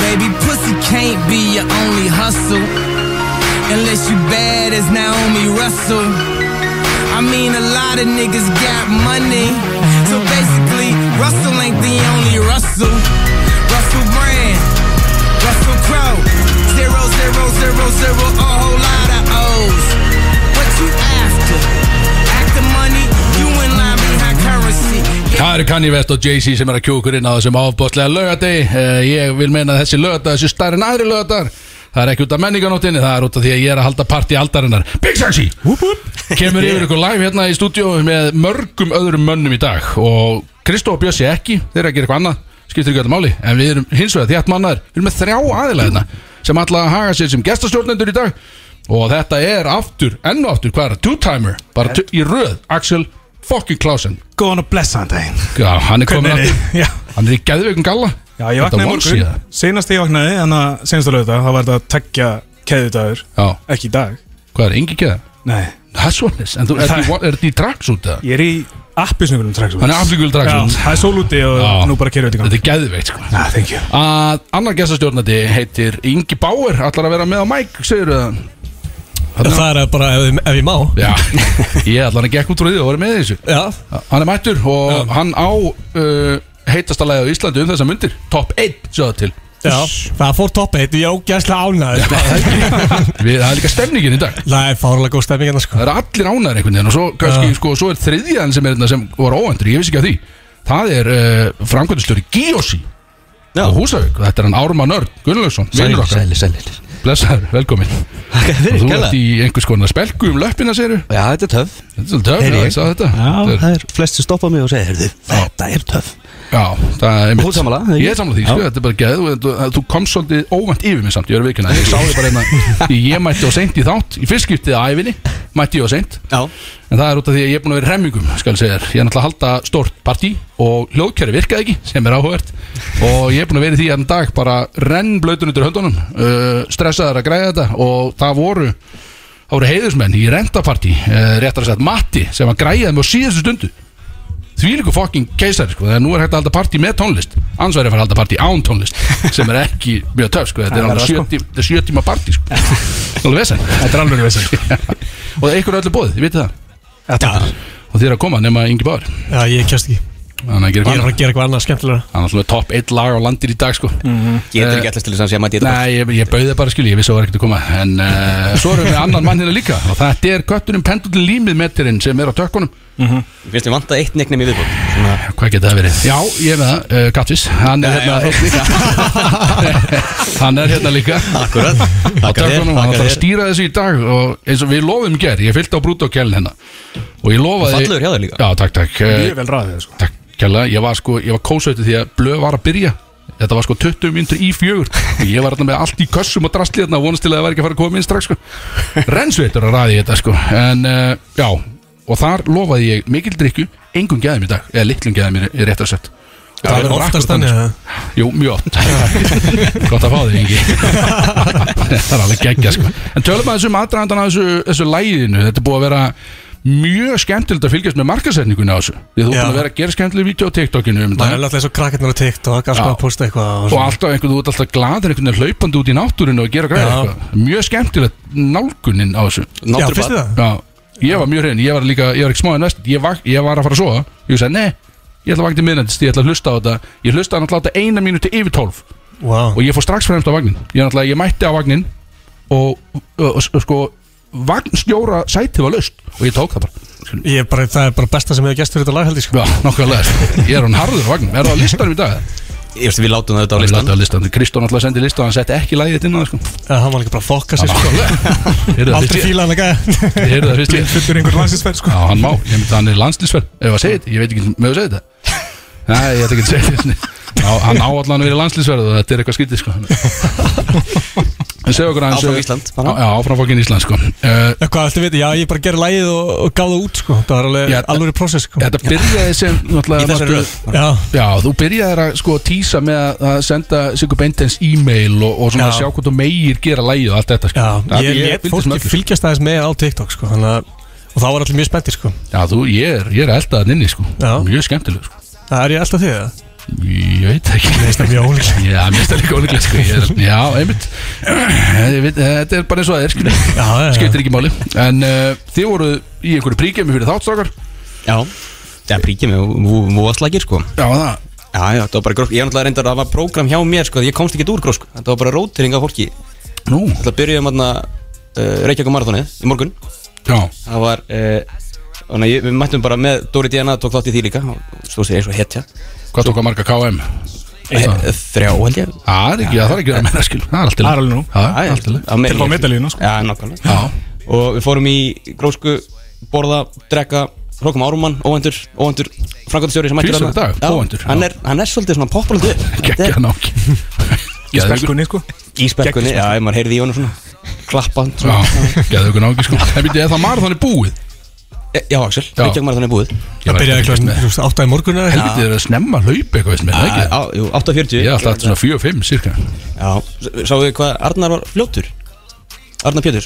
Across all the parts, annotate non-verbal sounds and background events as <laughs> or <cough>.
baby. Pussy can't be your only hustle. Unless you bad as Naomi Russell. I mean, a lot of niggas got money. So basically, Russell ain't the only Russell. Russell Brand, Russell Crowe. Zero, zero, zero, zero, a whole lot of O's. What you after? After money, you in line behind currency. Það eru Kanye West og Jay-Z sem er að kjókur inn á þessum áfbótlega lögadegi Eh, Ég vil meina að þessi lögadag þessi stærri en aðri lögadagar Það er ekki út af menninganóttinni, það er út af því að ég er að halda partí aldarinnar Big Sexy Kemur yfir ykkur live hérna í stúdíó með mörgum öðrum mönnum í dag Og Kristó og Bjössi ekki, þeir eru að gera eitthvað annað Skiptir ekki öllu máli, en við erum hins vegar þjátt mannaður Við erum með þrjá aðila hérna sem alla að haga sér sem gestastjórnendur í dag Og þetta er aftur, enn og aftur, hvað er það? Two-timer, bara tu- í röð, Axel fucking Klausen Góðan og blessaðan daginn Já, hann er komin Hvernig er aftur þið? Já. Hann er í geðveikum galla Já, ég vaknaði í morgun Já, Senast ég vaknaði, þannig að senast að lögða Það var þetta að tekja keðudagur hvað Ekki í dag er, yngi geða? Nei, Það er svonis, en þú ert í, er í traksút eða? ég er í appisnöggunum traksum Hann er sko. aflíkul traksút Það er sól úti og Já. nú bara kerjum við þetta í Þetta er geðveikt sko gang ah, Thank you að Annar gestastjórnandi heitir Ingi Bauer Allar að vera með á mæk, segir það Það er bara ef, ef ég má Já, ég allan að gekk út frá því og voru með í þessu Já, Hann er mættur og hann á uh, heitasta lagi á Íslandi um þessa myndir Top 1, sjáðu til já Það fór topp eitt, ég ógæslega ánæður Við, Það er líka stemningin í dag Það er fárlega góð stemming hérna sko það eru allir ánæður einhvern veginn og svo, kannski, sko, svo er þriðjan sem er hérna sem var óendur, ég vissi ekki að því það er uh, framkvæmdustjóri Gíosi Já. á Húsavík og þetta er hann Ármann Örn Gunnlaugsson, vinnur okkar, sælir, sælir blessaður, velkomin og Fyrir þú kæla ert í einhvers konar spelku um löppina séru Já, þetta er töf þetta er svolítið töf, Heyri já, ég. ég sá þetta Já, Þetta er, það er flest sem stoppa mig og segja Herðu, þetta er töf já, það er þú ert sammála, eða ekki? ég er sammála því, sko, þetta er bara geð og þetta- þú komst svolítið óvænt yfir mig samt, ég er vikina ég sá þið bara einna, ég mætti á seint í þátt í fyrst skiptið á ævinni, mætti ég á seint Já En það er út af því að ég er búin að vera í remmingum skal ég segja þér. Ég er náttúrulega að halda stórt partí og hljóðkjæri virkaði ekki sem er áhugavert og ég er búin að vera í því enn dag bara renn blöytun undir höndunum uh, stressaðar að græða þetta og það voru það voru heiðusmenn í rentapartí uh, réttar að segja Matti sem að græjaði mig á síðustu stundu því líku fokking keisari sko þegar nú er hægt að halda partí með tónlist annars væri að fara að halda partí án tónlist sem er ekki mjög töf sko þetta Það er er alveg það, sjö sko. tí- þetta er sjö tíma partí sko alveg vesen Þetta er alveg vesen <laughs> sko. og það er ykkur öllu bóðið, ég veit það Þetta er- og þið er að koma nema Ingi Bár Já, ég kjast ekki þannig að gera Ég hvað er að fara að gera eitthvað annað skemmtilega hann er alltaf topp 1 lag á landir í dag sko Getur ekki allast til þess að sé að <laughs> maður getur Nei, ég, ég bauði bara skilji, ég vissi að það var ekkert að koma En uh, svo erum við annan mann hérna líka Og þetta er kötturinn pendulin límið metirinn sem er á tökkunum Finnst mér vantað eitt neiknum í viðbúr Svona Hvað geta það verið? Já, ég er með það, uh, Kattis Hann er hérna <laughs> Hann er hérna líka Akkurat á tökkunum Hann ætlar Þakka að þér. stýra þessu í dag Og eins og við lofum ger, ég fylgdi á brúta og kjælin hérna Og ég lofaði Fallegur hjá þér líka. Já, takk, takk Ég Eh, er vel ræðið sko. Takk kjærlega, ég var sko, ég var kósauti því að blöð var að byrja Þetta var sko 20 myndur í fjögur og ég var hérna með allt í kössum og drastli hérna og vonast til að það var ekki að fara að koma inn strax sko Rennsveitur að ræði þetta sko En uh, já, og þar lofaði ég mikil drikku, engum gæðum í dag eða litlum gæðum í rétt að sett Það er oftast þannig að sko. Jú, mjög oft <laughs> Gott að fá þig, Ingi Það er alveg geggja, sko En tölum að þessum aðdraðandan að þessu, þessu læginu Þetta er búið að vera mjög skemmtilegt að fylgjast með markasetningunni á þessu Því að þú er Já. búin að vera að gera skemmtileg vídeo á TikTokinu um maður er daginn. alltaf eins og krakkarnar á TikTok alltaf Já. að posta eitthvað Og alltaf einhvern, þú ert alltaf gladur einhvern veginn hlaupandi út í náttúrinu og að gera græða Já. eitthvað Mjög skemmtilegt nálgunin á þessu Já, Náttúrubarn. finnst þið það? Já, ég var mjög hrein, ég var líka, ég var ekki smáðin vest ég, vak- ég var að fara að sofa, ég sagði nei Ég ætla að vakna til miðnættist, ég ætla að hlusta á þetta Ég hlusta hann alltaf eina mínúti yfir tólf Vá, og ég fór strax fremst á vagnin ég, náttúrulega- ég mætti á vagnin og, og, og, og sko vagnstjóra sætið var laust og ég tók það bara ég er bara, það er bara besta sem hefur gæst fyrir þetta lag held ég sko Já, nokkuðlega, ég er hún harður á vagnin er það á listanum í dag? Ég veist, við látum það auðvitað á Við listan látum á listanum, Kristó náttúrulega sendi lista og hann setti ekki lagið þetta inn á það sko Það hann var líka bara að fokka sér sko <laughs> Heyrðu það Aldrei fyrst ég fíla hann að gæða Heyrðu það fyrst ég Fullur einhver landsinsferð sko. Já, hann má, ég myndi að hann er landslýsverð Ef að segja þetta, ég veit ekki með að segja þetta Nei, ég ætla ekki að segja þetta Ná, Hann á allan að vera landslýsverð og þetta er eitthvað skrítið sko En segja okkur aðeins eh, Áfram Ísland, sko. bara. Já, áfram fokkin Ísland sko uh, Hvað ættu viti, já ég bara gerði lagið og, og gaf það út sko Það var alveg Já, alveg prosess sko Þetta byrjaði sem náttúrulega Í þessari varstu- röð Já, Já, þú byrjaði að sko tísa með að- að senda Sigur Beintens e-mail og, og svona Já. sjá hvort þú meir gera lægið og allt þetta sko. já, Það- ég let fylgdist með fólki öllu, sko. fylgjast aðeins með á TikTok sko Þannig að, og þá var allir mjög spenntir sko Já, þú, ég er, ég er eldaðan inni sko. Já. Mjög skemmtileg sko. Það er ég alltaf því það Ég veit það ekki Veist það mjög ólíklegt <laughs> Já, mér finnst það líka ólíklegt sko ég er, Já, einmitt Ég veit, eh, Þetta er bara eins og það er skilur. Já, já, já. Skiptir ekki máli En uh, þið voru í einhverju príkjum fyrir þáttstrákar Já Já, príkja með vóðslagir sko Já, það Já, já, þetta var bara grósk Ég er náttúrulega reyndar að það var prógram hjá mér sko Ég komst ekki úr grósk Þetta var bara rótering af fólki Nú, Þetta byrjuðum aðna uh, Reykjavík marathonið í morgun já Það var uh, Þannig að ég- við mættum bara með Dóri Diana Tók þátt í því líka og Stóð sér eins og hetja Hvað tók að marga KM? Eh, Þrjá held ég Eh, Það er ekki, það þarf ekki að menna skil Það er allt í lagi. Það er alveg nú. Já, Já, allt í lagi. á meðalínu. Til að fá medalíuna, sko. Já, nákvæmlega Já, Og við fórum í grósku Borða, drekka Hrókum Árumann, óvendur, óvendur Frankvæmtastjóri sem mættur Tvisvar í dag, Já, Óvendur, já. hann, er, hann er svolítið svona populandi geggja nokk Í spekkunni, sko Í spekkunni, já, ef maður heyrði í honum svona Klappa, svona Geðu ykkur náki sko En býtti, er það marathon er búið? E- Já, Axel, Já. Reykjavík marathon er búið Það byrjaði klokkan þú veist, átta í morgun eða eitthvað. Helviti þeir eru að snemma að hlaupa eitthvað veist með það ekki Ah, Á, jú, 8.40 Ég er alltaf svona 4-5 cirka Já, S- sáuðu hvað Arnar var fljótur Arnar Pétur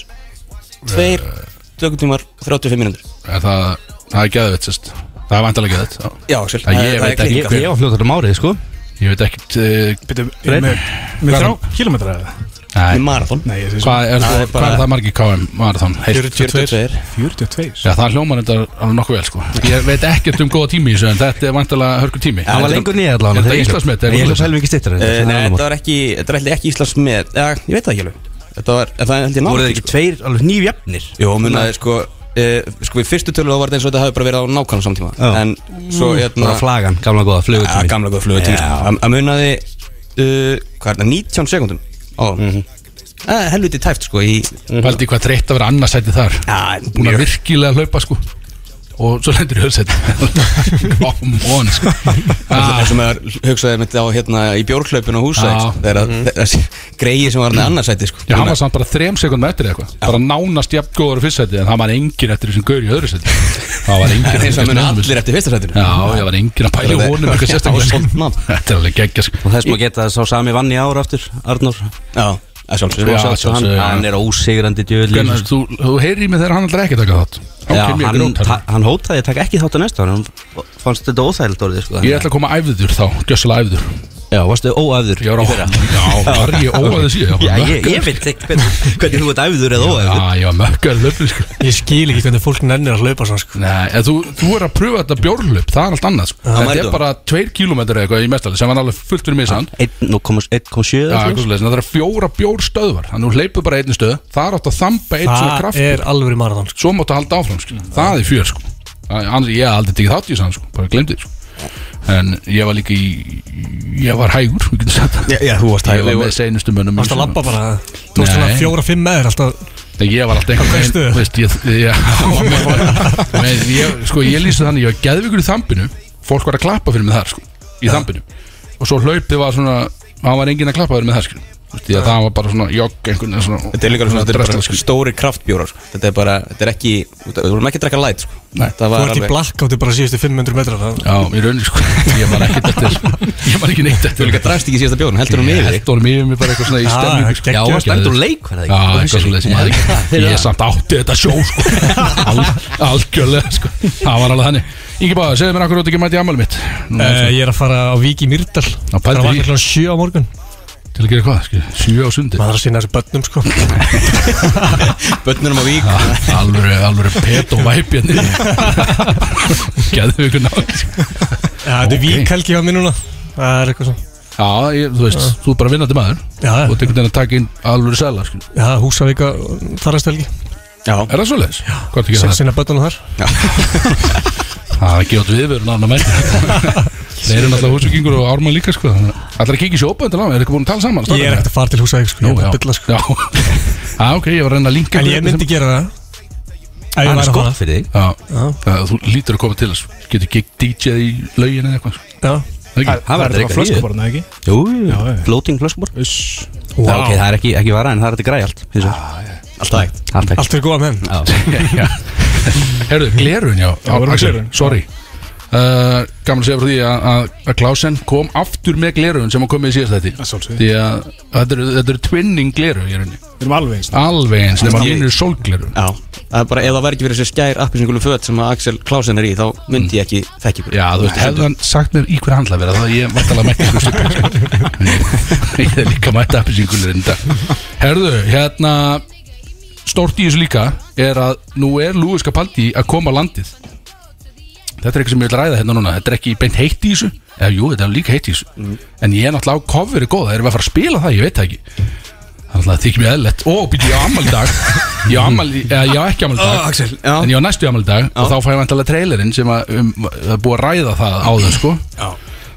Tveir Eh. klukkutímar 35 mínútur En það, það er geðvett sérst Það er vantalega geðvett já. Já, Axel Það ég veit ekki klikkað. hver- Ég var fljóttur um árið sko Ég veit ekkert uh, Býttu, er með, með þrjá kilometra eða? Í nei, marathon Nei, ég sé svo Hvað er, Það er hvað bara- er það margir KM marathon? Heilt? 42 42 Já, það hljómar þetta alveg nokkuð vel sko Ég veit ekkert um góða tími í þessu En þetta er vantalega hörku tími Það var lengur nýja Er allavega þetta Íslandsmet, er Ég það held að helvi ekki stittur en Eh, það er Nei, annað þetta mál. var ekki Þetta er ekki Íslands með Já, ég veit það ekki alveg Þetta var, en það held ég Voru nákvæmlega þið ekki tveir alveg nýjafnir Jó, munaði sko eh, Sko, við fyrstu tölu var þetta eins og þetta hafi bara verið á nákvæmlega samtíma Já. En svo, Bara hérna flagan, gamla góða, Já, flugutími gamla góð flugutími Já. sko. Að- Að munaði uh, Hvað er það, 19 sekundum Ó, Mhm. Það er helviti tæft sko í Paldi hvað þreytt að vera annarsæti þar Já, Búin að virkilega hlaupa sko Og svo lendur í hölsæti <laughs> Come on sko Það Ah, er sem að hugsaði mitt á hérna í bjórklaupinu á húsa Já. Ah. sko, þegar Mhm. mm -hmm. þessi greiði sem var hann annarsæti sko. Já, hann var samt bara þrem sekundum eftir eða eitthvað Bara nánast jafn góður á fyrstæti En það var engin eftir þessum gaur í öðru sæti Það var engin eins og muni allir eftir fyrsta sætinu Já, ég var engin að pæla í honum eitthvað sérstaklega Já, svona sko. mann. Þetta er alveg geggja sko. Og þess maður geta að sá sami vann í ár aftur Arnór Já, að sjálfsögur Já. Sá- sá hann, sjálfsögðu, já. hann er ósigrandi djöðli Hvenær- Þú, þú heyrir í mig þegar hann aldrei ekki taka þátt sko. Já, Hann kemur í hann, grót ta- hann hótaði að taka ekki þátt að næsta ári, Hann fannst þetta óþægild orðið sko Ég ætla að koma æfður þá, gjössalega æfður Já, varstu óæður Ég var á <laughs> Já, var ég óaðið síðan Já, ég, ég veit ekki hvernig, hvernig þú ert æfður eða Já, óæður ég var mökkar löfni sko. Ég skil ekki hvernig fólk nennir að hlaupa svona sko Nei, en þú, þú er að pröfa þetta bjórlöp Það er allt annað sko. Þetta mæri er þú. bara tveir kílómetri eitthvað í mestali sem var alveg fullt fyrir mig sann 1,7 eða Já, eitthvað svo. svoleiðis. En það er fjóra bjórstöðvar Þannig hún hleypur bara einni stöð Það er átt að þamba eitt svona Það kraft er alveg marathon sko Svo máttu að halda áfram skil. Það er fjör sko. Það- Annars ég hef aldrei tekið þátt í þessan sko. Bara glemdi sko. En ég var líka í Ég var hægur við getum sagt það. Já, já, þú varst Ég var hægur. með seinustu mönnum Varst að eins og- labba bara Tókst Nei. svona fjóra, fimm með þér alltaf Nei, Ég var alltaf Hvað kaustu? einhvern veist, ég, ég, Men ég, sko, ég lýsi þannig Ég var geðvikur í þambinu Fólk var að klappa fyrir mig þar sko, Í þambinu Og svo hlaupið var svona Það var enginn að klappa fyrir mig þar sko. Vist, ég, Það var bara svona jogg einhvern veginn svona, Þetta er líka svona, þetta er drasl, bara sko. stóri kraftbjórar sko. Þetta er bara, þetta er ekki Þú erum ekki að drekka light sko. Nei. Það Þú var ert í alveg blackouti bara síðustu 500 metrar það- Já, í rauninni sko Ég var ekkert <laughs> eftir sko. Ég var ekki neitt Þú eftir líka dræst ekki í síðasta bjórn, heldur um hún Ég yfir þig? held honum yfir mig bara eitthvað <laughs> svona í Já, stemmingu sko. geggjað. Já, Stendur úr leik geðveikt. var það Já, eitthvað svo leiðis Ég hafði ekki- ég er samt átti þetta sjó <laughs> sko Al- Algjörlega sko Það var alveg þannig Ingi Báður, segðu mér akkur út ekki mæti í ammali mitt Nú, Eh, Ég er að fara á Vík í Myrdal Það pældu er í. vakna klokkan 7 á morgun Til að gera hvað, skil, sjö á sundi Maður er að sinna þessu börnum sko <laughs> Bönnunum á vík Alvöru, alvöru pet og væp hérna <laughs> Gæðu ykkur nátt sko. Já, Þetta Ok. er Vík helgi hjá mér núna Það er eitthvað svona Já, ég, þú veist, þú er bara vinnandi maður Já, Þú ert einhvern veginn að taka inn alvöru sæla skil. Já, Húsavík á þarrastu helgi Já, Er það svo leiðis? Hvað er það? Sér sinna börnunum þar Það er ekki átt viðvörun annar mæti Þeir eru náttúrulega húsugingur og ármann líka sko Það er að kíkja sér opöndin á Er ekki búin að tala saman? Ég er ekkert að fara til Húsavík sko Nú, Ég já er bara að bylla sko Já, Já, Ah, ok, ég var að reyna að linka En ég myndi gera Hann það Ef ég væri er að skott fara fyrir þig Já, það, þú lítur að koma til þess Getur gig DJ í laugin eða eitthvað sko. Já Það ekki? Það Hann var að var drikka í þig flöskuborna, ekki? Jú, jú, floating flöskubor Vá. Ok, það er ekki, ekki vara en það er þetta græði allt hins vegar. Ah, allt hægt Allt ekki Allt fyrir góða menn Já. Já. Herðu, glerun, já, Já, við erum Axel, glerun. Sorry uh, Gaman að segja frá því að- að að Klausen kom aftur með gleruðun sem hann kom með í síðast Að þetta sjálfsögðu. Því að þetta eru- þetta eru twinning gleru í rauninni Við erum alveg eins Alveg eins, nema Ég- minn eru sólgleru Já, það er bara, ef það væri ekki verið þessi skær appisingulu föt sem að Axel Klausen er í, þá myndi ég ekki þekki ykkur. Já, þú veist, hefði hann sagt mér í hver handla vera þá ég vant alveg að mæta ykkur stupið Ég er líka að mæta appisíkulur enda Herðu, hérna stórt í þessu líka er að nú er Lúis Capaldi að koma á landið Þetta er eitthvað sem ég vil ræða hérna núna Þetta er ekki beint heitt í þessu Eða jú, þetta er líka heitt í þessu En ég er náttúrulega á coverið góða Erum við að fara að spila það? Ég veit það ekki Þannig að það þykir mér eðlilegt Ó, býtti ég á ammali dag Ég á ammali, eða ég á ekki ammali dag Ó, Axel, já. En ég á næstu ammali dag Og þá fæ ég vantalega trailerinn Sem að um, það er búið að ræða það áður sko Já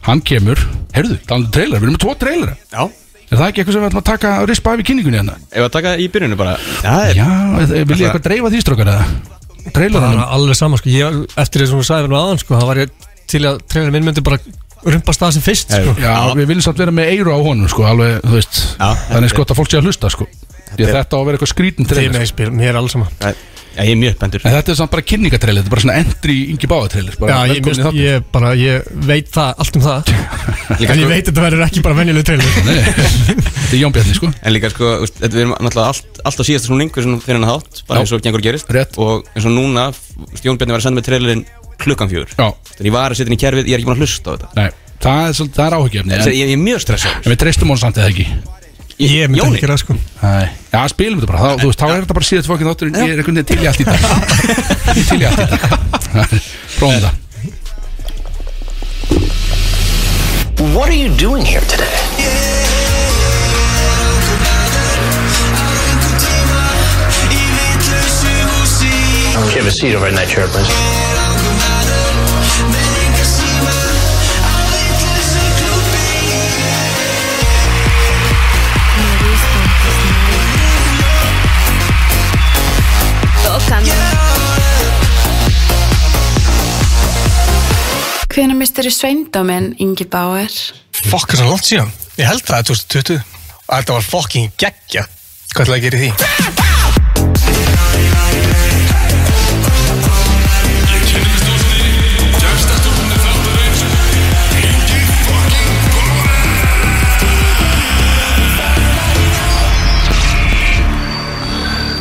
Hann kemur Herðu, talandi um trailer Við erum með tvo trailera Já. Er það ekki eitthvað sem við ætlum að taka og rispa af í kynningunni hérna? Ef að taka í byrjunu bara, það er, Já, eh, vil ég eitthvað <laughs> dreifa því strókar eða? Það Trailerunum? er alveg sama sko ég, Eftir því sem þú sagði verið aðan sko Það var ég til að treinir minn myndi bara rumpast það sem fyrst sko Já, við viljum samt vera með eiru á honum sko, alveg, þú veist Já, þetta Þannig er- sko að fólk sé að hlusta sko Því að þetta á að vera eitthvað skrítin Þið trailer með spil, mér er alls sama það er, já, ég er mjög spendur. En þetta er samt bara kynningatrailer, þetta er bara svona endri yngi báðatrailer Já, ég, mist, ég, bara, ég veit það, allt um <laughs> það En ég veit að þetta verður ekki bara venjuleg treinir sko- Nei, þetta er Jón Bjarni sko En líka, sko, þú veist, þetta við erum náttúrulega allt, allt á síðasta snúning, hversu fyrir hann hátt, Já. bara eins og gengur gerist. Rétt. Og eins og núna, þú veist, Jón Bjarni var að senda mig trailerinn klukkan fjögur. Já, Þannig ég var að setja hann í kerfið, ég er ekki búin að hlusta á þetta. nei, það er, svolítið- það er áhugjefni en, Ég, ég, ég er mjög stressað. en við treystum honum samt eða ekki Ég myndi Jóni. ekki gera það sko Nei. Já, spilum þetta bara, þá, þú veist, þá er þetta bara síðast fokkin þáttur Ég er einhvern veginn til í allt í dag <laughs> Ég er til í allt í dag Prófum það What are you doing here today? Okay, have a seat over in that chair, please. Tókandi Hvenær mistur þið sveindóminn, Ingi <laughs> Bauer? Fokk, það er svo langt síðan. Ég held það er 2020. Og þetta var fokking geggja. Hvað ætlaði að gera í því?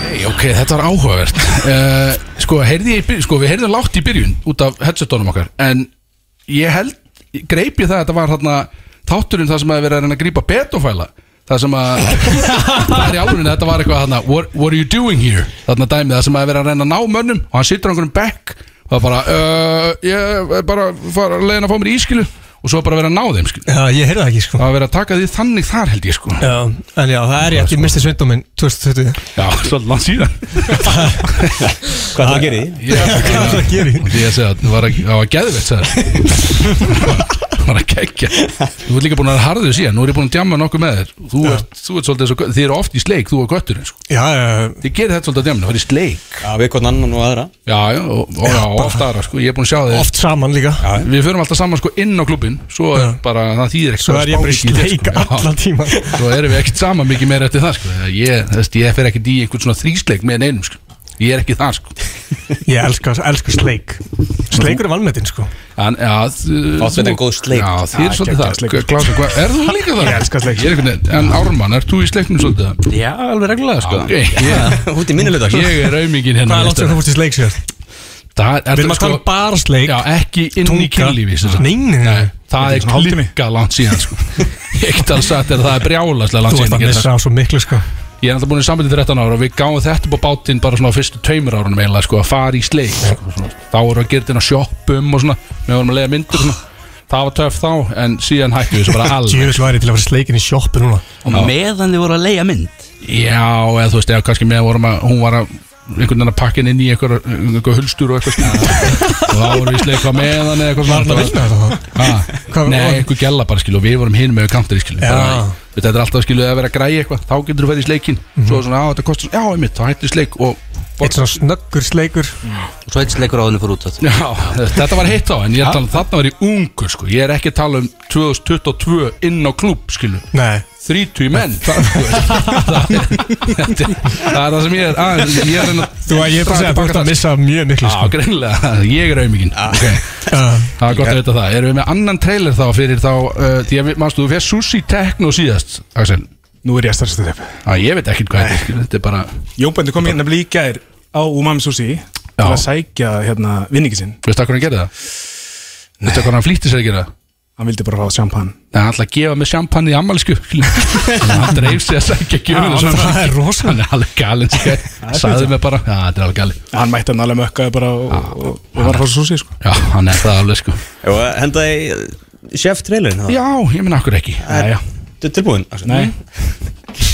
Hey, ok, þetta var áhugavert uh, sko, heyrði ég, í byrjun- sko, við heyrðum látt í byrjun út af headsetunum okkar en ég held, greip ég það að þetta var þarna, þátturinn það sem að vera að reyna að grípa betofæla það sem að, það er í áluninu þetta var eitthvað þarna, what, what are you doing here þarna dæmið, það sem að vera að reyna að ná mönnum og hann sittur á einhverjum bekk og það bara, uh, ég er bara fara, leiðin að fá mér í ískilu og svo bara vera að ná þeim skilu. Já, ég heyrði það ekki sko það var að vera að taka því þannig þar held ég sko Já, en já, það er ég ekki misti sveindóminn 2020 já, <laughs> svolítið langt síðan Hvað það gerir því? Já, Hvað það gerir? Og því að segja, það var að, það var geðveitt sagði Það var að kekja Þú ert líka búin að vera harður síðan Nú er ég búin að djamma nokkuð með þér Þú ert, þú ert svolítið svo, þið eru oft í sleik, þú og götturinn sko. Já, já, já, Þið gerir þetta svolítið að djamma, það er í sleik Já, við hvort annan og aðra. Já, já, og, og, já, og oft aðra, sko, ég er búin að sjá þið Oft saman líka Við förum alltaf saman sko inn á klubbin Svo er bara, það þýðir ekkert <laughs> Svo er ég bara í spá mikið þér, sleik sko. Já. allan tíman. Svo erum við ekkert saman mikið meira eftir það sko. Ég, þess, ég fer ekkert í einhvern svona þrísleik með neinum sko. Ég er ekki það sko Ég elska, elska sleik Sleikur er valmetinn sko En, ja, Fátt við þetta en góð sleik. Já, þið er svolítið geggjað sko. það Klása, hvað, er þú líka það? Ég elska sleik. Ég er einhvern veginn, en Ármann, ert þú í sleiknum svolítið það? Já, alveg reglulega sko Ok, ég, Út í minnilegdag. ég er raumingin hérna Hvað er langt sem þú fórst í sleik sér? Það er sko- Við erum að tala um bara sleik Já, ekki inn í Tunga. kynlífi sem sagt. Nei, nei, nei. Nei, Það er svona hálftími. klikka langt síðan sko. <laughs> Ég get alveg sagt þér að það er brjálaslega langt Þú ert síðan að ég get sagt. missa á svo miklu sko Ég er alltaf búin í sambandi 13 ára og við gáum þetta upp á bátinn bara svona á fyrstu taumur árunum eiginlega sko að fara í sleik sko, svona. Þá vorum við að gera þetta inn á sjoppum og svona Við vorum að lega myndir svona Það var töff þá en síðan hættum við þessu <laughs> bara alveg Djöfis væri til að fara í sleikin í sjoppu núna Og meðan þið voru að leiða mynd Já, eða þú veist, eða kannski með vorum að hún var að einhvern veginn að pakka henni inn í einhver, einhver hulstur og eitthvað svona. og þá vorum við í sleika með hann eða eitthvað Var hann að vinna þetta þá? vinna? Hvað- Nei, einhver gæla bara skilu og við vorum hinn með kantir skilu Já. bara, þú veist, þetta er alltaf skilu að vera að græja eitthvað þá getur þú ferð í sleikin, Mhm. svo er svona, á þetta kostar já, einmitt, þá hættir sleik og Eitt svona snöggur sleikur Og svo eitt sleikur á henni fór út að já, þetta var heitt þá, en ég er að tala um þarna var ég ungur, sko, ég er ekki að tala um 2022 inn á klúb, skilu Nei 30 <laughs> menn það, þú veist, það, er, þetta er- það er það sem ég er aðeins ég er að reyna Þú að ég er bara að segja að þú ert að missa sko. Ah. mjög miklu Já, greinlega, ég er auðmikinn <laughs> okay. Það er gott að vita það Erum við með annan trailer þá fyrir þá uh, Því að, við- manstu, þú fyrir Susi Techno síðast Axel, Nú er ég að starfstu þér að ég veit ekkert hvað þetta er skilur, Þetta er bara, Jóbendi kom hérna nefnilega í gær á Umami Sushi til að sækja hérna vinningi sinn veistu hvað hann gerði það? Veistu hvað hann flýtti sér að gera það? Hann vildi bara fá sjampan Nei, hann ætlaði að gefa með sjampanni í ammælisku <laughs> Hann dreif sig að sækja gjöfuna Já, svona. það er rosalegt. Hann er alveg galinn sko. Sæði mig bara, já, þetta er alveg galinn Hann mætti hann alveg mökkaði bara og, og, og var að fá sushi sko Já, hann er það alveg sko Ef að henda í chef trailerin Já, ég menn akkur ekki Já, já Þetta er tilbúin Axel. Nei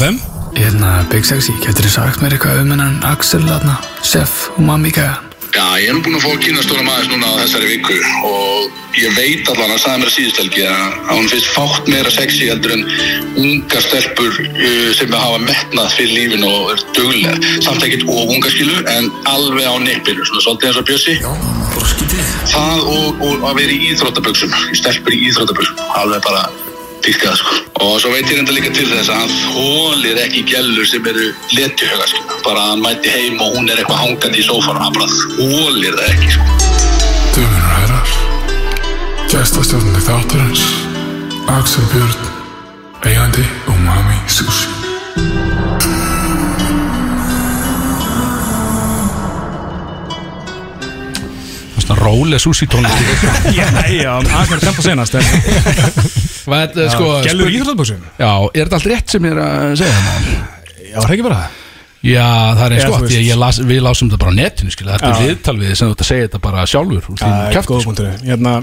FM Hérna, Big Sexy, getur þið sagt mér eitthvað um hennan Axel latna, Chef og Mami Gæðan? Já, ég hef búin að fá að kynast honum aðeins núna á þessari viku og ég veit allan að sagði mér síðust helgi að að hún finnst fátt meira sexy heldur en unga stelpur uh, sem hafa metnað fyrir lífin og er dugleg. Samt ekkert og unga skilu en alveg á nippinu, svona svolítið eins og bjössi. Já, bara skítið. Það og, og að vera í íþróttaböksum, stelpur í íþróttaböksum, alveg bara dýrkað sko. Og svo veit ég reynda líka til þess að hann þólir ekki gælur sem eru letuhöga sko. Bara að hann mæti heim og hún er eitthvað hangandi í sófanum, hann bara þólir það ekki sko. Dömur og herrar, gestastjórnandi þáttarins, Axel Björn, eigandi og Mami Sushi. Svona róleg Susi tónlist Já, já, hann aðeins var tempo senast en- Hvað er sko Gellur spurning- íþróttaböksum Já, er þetta allt rétt sem ég er að segja það? Já, var það ekki bara það? Já, það er eins Já, þú gott Því að veist. ég las, við lásum þetta bara á netinu skilja Þetta er Já. viðtal við þig sem þú ert að segja þetta bara sjálfur úr þínum Það er kjafti, góða sko. punktur Hérna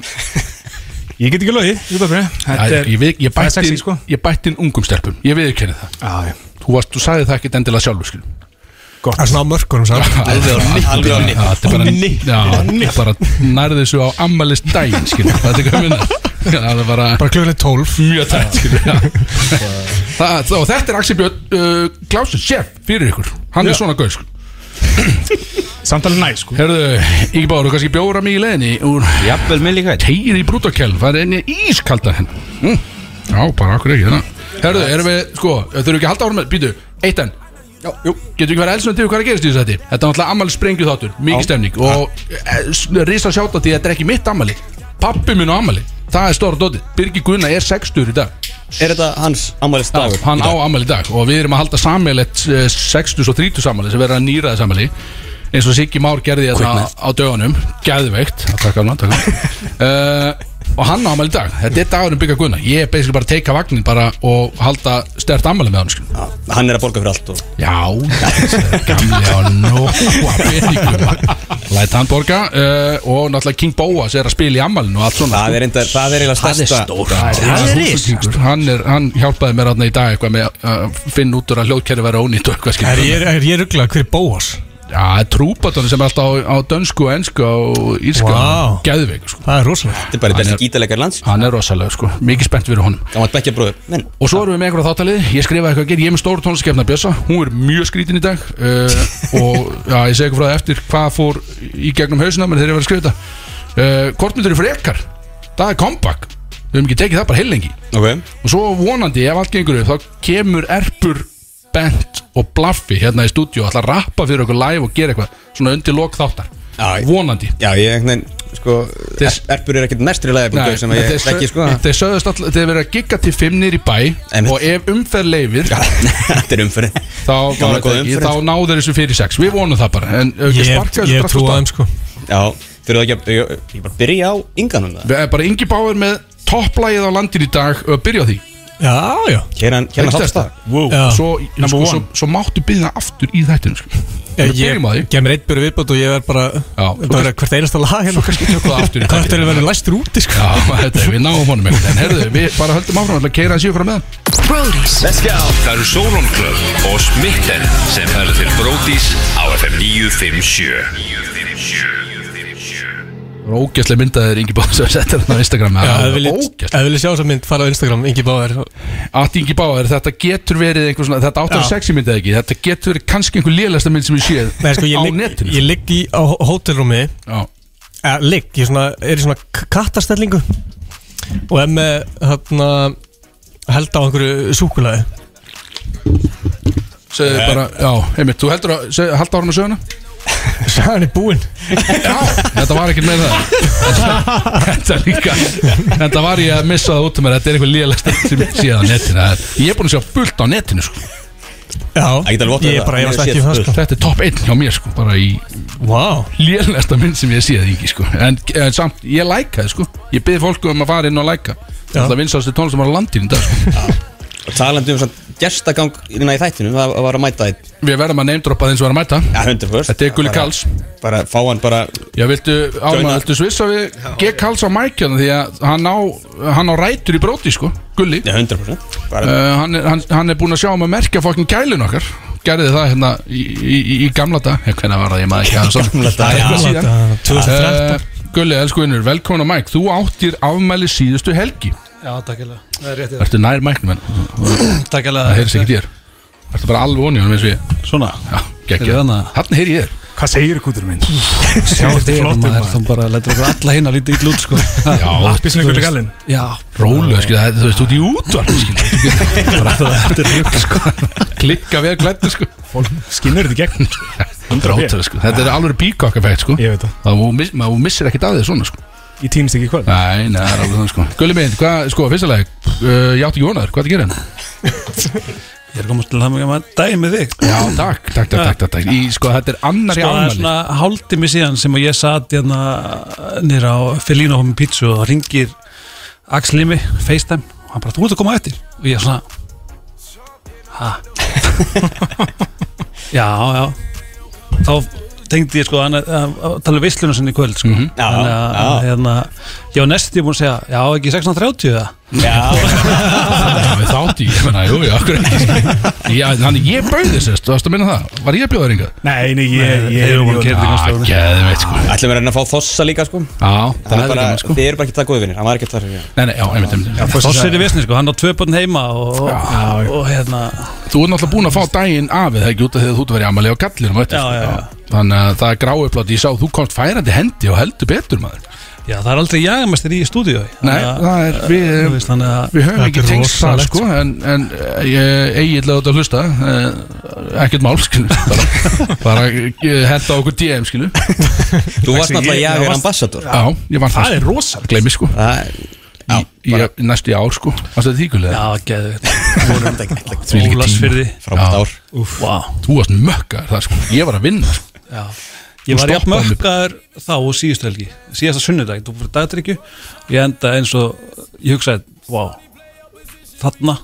Ég get ekki lögið Jú, bara Já, ég- Ég veit- það ég er bætti sexy, inn- sko. ég bætti inn ungum stelpum Ég viðurkenni það Já, já Þú varst, þú sagði það ekkert endilega sjálfur skilja Það er svona á mörkunum samt Alveg Já, á nippinu þetta er bara, já, þetta er bara nærði þessu á ammalist daginn skilur, þetta er komin það er bara Bara klukkan er 12 mjög tætt skilur já. það, þá, þetta er Axel Björn uh, Klausin chef fyrir ykkur, hann er svona <clears throat> gauð sko. Samt alveg næ, sko herðu, Ígi Báru, kannski bjóra mig í leðinni úr Jafnvel með líka eitt tegir í brútakel, það er enni ískalda henn mm. já, bara akkur ekki hérna. herðu, erum við, sko, þurfum við ekki að halda ára með býtu, eitt enn Já, jú. Getum við ekki verið eldsnönd til hvað er að gerast í þessu þetta Þetta er náttúrulega ammali sprengju þáttur, mikið stemning Og e, risa sjáta því að þetta er ekki mitt ammali Pappi minn á ammali Það er stóra dótið, Birgir Gunnar er 60 í dag Er þetta hans ammælist dagur? Hann á ammali í dag og við erum að halda sammeilegt 60 og 30 sammali sem verður að nýra þess ammali eins og Siggi Már gerði þetta á dögunum Gæðveikt, takk hann, takk <laughs> hann uh, Og hann á ammali í dag Þetta er dagurinn byggja Gunnar Ég er basically bara að teika vagnin bara og halda stert ammali með sko. hann skilur. Já, Hann er að borga fyrir allt og Já, gamli á nóa peningum Læt hann borga uh, og náttúrulega King Bóas er að spila í ammalinu og allt svona sko. Það er reyndar, það er eiginlega Það er stærsta stór Það er rísastór. hann, er, hann hjálpaði mér aðna í dag eitthvað með að finna út úr að hljóðkerfi vera ónýtt og eitthvað Er skilur Já, ég, er ég ruggla hver er bóas? það er trúbatónu sem er alltaf á, á dönsku og ensku og írska Vá. og geðveik sko. Það er rosalega Þetta er bara Hann besti er- gítarleikar lands Hann er rosalega, sko. mikið spennt fyrir honum Gammalt bekkjabróður Men Og svo erum við með einhverja þáttalið, ég skrifaði eitthvað að gera, ég er með stóru tónlistakefna Bjössa, hún er mjög skrítin í dag uh, og já, ég segi ykkur frá það eftir hvað fór í gegnum hausina mér þegar ég var að skrifa þetta uh, Kortmyndur fyrir ekkar, það er comeback, við höfum ekki tekið það bara heilengi Ok og svo vonandi ef allt gengur upp þá kemur erpur Bent og Blaffi hérna í stúdíu og ætla að rappa fyrir okkur live og gera eitthvað svona undir lok þáttar, Já, ég- vonandi Já, ég einhvern veginn, sko Þess- Þess... Erpur er ekkert næstri lagið sem að þeir ég þekki, sö- sko þeir sögðust alltaf, þeir verið að gigga til fimm nýr í bæ Einmitt. og ef umferð leifir <laughs> Þetta er umfyrir þá, Gamla góða ég, umferð. þá náðu þeir þessu fyrir sex við vonum það bara en Ég hef- Ég hef trú á þeim sko Já, fyrir það ekki að Ég ég bara byrja á ynganum það við erum bara yngi báður með topplægið á landin í dag og byrja á því Já, já Hér hann, hér hann Ekki hafst þetta? það Wow hérna Já. svo, Number sko, one. svo, svo máttu byrja aftur í þættinu sko. Ég, við byrjum á því ég gef mér eitt byrju viðbót og ég verð bara Já. Þetta verður hvert einasta lag hérna svo kannski tökum við aftur í Hvert er þættinu verður læstur úti sko Já, þetta, við náum honum einhvern veginn. En herðu, við bara höldum áfram ætla að keira að síðu frá meðan Það eru Solon Club og Smitten sem færa til Brótis á FM 957 Það er ógæslega myndaðir Ingi Báður sem settir hann á Instagram Já, Það ef er við ógæslega viljið sjá þess að mynd fara á Instagram Ingi Báðar Allt Ingi Báður, þetta getur verið einhver svona Þetta áttur Já. sexy myndað ekki Þetta getur verið kannski einhver lélasta mynd sem ég séð Nei, sko, ég á ligg- netinu Ég ligg í á hótelrúmi Já, Eða, ligg, ég svona, er í svona k- kattastellingu og er með hérna, held á einhverju súkulaði Segðu Eh. Nei. bara, já, einmitt, þú heldur að seg, halda ára með söguna? <laughs> Sagan er búinn Þetta var ekkert með það Þetta- Þetta líka Þetta var ég að missa það út um mér Þetta er einhver lélega stönd sem ég séð á netinu Það er- Ég er búin að sjá fullt á netinu sko. Já, Ég get alveg vottað ég það. bara Ég efast sé ekki um það fullt. sko Þetta er topp 1 hjá mér sko, bara í wow. lélegasta mynd sem ég séð ekki sko. en, en samt, ég læka það sko. Ég byrði fólku um að fara inn og læka Já. Það vinsastu tónlistum á landinu í dag sko. Og talandi um svona gestagang innan hérna í þættinu, það var að mæta þitt Við verðum að neymdroppa þeim sem verðum að mæta Já, 100% Þetta er Gulli Bara- Karls Bara fá hann bara Já, viltu Áma, viltu svissa við G. Karls á mækjana því að hann á, hann á rætur í bróti sko, Gulli Já, 100% Uh, hann, er, hann, hann er búinn að sjá um að merkja fokkin gælun okkar Gerði það hérna í, í, í- í gamla dag Eh, Hvenær var það ég maður ekki aðeins Gamla dag, Það er eitthvað gamla síðan. dag, 2013. Eh, Gulli, elsku innur, velkomin á Mike Þú áttir afmæli síðustu helgi Já, takkilega Það er réttið Ertu nær mæknum henn? Takk alveg Það heyris ekki þér Ertu bara alveg onni hann eins og ég Svona Já, Er geggja það Þannig heyri ég þér Hvað segir kútur <laughs> minn? Sjá þetta er flottur maður Þá bara lætur okkur alla hinn að líta ítl út sko Já Appelsinu gulli gallinn. Já Rólu, skil, það, þú veist, út í útvarp Þetta er rugg, sko Klikka vel glættu, sko Skinnur þetta í gegn Drátur, sko Þetta er alveg bíkokkafætt, sko Ég veit það Það þú miss- maður missir ekkert af þér svona, sko Í tímst ekki hvað Nei, nei, það er alveg þannig, sko Gulli minn, hvað, sko, fyrsta lag uh, Ég átti ekki vonaður, hvað er að gera henn? Ég er komast til að hafa dæmi með þig Já, takk, takk, takk, takk, takk, takk. Í, sko, þetta er annar í Sko, það er afmæli. svona hálftimi síðan sem að ég satt hérna nýra á Felínu á með pítsu og það ringir Axel í mig, FaceTime og hann bara, þú ert að koma eftir og ég er svona ha <laughs> já, já þá tengdi ég sko hann að- að að tala um veisluna sinni í kvöld sko. Mhm. já, þannig að já. hérna ég var næstu búin að segja, já ekki 16.30 það Já, við þátti, ég <laughs> menna, jú, já, okkur ekki sko. Já, þannig ég bauði sérst, þú varst að minna það Var ég að bjóða þér ringað? Nei, nei, Já, geðveikt, sko Ætlum við að reyna að fá Þossa líka sko Já, það er bara, gaman, þið eru bara ekki það góði vinnir, hann var ekki þar já. Nei, nei, sko. já, einmitt, einmitt Þoss er í vesni sko, hann á tvö börn heima og, og, og hérna Þú ert náttúrulega búin að fá daginn af eða ekki út af því að þú ert að vera í amali á gallinum á eftir, Já, sko. já, já. Þannig að það er gráuplátt Ég sá þú komst færandi hendi og heldur betur maður Já, það er aldrei jagamestir í stúdíu Nei, það er, við, Þú veist, þannig að- við höfum Þetta ekki er tengst það rosalegt, sko En, en eh, ég eiginlega út að hlusta eh, Ekkert mál, skilu <laughs> Bara, bara eh, henda á okkur DM, skilu <laughs> Þú varst náttúrulega jagar ambassador Já, ég var það Það er rosa Gleimi sko Í, ég, næstu í ár sko Það er þýkulega Já, geðu Þvílíkir Ólasfyrði tímar. Frábært ár. Vá Þú varst mökkar það sko Ég var að vinna sko Já Þú Ég var jafn stoppaði mig. mökkaður þá og síðustu helgi Síðasta sunnudag, þú fyrir dagdrykju Ég enda eins og, ég hugsaði Vá, þarna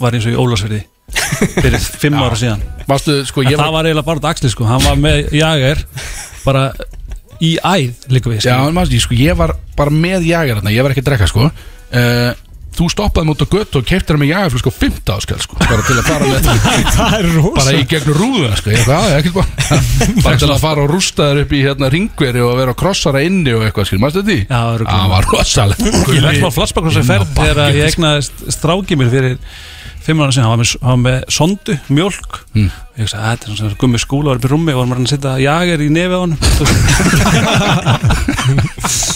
var eins og í Ólasfyrði <laughs> Fyrir fimm ára síðan Varstu, sko, En ég var- það var eiginlega bara dagsli sko Hann var með jagar Bara í æð líka við Já, en maður, ég, sko, ég var bara með jagar þarna, ég var ekki að drekka sko uh, Þú stoppaði mútið á götu og keiptir með jagarflug sko 15 áskall sko bara til að fara <laughs> með Það er rosa bara í gegnum rúðuna sko ég eitthvað, já, ekkert <laughs> bara bara til að fara og rústa þér upp í hérna ringveri og vera krossara inni og eitthvað skil, maður þetta því? Já, það var rosalegt Ég lett maður flassbakk á þessari ferð þegar að sko. ég egnaðist strákið mér fyrir fimm ára sinna, hann var með, hann var með sondu, mjólk Mm. og ég hugsaði, "Æ, þetta er svona gummi skúla var upp í rúmi og var maður að setja jager í nefið á hann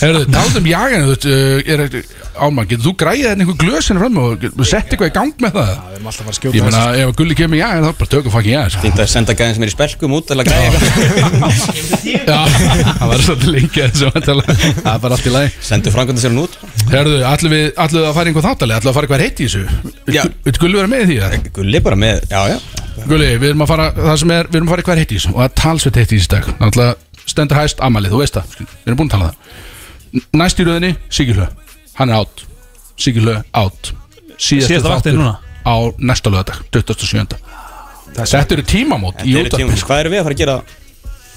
Herðu, talað um jagan, þú veist, uh, er ekkert ámann, getur þú græðið hérna einhver glösinu fram og sett eitthvað í gang með það? Já, við erum alltaf að skjóta Ég meina, þessu, ef að gulli kemur í jagan, þá bara tökum fokkin jagan, sko. Fínt að senda gæðin sem er í spelkum út eða græja Já, <laughs> það var svolítið lengi að þessu væntanlega. Það er bara allt í lagi Sendu framkvæmda sér hún út Herðu, ætlum við, ætlum við að fara einhver þáttalega, ætlum við að fara eitthvað reitt í þessu? Já Vilt Gulli vera með í því það? Eh, Gulli bara með, já, já Gulli, við erum að fara, það sem er, við erum að fara eitthvað reitt í þessu og það er talsveit heitt í þessu dag Náttúrulega stendur hæst amalið, þú veist það, skil- við erum búin að tala um það Næst í röðinni, Sigurlö, hann er átt, Sigurlö átt Síðasta vaktin núna? á næsta lögadag, 27. Þetta eru tímamót í Þetta eru útvarpinu, sko. tíma- Hvað erum við að fara að gera?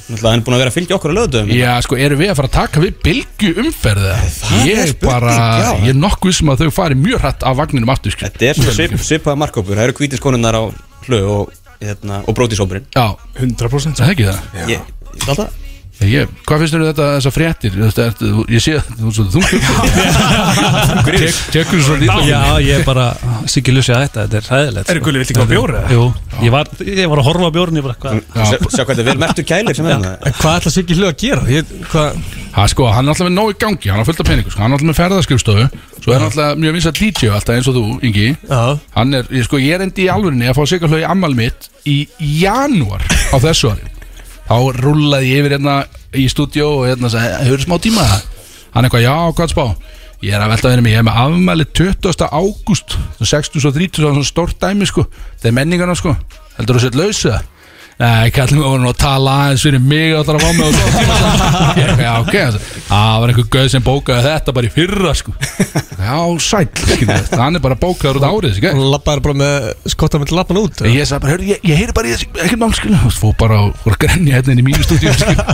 Náttúrulega hann er búin að vera að fylgja okkur á löðum Já, sko, erum við að fara að taka við bylgu umferðið? Ég er spurning, bara, já. ég er nokkuð sem að þau fari mjög hrætt af vagninum aftur, sko. skil. Þetta er svona svip, svipaða markkópur, það eru hvítiskonunnar á hlöðu og, hérna, og brótisópurinn Já, 100% Það er ekki það? Ég, ég veit alltaf Ég, hvað finnst þér um þetta þessar fréttir? Þetta, er, þú- ég sé að þú er svo þungur Tek- Tekur þú svo lítið Já, ég er bara Siggi Lussi að þetta, þetta er ræðilegt Eru, Gulli, viltu ekki fá bjór, eða? Jú, ég var, ég var að horfa á bjórn, ég bara hvað Mm, Sjá- sjá hvað þetta er vel merktur kælir sem er hérna. En hvað ætla Siggi Lussi að gera? Ég, hvað Ha, sko, hann er alltaf með nóg í gangi, hann er fullt af peningur sko. Hann er alltaf með ferðaskrifstofu Svo er hann alltaf mjög vinsat DJ og alltaf eins og þú, Ingi Já. Hann er, ég, sko, ég er endi í alvörinni að fá sig að í ammal mitt Í janúar á þessu ári Þá rúllaði ég yfir hérna í stúdíó Og hérna sagði, hefur smá tíma Hann eitthvað, já, hvað spá Ég er að velta verið mig, ég er með afmæli 20. ágúst 60 og 30, svona stórt dæmi sko Það er menningana sko Heldur þú sett lausu það? Nei, kallum við vorum nú að tala aðeins fyrir mig Það var með og svo tíma sko. Ég, Já, ok, það var einhver gauð sem bókaði þetta bara í fyrra sko Já, sæll, skilur þetta, hann er bara bókaður út árið, skilur Hann lappaði bara með skotta með lappan út Ég sagði bara, hörru, ég, ég heyri bara í þessu, ekkert mál, skilur Þú veist, fór bara og fór að grenja hérna inn í mínu stúdíu, <laughs> skilur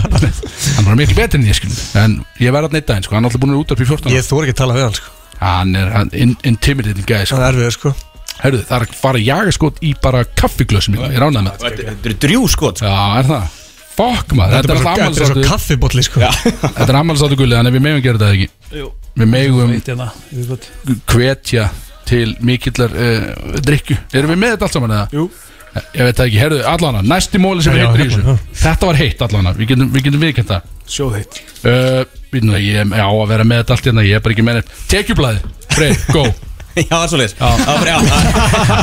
Hann var miklu betri en ég, skilur En ég verði að neitt aðeins, sko, hann er alltaf búin að útarp í 14 Ég þor ekki að tala við hann, sko Hann er hann, in, intimidating gæði, sko Hann er erfið, sko Hörru, það er að fara jagaskot í bara kaffiglössum, ég er ánægð með það. Þetta er drjú skot sko. Já, er það Fokk maður, sko. Þetta er bara svo- þetta er svo kaffibotli, sko Þetta er ammálsáttu gulli, þannig að við megum gera þetta ekki Jú. Við megum Veit hérna, ég veit gott. hvetja til mikillar uh, drikju Erum við með þetta allt saman eða? Jú Ég veit það ekki, herðu, allana, næsti móli sem Já, er heitur í já, þessu Þetta var heitt allana, við getum, við getum viðkjönt það Sjóð heitt uh, Við nú, ég er á að vera með þetta allt hérna, ég er bara ekki með neitt Tekjublaði, Freyr, go Já, það er svo leis Já,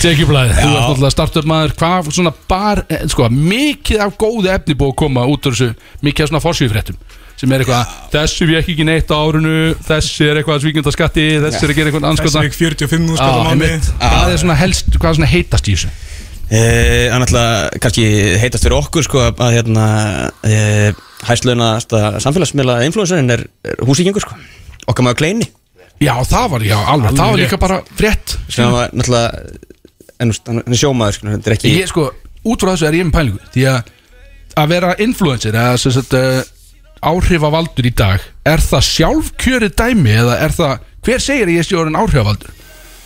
Tekjublaði, þú ert náttúrulega startup maður Hvað svona bar, eh, sko, mikið af góðu efni búið að koma út úr þessu Mikið af svona fórsvífréttum Sem er eitthvað, þessu við ekki ekki neitt á árunu Þessi er eitthvað svíkjönda skatti Þessi er að gera eitthvað anskotna Þessi er 45 Já, einmitt. Hvað er svona helst, hvað er svona heitast í þessu? Eh, Hann ætla kannski heitast fyrir okkur sko að að, hérna eh, hæstlauna samfélagsmiðla influencerinn er, er húsíkingur sko okkar maður kleini Já það var, já alveg, það var líka bara frétt sem hann var náttúrulega en þú veist, hann hann er sjómaður sko þetta er ekki Ég sko, út frá þessu er ég með pælingu Því að að vera influencer eða sem sagt uh, áhrifavaldur í dag Er það sjálfkjörið dæmi eða er það, hver segir að ég sé orðin áhrifavaldur?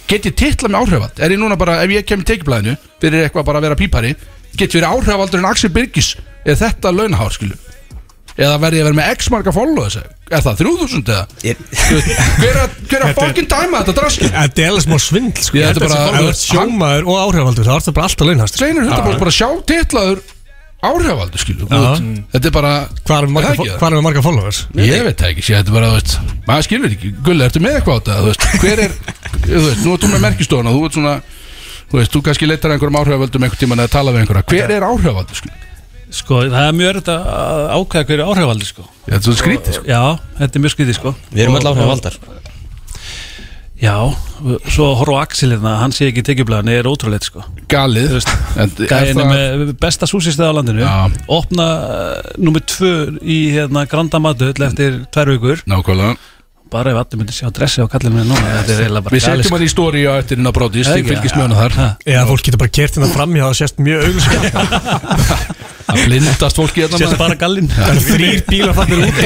Get ég titla með áhrifavald? Er ég núna bara, ef ég kem í teikiblaðinu fyrir eitthvað bara að vera pípari Get ég verið áhrifavaldur en Axel Birgis eða þetta launahár skilu Eða verði ég að vera með x marga followers Er það 3000 eða? Ég... Hver að, hver að fokkin dæma þetta draskil? Þetta er alveg smá svindl, sko Ég, þetta er bara- Ef þú ert sjómaður og áhrifaldur, þá ert það bara alltaf launhast Sveinur 100% bara sjá titlaður áhrifavaldur skilu Þetta er bara Hvað er Það marga, er ekki það. hvar er marga followers? Ég veit það ekki, sé, þetta er bara, þú veist maður skilur ekki, Gulli, ertu með eitthvað á þetta þú veist, hver er, þú veist, nú ert þú með merkistofuna þú ert svona, þú veist, þú kannski leitar að einhverjum áhrifavöldum einhvern tímann að tala við einhverja hver er áhrifavaldur, sko? Sko, það er mjög erfitt að ákveða hverju áhrifaldi sko. Þetta er svo skrítið sko. Já, þetta er mjög skrítið sko. Við erum Og- öll áhrifavaldar. Já, svo að horfa á Axel hérna, hann sé ekki í tekjublaðinni, er ótrúleitt sko. Galið Gæðin er með besta súsistið á landinu Opna uh, nummer tvö í hérna, Granda Matöll eftir tvær vikur Nákvæmlega Bara ef allir myndir sjá dressi á kallinu minni núna Þetta er eiginlega bara Við setjum galið, sko. hann í stóri á eftir inn á brótis, Ekki, þið fylgist já. mjög hana þar Eða fólk getur bara kert hérna fram hjá það sést mjög augljóslega. að blindast fólki hérna Sést maður. bara gallinn. Já. Það eru þrír bílar <laughs> farnir út.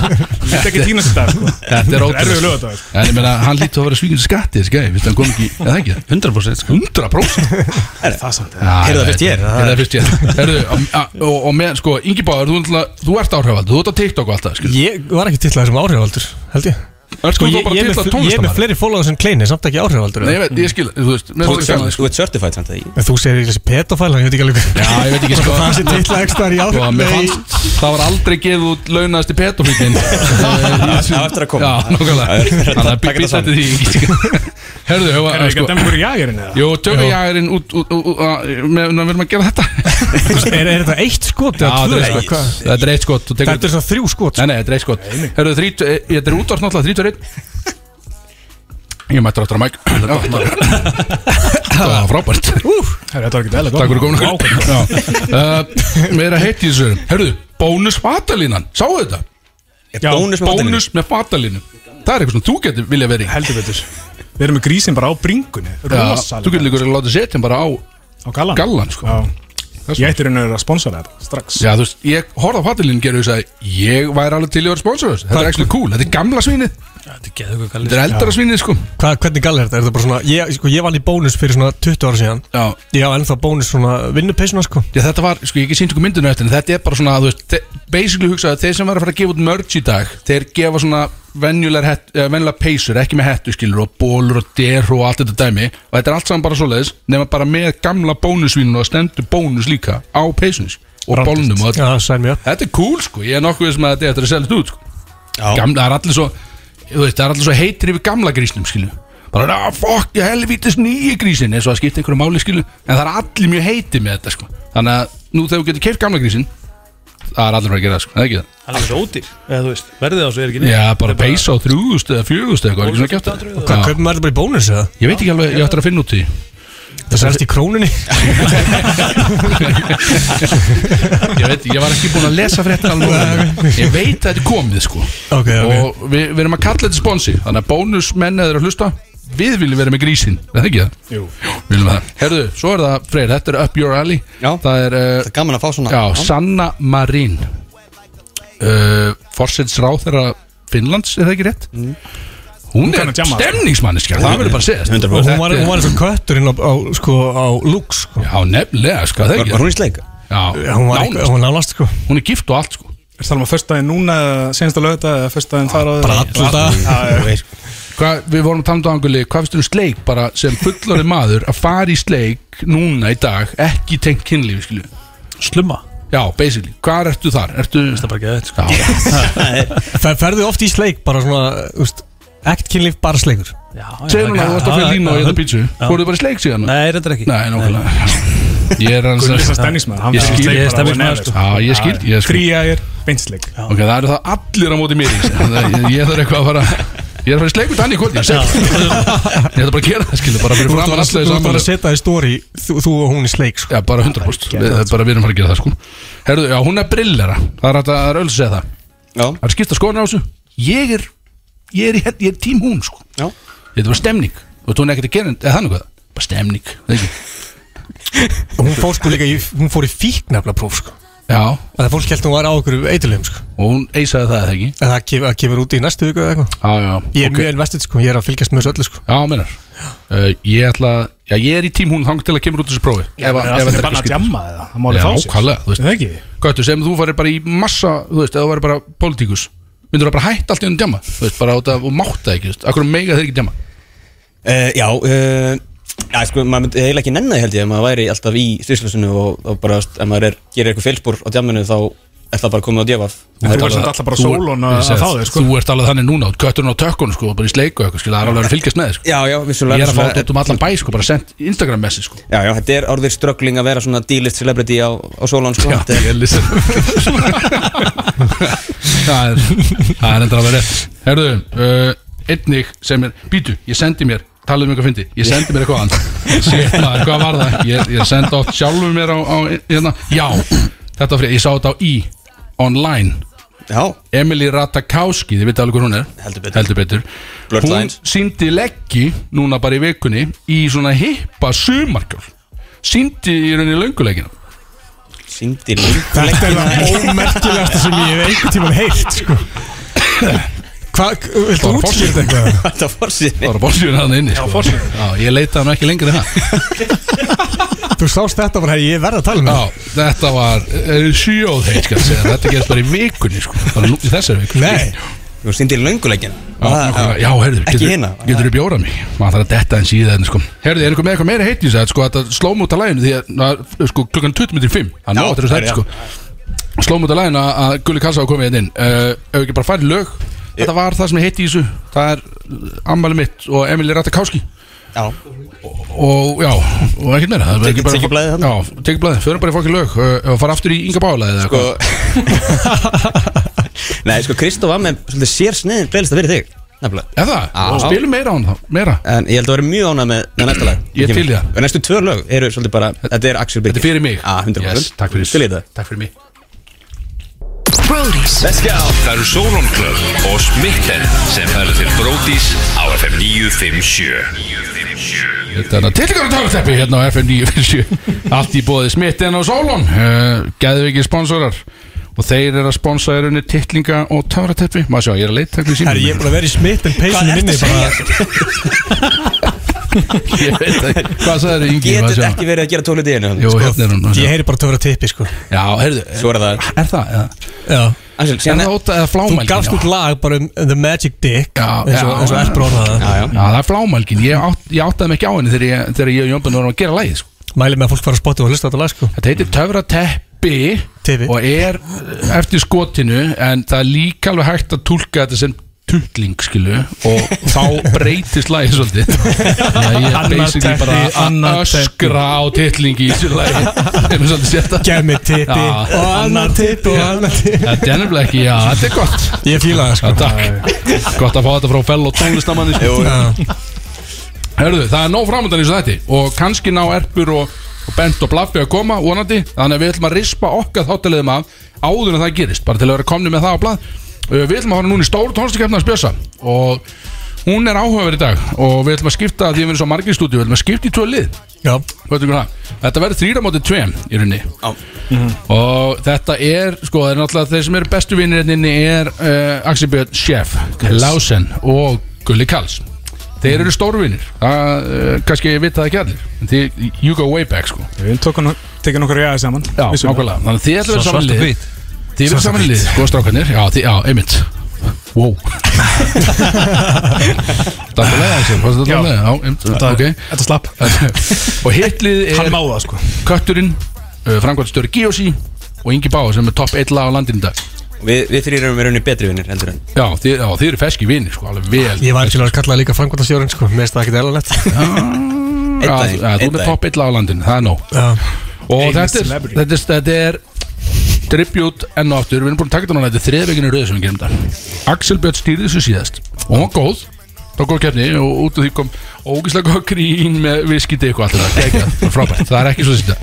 <laughs> Þetta ekki týnast þetta sko. Þetta er Erfiður ótrúlega laugardagur. sko. En ég meina, hann lítur að vera svíkjum skatti þessi gæði, veist hann kom ekki, eða ekki 100% sko. 100% Er það samt? Já, Heyrðu það ég fyrst veit. hér. Heyrðu það fyrst ég Heyrðu, á- á- og, og með, sko, Ingi Báður, þú, náttúrulega- þú ert áhrifald Þú ert á TikTok og alltaf, skil Ég var ekki titlað sem áhrifaldur, held ég Ert sko Og þú ég- bara ég er með- titlað Ég er með tónlistarmaður? fleiri followers en kleini, samt ekki áhrifaldur Nei, ég veit, ég skil, þú veist mér er það sama, sko. Þú ert certified samt að ég En þú segir ekki þessi pedofæl, ég veit ekki alveg Já, ég veit ekki, <laughs> sko Það sé titlað ekstra í Sko, mér áhrifaldur fannst, það var aldrei gefið út launast í petofíkin Það var eftir að koma. Já, nákvæmlega Það er- Þannig að taka býta þetta þetta því ekki, sko. <laughs> Herðu, hefa Erum við ekki að dæma hverju jagerinn eða? Jó, tökum jágurinn út, út, út, út að- með- Við verðum að gera þetta Er er þetta eitt skot Já, eða þetta tvö? er eða eitt hvað? skot Þetta er eitt skot þú tekur- Þetta er svona þrjú skot Nei, nei, þetta er eitt skot Herðu, þrít- eh, Þetta er útvart náttúrulega 31 Ég mættur áttur á mæk <laughs> Það var frábært Herra, þetta var ekki eðla Takk fyrir Eh, komin okkur Mér er að heiti þessu Herðu, bónus fatalínan, sáu þetta? Já, bónus með fatalínu. bónus með fatalínu Það er eitthvað sem þú getur vilja verið Heldur betur Við erum með grísin bara á bringunni Rosalega Þú getur líka að láta setja hann bara á Á gallan Gallan, sko Já. Ég ætti raun og veru að sponsora þetta strax Já, þú veist, ég horfði á fatalínu og gerði þess að ég væri alveg til í að vera sponsor þessu. Þetta er ekki cool, þetta er gamla svínið Þetta er geðugur galli Þetta er eldara svínið sko Hva, Hvernig galli er þetta? Er þetta bara svona ég, sko, ég vann í bónus fyrir svona 20 ára síðan Já Ég hafa ennþá bónus svona vinnupeysuna sko Já þetta var, sko ég ekki sínt ykkur myndinu eftir en þetta er bara svona, þú veist, þe- basically hugsaðu þeir sem var að fara að gefa út merch í dag þeir gefa svona venjulegar hett- eh, venjulegar peysur, ekki með hettu skilur og bólur og der og allt þetta dæmi og þetta er allt saman bara svoleiðis, nema bara með gamla bónusvínun og stendur bónus líka á peysunum og bólnum og Já, sæl mér Þetta er cool sko, ég er nokkuð sem að þetta er eftir að selja þetta út sko. Gamla, það er allir svo þú veist, það er allir svo heitir yfir gamla grísnum skilu bara, ah, fuck, ég helvítis nýju grísin eins og það skipta einhverju máli skilu en það er allir mjög heitir með þetta sko þannig að nú þegar þú getur keift gamla grísin það er allir bara að gera það sko, það er ekki það Það er rótir, eða þú veist, verðið á svo er ekki Já, bara peysa á þrjúðust eða fjögust eða eitthvað, er ekki svona kjátt Og hvað, kaupum maður þetta bara í bónus eða? Ég veit ekki alveg, ég ætti að finna út í því. Það sælst í krónunni ég veit, ég var ekki búinn að lesa fréttin alveg Ég veit að þetta er komið sko Ok, ok. Og við, við erum að kalla þetta sponsi Þannig að bónusmenn eða þeir eru að hlusta Við viljum vera með grísin, er það ekki það? Jú Við viljum það Herðu, svo er það Freyr, þetta er Up Your Alley Já Það er, uh, það er gaman að fá svona Já, Já. Sanna Marín uh, Forsetsráð þeirra Finnlands, er það ekki rétt? Mm. Hún, Hún kann að er jamma. stemningsmanneskja, það verður bara að segja Og Hún var, hún var eins og kötturinn á, á, sko, á lúks sko. Já, nefnilega, sko, það er ekki það. Já, Hún var, nánast. hún var nálast sko Hún er gift og allt sko Er það alveg fyrst daginn núna eða senast að lögta eða fyrst daginn þar á Bara alla daga. Hva, við vorum að tala um þetta anguli, hvað finnst þú um sleik bara sem fullorði maður að fara í sleik núna í dag, ekki tengt kynlífi skilju? Slumma? Já, basically, hvað ertu þar? Ertu... Það er bara geðið sko. <laughs> Fer, Ferðu oft í sleik bara svona úst, Ekkert kynlíf bara sleikur Segðu núna, þú varst að fyrir línu og ég hefði pítsu Fóruðu bara í sleik síðan? Nei, reyndar ekki Nei, nákvæmlega Ég er hans Gunnar er stemningsmaður, hann Ég fer í skil sleik bara Ég er stemningsmaður whenever, sko. sko. Já, ég skil ég skil. Þrýja er beinsleik Ok, það eru það allir á móti mér ég, ég, ég þarf eitthvað að fara Ég er að fara í sleik við Danni í kvöld Ég segi það. Ég ætla bara að gera það skilju Bara fyrir Þú framan alla ert að- þessu þú ert bara afmæli. að setja það í stóri þú, þú og hún í sleik sko. Já, bara 100% Við, það er bara við erum að fara að gera það sko Herðu, já, hún er brillera Það er hægt að það er öll að segja það Já Það er skipta skoðan á þessu Ég er, ég er, í hell- ég er tím hún sko Já Þetta var stemning Og þú er ekkert að gera eða þannig hvað Bara stemning, það ekki Og Hún fór sko líka í, hún fór í fíknefla próf sko Já Það fólk held að hún var á okkur eitulegum sko Og hún eisaði það eða ekki En það kemur, það kemur út í næstu viku eða eitthvað Já, já Ég er ok. mjög investið sko, ég er að fylgjast með þessu öllu sko Já, minnar uh, Ég ætla Já, ég er í tím hún Hang til að kemur út úr þessu prófi Já, Ef menn, að- það er ef þetta er bannað ekki að skrítið. djamma eða? Það má alveg Já, fá sig. ákvæðlega, þú Er það ekki? veist Göttu, sem þú farir bara í massa Þú veist, ef þú farir bara pólitíkus Myndur það bara hætta allt í enn djama Þú veist, bara á þetta og mátta ekki, þú veist Akkur mega þeir ekki djama Uh, já, uh, já, sko, maður myndi eiginlega ekki nenni held ég ef maður væri alltaf í styrslösinu og, og bara, veist, ef maður er, gerir eitthvað félspor á djamminu þá er það bara komið á djafaf Þú- ég segi það, sko. Þú ert alveg þannig núna, götturinn á tökkunum sko, bara í sleiku eitthvað, skilja, það er alveg að fylgjast með þér, sko. Já, já, vissulega Ég er að fá svona- þetta út um allan bæ, sko, bara sendt Instagram message, sko Já, já, þetta er orðið ströggling að vera svona D-list celebrity á, á sólón sko. Já, Þetta er- D-list Það er, það er endur alveg rétt Herðu, uh, einnig sem er, býtu, ég sendi mér talaðu um eitthvað fyndi, ég sendi mér eitthvað annað Sétt maður, hvað var það? Ég, ég sendi átt sjálfur mér á, á hérna, já, þetta var fyrir, ég sá þetta á í online Já. Emily Ratajkowski, þið veitum alveg hver hún er Heldur betur. Heldur betur. Blurred Hún lines. síndi leggji núna bara í vikunni í svona hippa sumarkjól Síndi í rauninni lönguleggina Síndi <laughs> Þetta er það ómerkilegasta sem ég hef einhvern tímann heilt sko Hvað, viltu Bara útskýrta forsíðan. eitthvað? Þetta var fórsýðin Það var fórsýðin hann inni sko. Já, ég leitaði hann ekki lengur en það Þú sást þetta bara, hey, ég verð að tala um Já, þetta var uh, sjóðheit skal ég segja Þetta gerist bara í vikunni sko. Bara nú, í þessari viku Nei Þú síndi lönguleikin Já, nákvæmlega. já heyrðu, Ekki hina. Getur þú bjórað mig? Maður þarf að detta eins í það sko. Heyrðu, er eitthvað með eitthvað meira heiti í þess að sko, þetta slóm út af læginu því að na, sko, klukkan 25 Það Já, náttur þess að já. sko Slóm út af læginu að- að Gulli Kassa á komið hérna inn uh, Ef við ekki bara farið lög Þetta var það sem ég heiti í þessu Það er uh, ammæli mitt og Emil Ratajkowski Já og já, og ekkert meira það er ekki bara- Tekið blaðið þarna. Já, tekið blæði, förum bara í fokkin lög uh, og fara aftur í Inga Bálaðið Sko <laughs> Nei, sko, Kristof var með svolítið sér sniðin playlista fyrir þig Nefnilega Eða, Já. spilum meira á hann þá, meira En ég held að vera mjög ánað með, með næsta lag Ég til í það. Og Næstu tvö lög eru svolítið bara Þetta er Axel Birgir Þetta er fyrir mig. ah, 100% Yes, takk fyrir. Til í þetta Takk fyrir mig <laughs> Brody's Let's go Það eru Solon Club og Smitten sem fæla til Brody's á FM 957 Þetta er tilgjörðu talateppi hérna á FM 957 Allt í bóði smittin og sólun uh, Gæðviki eh, sponsorar og þeir eru að sponsa erunni titlinga og töfrateppi maður sjá, ég er að leita ekki síma Herri, ég er búin að vera í smitt en peysunni Hvað ertu minni að bara- ég veit ekki, hvað sagði þér Ingi Getur ekki verið að gera tólit í einu sko. Jú, Sko, hérna er hún, maður sjá. Ég heyri bara töfra tippi sko Já, heyrðu Svo er það Er það? Já Axel, síðan- Er það óta- eða flámælgin, Þú gafst já. út lag bara um The Magic Dick Já, eins og, já. eins og Elbrór hafði Já, já. það er flámælgin, ég, átt, ég áttaði mig ekki á henni þegar ég, þegar ég og Jónbjörn vorum að gera lagið sko. Mæli með að fólk fara að spotta og hlusta á þetta lag sko Þetta heitir Töfrateppi Tefi. og er eftir skotinu en það er líka alveg hægt að túlka þetta sem tutling skilu og þá breytist lagið <laughs> svolítið Þannig að ég er Annað basically teppi, bara annað að öskra á titlingi í þessu lagi Hefum svolítið sér þetta Gef mér tippi Já. og annar tippi og annar tippi Þetta er nefnilega ekki, já, þetta er gott Ég fíla það sko Já, takk Gott að fá þetta frá fellow tónlistamanni sko. Herðu, það er nóg framöndan í þessu þætti Og kannski ná erpur og, og bent og blaffi að koma vonandi Þannig að við ætlum að rispa okkar þáttaleðum af Áður en það gerist, bara til að vera komni með það á blað Uh, Við ætlum að fara núna í stóru tónlistakefna að spjösa Og hún er áhugaverð í dag Og við ætlum að skipta, því að við erum svo margir í stúdíu Við ætlum að skipta í tvö lið Já. Þetta verður þrýra mótið tveim í rauninni Og þetta er, sko, það er náttúrulega þeir sem eru bestu vinnir hérna inni er uh, Axel Björn Sjeff, Klausen og Gulli Kals. Þeir eru stórvinnir, það uh, kannski ég vita það ekki allir, en þið, you go way back, sko. Við tökum tekin okkur jæði saman Já, nákvæmlega, þannig að þið ætlum að vera saman í lið. Þið verður saman í lið, sko, strákanir, já, þið, já, einmitt. Wow. Takk fyrir leiðan sér, fannst þetta Já. að leiða? Já, einmitt, Þetta- ok. Þetta slapp Og hitlið er Hann má það, sko. Kötturinn, uh, framkvæmstjóri Giosi og Ingi Báa sem er topp 1 lag á landinu í dag. Við, við þrýr erum við rauninni betri vinnir heldur en Já, þið, já, þið eru feski vinir sko, alveg vel Ég var ekki að kalla það líka framkvæmtastjórin sko Mér finnst það ekkert eðlalegt Já, daginn, <laughs> einn já, Þú er með daginn. topp 1 á landinu, það er nóg Og Einu þetta er, celebrity. þetta er, þetta er Tribute enn og aftur Við erum búin að taka þetta núna, þetta er þriðveginu röðu sem við gerum þetta Axel Björn stýrði þessu síðast Og hún var góð, það var góð kefni Og út af því kom ógislega góð grín Með viskiti eitthvað alltaf það, geggjað, það var frábært Það er ekki svo sýnda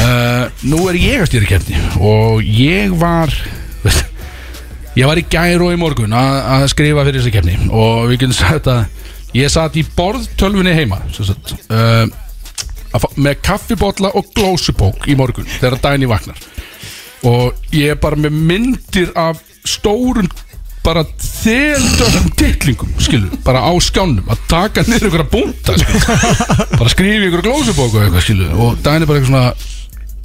uh, Nú er ég að stýra kefni Og ég var <laughs> Ég var í gær og í morgun að að skrifa fyrir þessi kefni og við getum sagt að ég satt í borðtölfunni heima sem sagt, uh, að fá- með kaffibotla og glósubók í morgun þegar dæni vaknar og ég er bara með myndir af stórum bara þeldöfum titlingum skilur, bara á skjánum að taka niður ykkur að búnta bara skrifa ykkur glósubók og eitthvað skilur og dæni bara eitthvað svona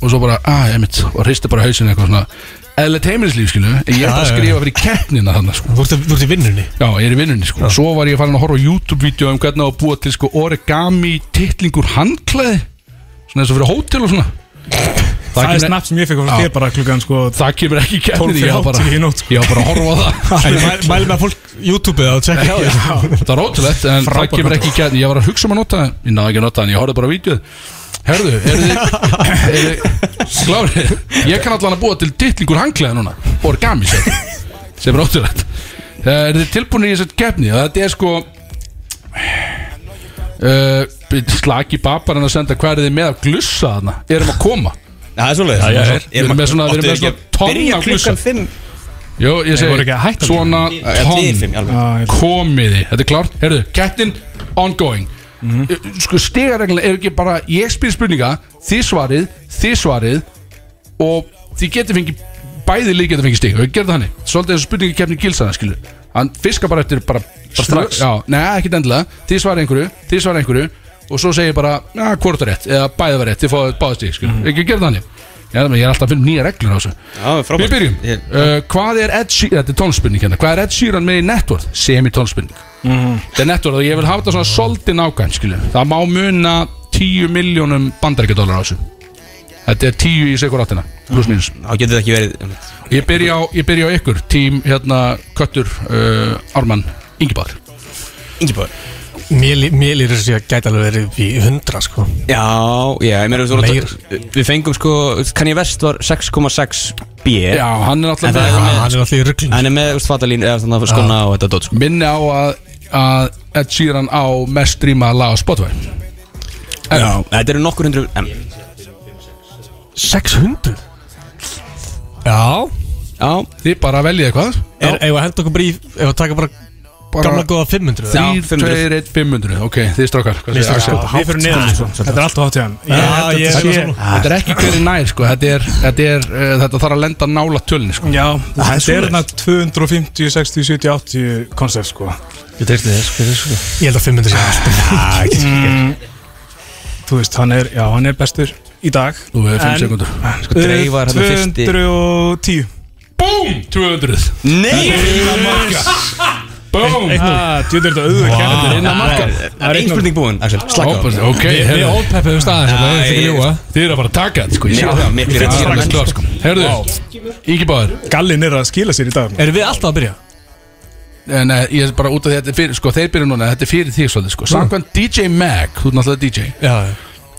og svo bara, að, ég mitt, og hristi bara hausinu eitthvað svona eðlilegt heimilislíf, skilu en ég er Já, bara að já. skrifa fyrir keppnina þannig sko. Þú ert- þú ert í vinnunni já, ég er í vinnunni, sko svo var ég farin að horfa á YouTube-vídeó um hvernig á að búa til sko origami titlingur handklæði svona eins og fyrir hótel og svona Það er kemur- snapp sem ég fekk á frá Já. þér bara klukkan sko það kemur ekki í keppnina, 12 ég var bara í sko. nótt ég var bara að horfa á <laughs> það En ég mæ- Mæli með að fólk YouTube-ið að tjekka Já, já. Það er ótrúlegt en það Frábær kemur ekki í gæðin Ég var að hugsa um að nota það Ég náði ekki að nota það en ég horfði bara á vídjóð Herðu, eru <laughs> þið eru þið Klárið Ég kann allan að búa til titlingur hanglega núna Origami sem sem er ótrúlegt Eh, Eru þið tilbúinir í þessar keppni Og Þetta er sko uh, Slaki babar en að senda Hvað er þið með að glussa þarna Erum að koma Það er svolítið Já, já, já. Við erum með svona- við erum með svona tonn Byrja af klukkan glussum. 5 Jó, ég voru ekki að segi hætta svona Já, já, við fimm, alveg. tonn komiði, þetta er klárt Herðu, kettin ongoing Mhm. Sko stigareglulega er ekki bara ég spyr spurninga, þið svarið þið svarið og þið getur fengið, bæði lík getur fengið stig og við gerum það hannig, svolítið þessu spurningi kemni gilsana skilu, hann fiskar bara eftir bara, bara Strax. já, neða, ekkert endilega þið svarið einhverju, þið svarið einhverju og svo segir bara, já, hvort er rétt eða bæði var rétt, þið fáið báði stig, Mm. skilu, við gerum það hannig ég er- ég er alltaf að finna nýja reglur á þessu frábært. Við byrjum Ég- uh, Hvað er Ed Sheeran Þetta er tónspurning hérna Hvað er Ed Sheeran með í networth? Semi-tónspurning Þetta er networth og ég vil hafa þetta svona soldið nákvæm skilju Það má muna 10 miljónum bandarækjadólar á þessu Þetta er 10 í sekur áttina Plus mínus Þá getur það ekki verið Ég byrja á, ég byrja á ykkur Tím hérna Köttur uh, Ármann Ingibáður Ingibáður Mér lí- mér líður þess að ég gæti alveg verið í 100 sko Já, já, ég meira þú voru Meir. að- Við fengum sko, kann ég vest var 6,6 B Já, hann er náttúrulega En með- það er Já, með- hann er náttúrulega í ruglun Hann er með, úst, fatalín, eða svona skona og þetta dót sko Minni á að, að Ed Sheeran á mest streama lag á Spotify Já, þetta eru nokkur hundru M 600? Já Já Þið bara veljið eitthvað Er, ef að henda okkur bara í, ef að taka bara bara Gamla góða 500 3, 2, 1, 500 Ok, þið strákar hvað Mér segir finnst Axel? þetta Við fyrir niður, sko. Þetta er allt of hátt hjá hann. Ég Já, held að ég- þetta sé- ég- Þetta er ekki hverju nær sko Þetta er, þetta er uh, þetta þarf að lenda nála tölni sko Já, Þetta er hérna 250, 60, 70, 80 koncept sko Ég treysti þér, sko, þér, sko. Ég held að 500 sé Já, <laughs> ekki sér Þú veist, hann er, já, hann er bestur í dag Þú hefur fimm En- sekúndur. Sko, Dreifa er þarna fyrsti. 210 Búm, 200 Nei Búm Þetta Ah, er auðvitað kærlega. Þetta er innan marka Það er einn spurning búin, Axel, slaka á Ópast, ok, Við- heyrðu. við um oldpeppuðum staðinn, Já, hérna, þetta er ekki ég- ljúga. Þið eru að fara að taka þetta, sko Ég Nei, sé það er það miklu Þið eru að frekar. fara að klára, sko. Heyrðu, Ingi Báður Gallin er að skila sér í dag sko. Erum við alltaf að byrja? Eh, Nei, ég er bara út af því að þetta er fyrir Sko, þeir byrja núna, þetta er fyrir því svolítið, sko Samkvæmt DJ Mag, þú er náttúrulega DJ Já,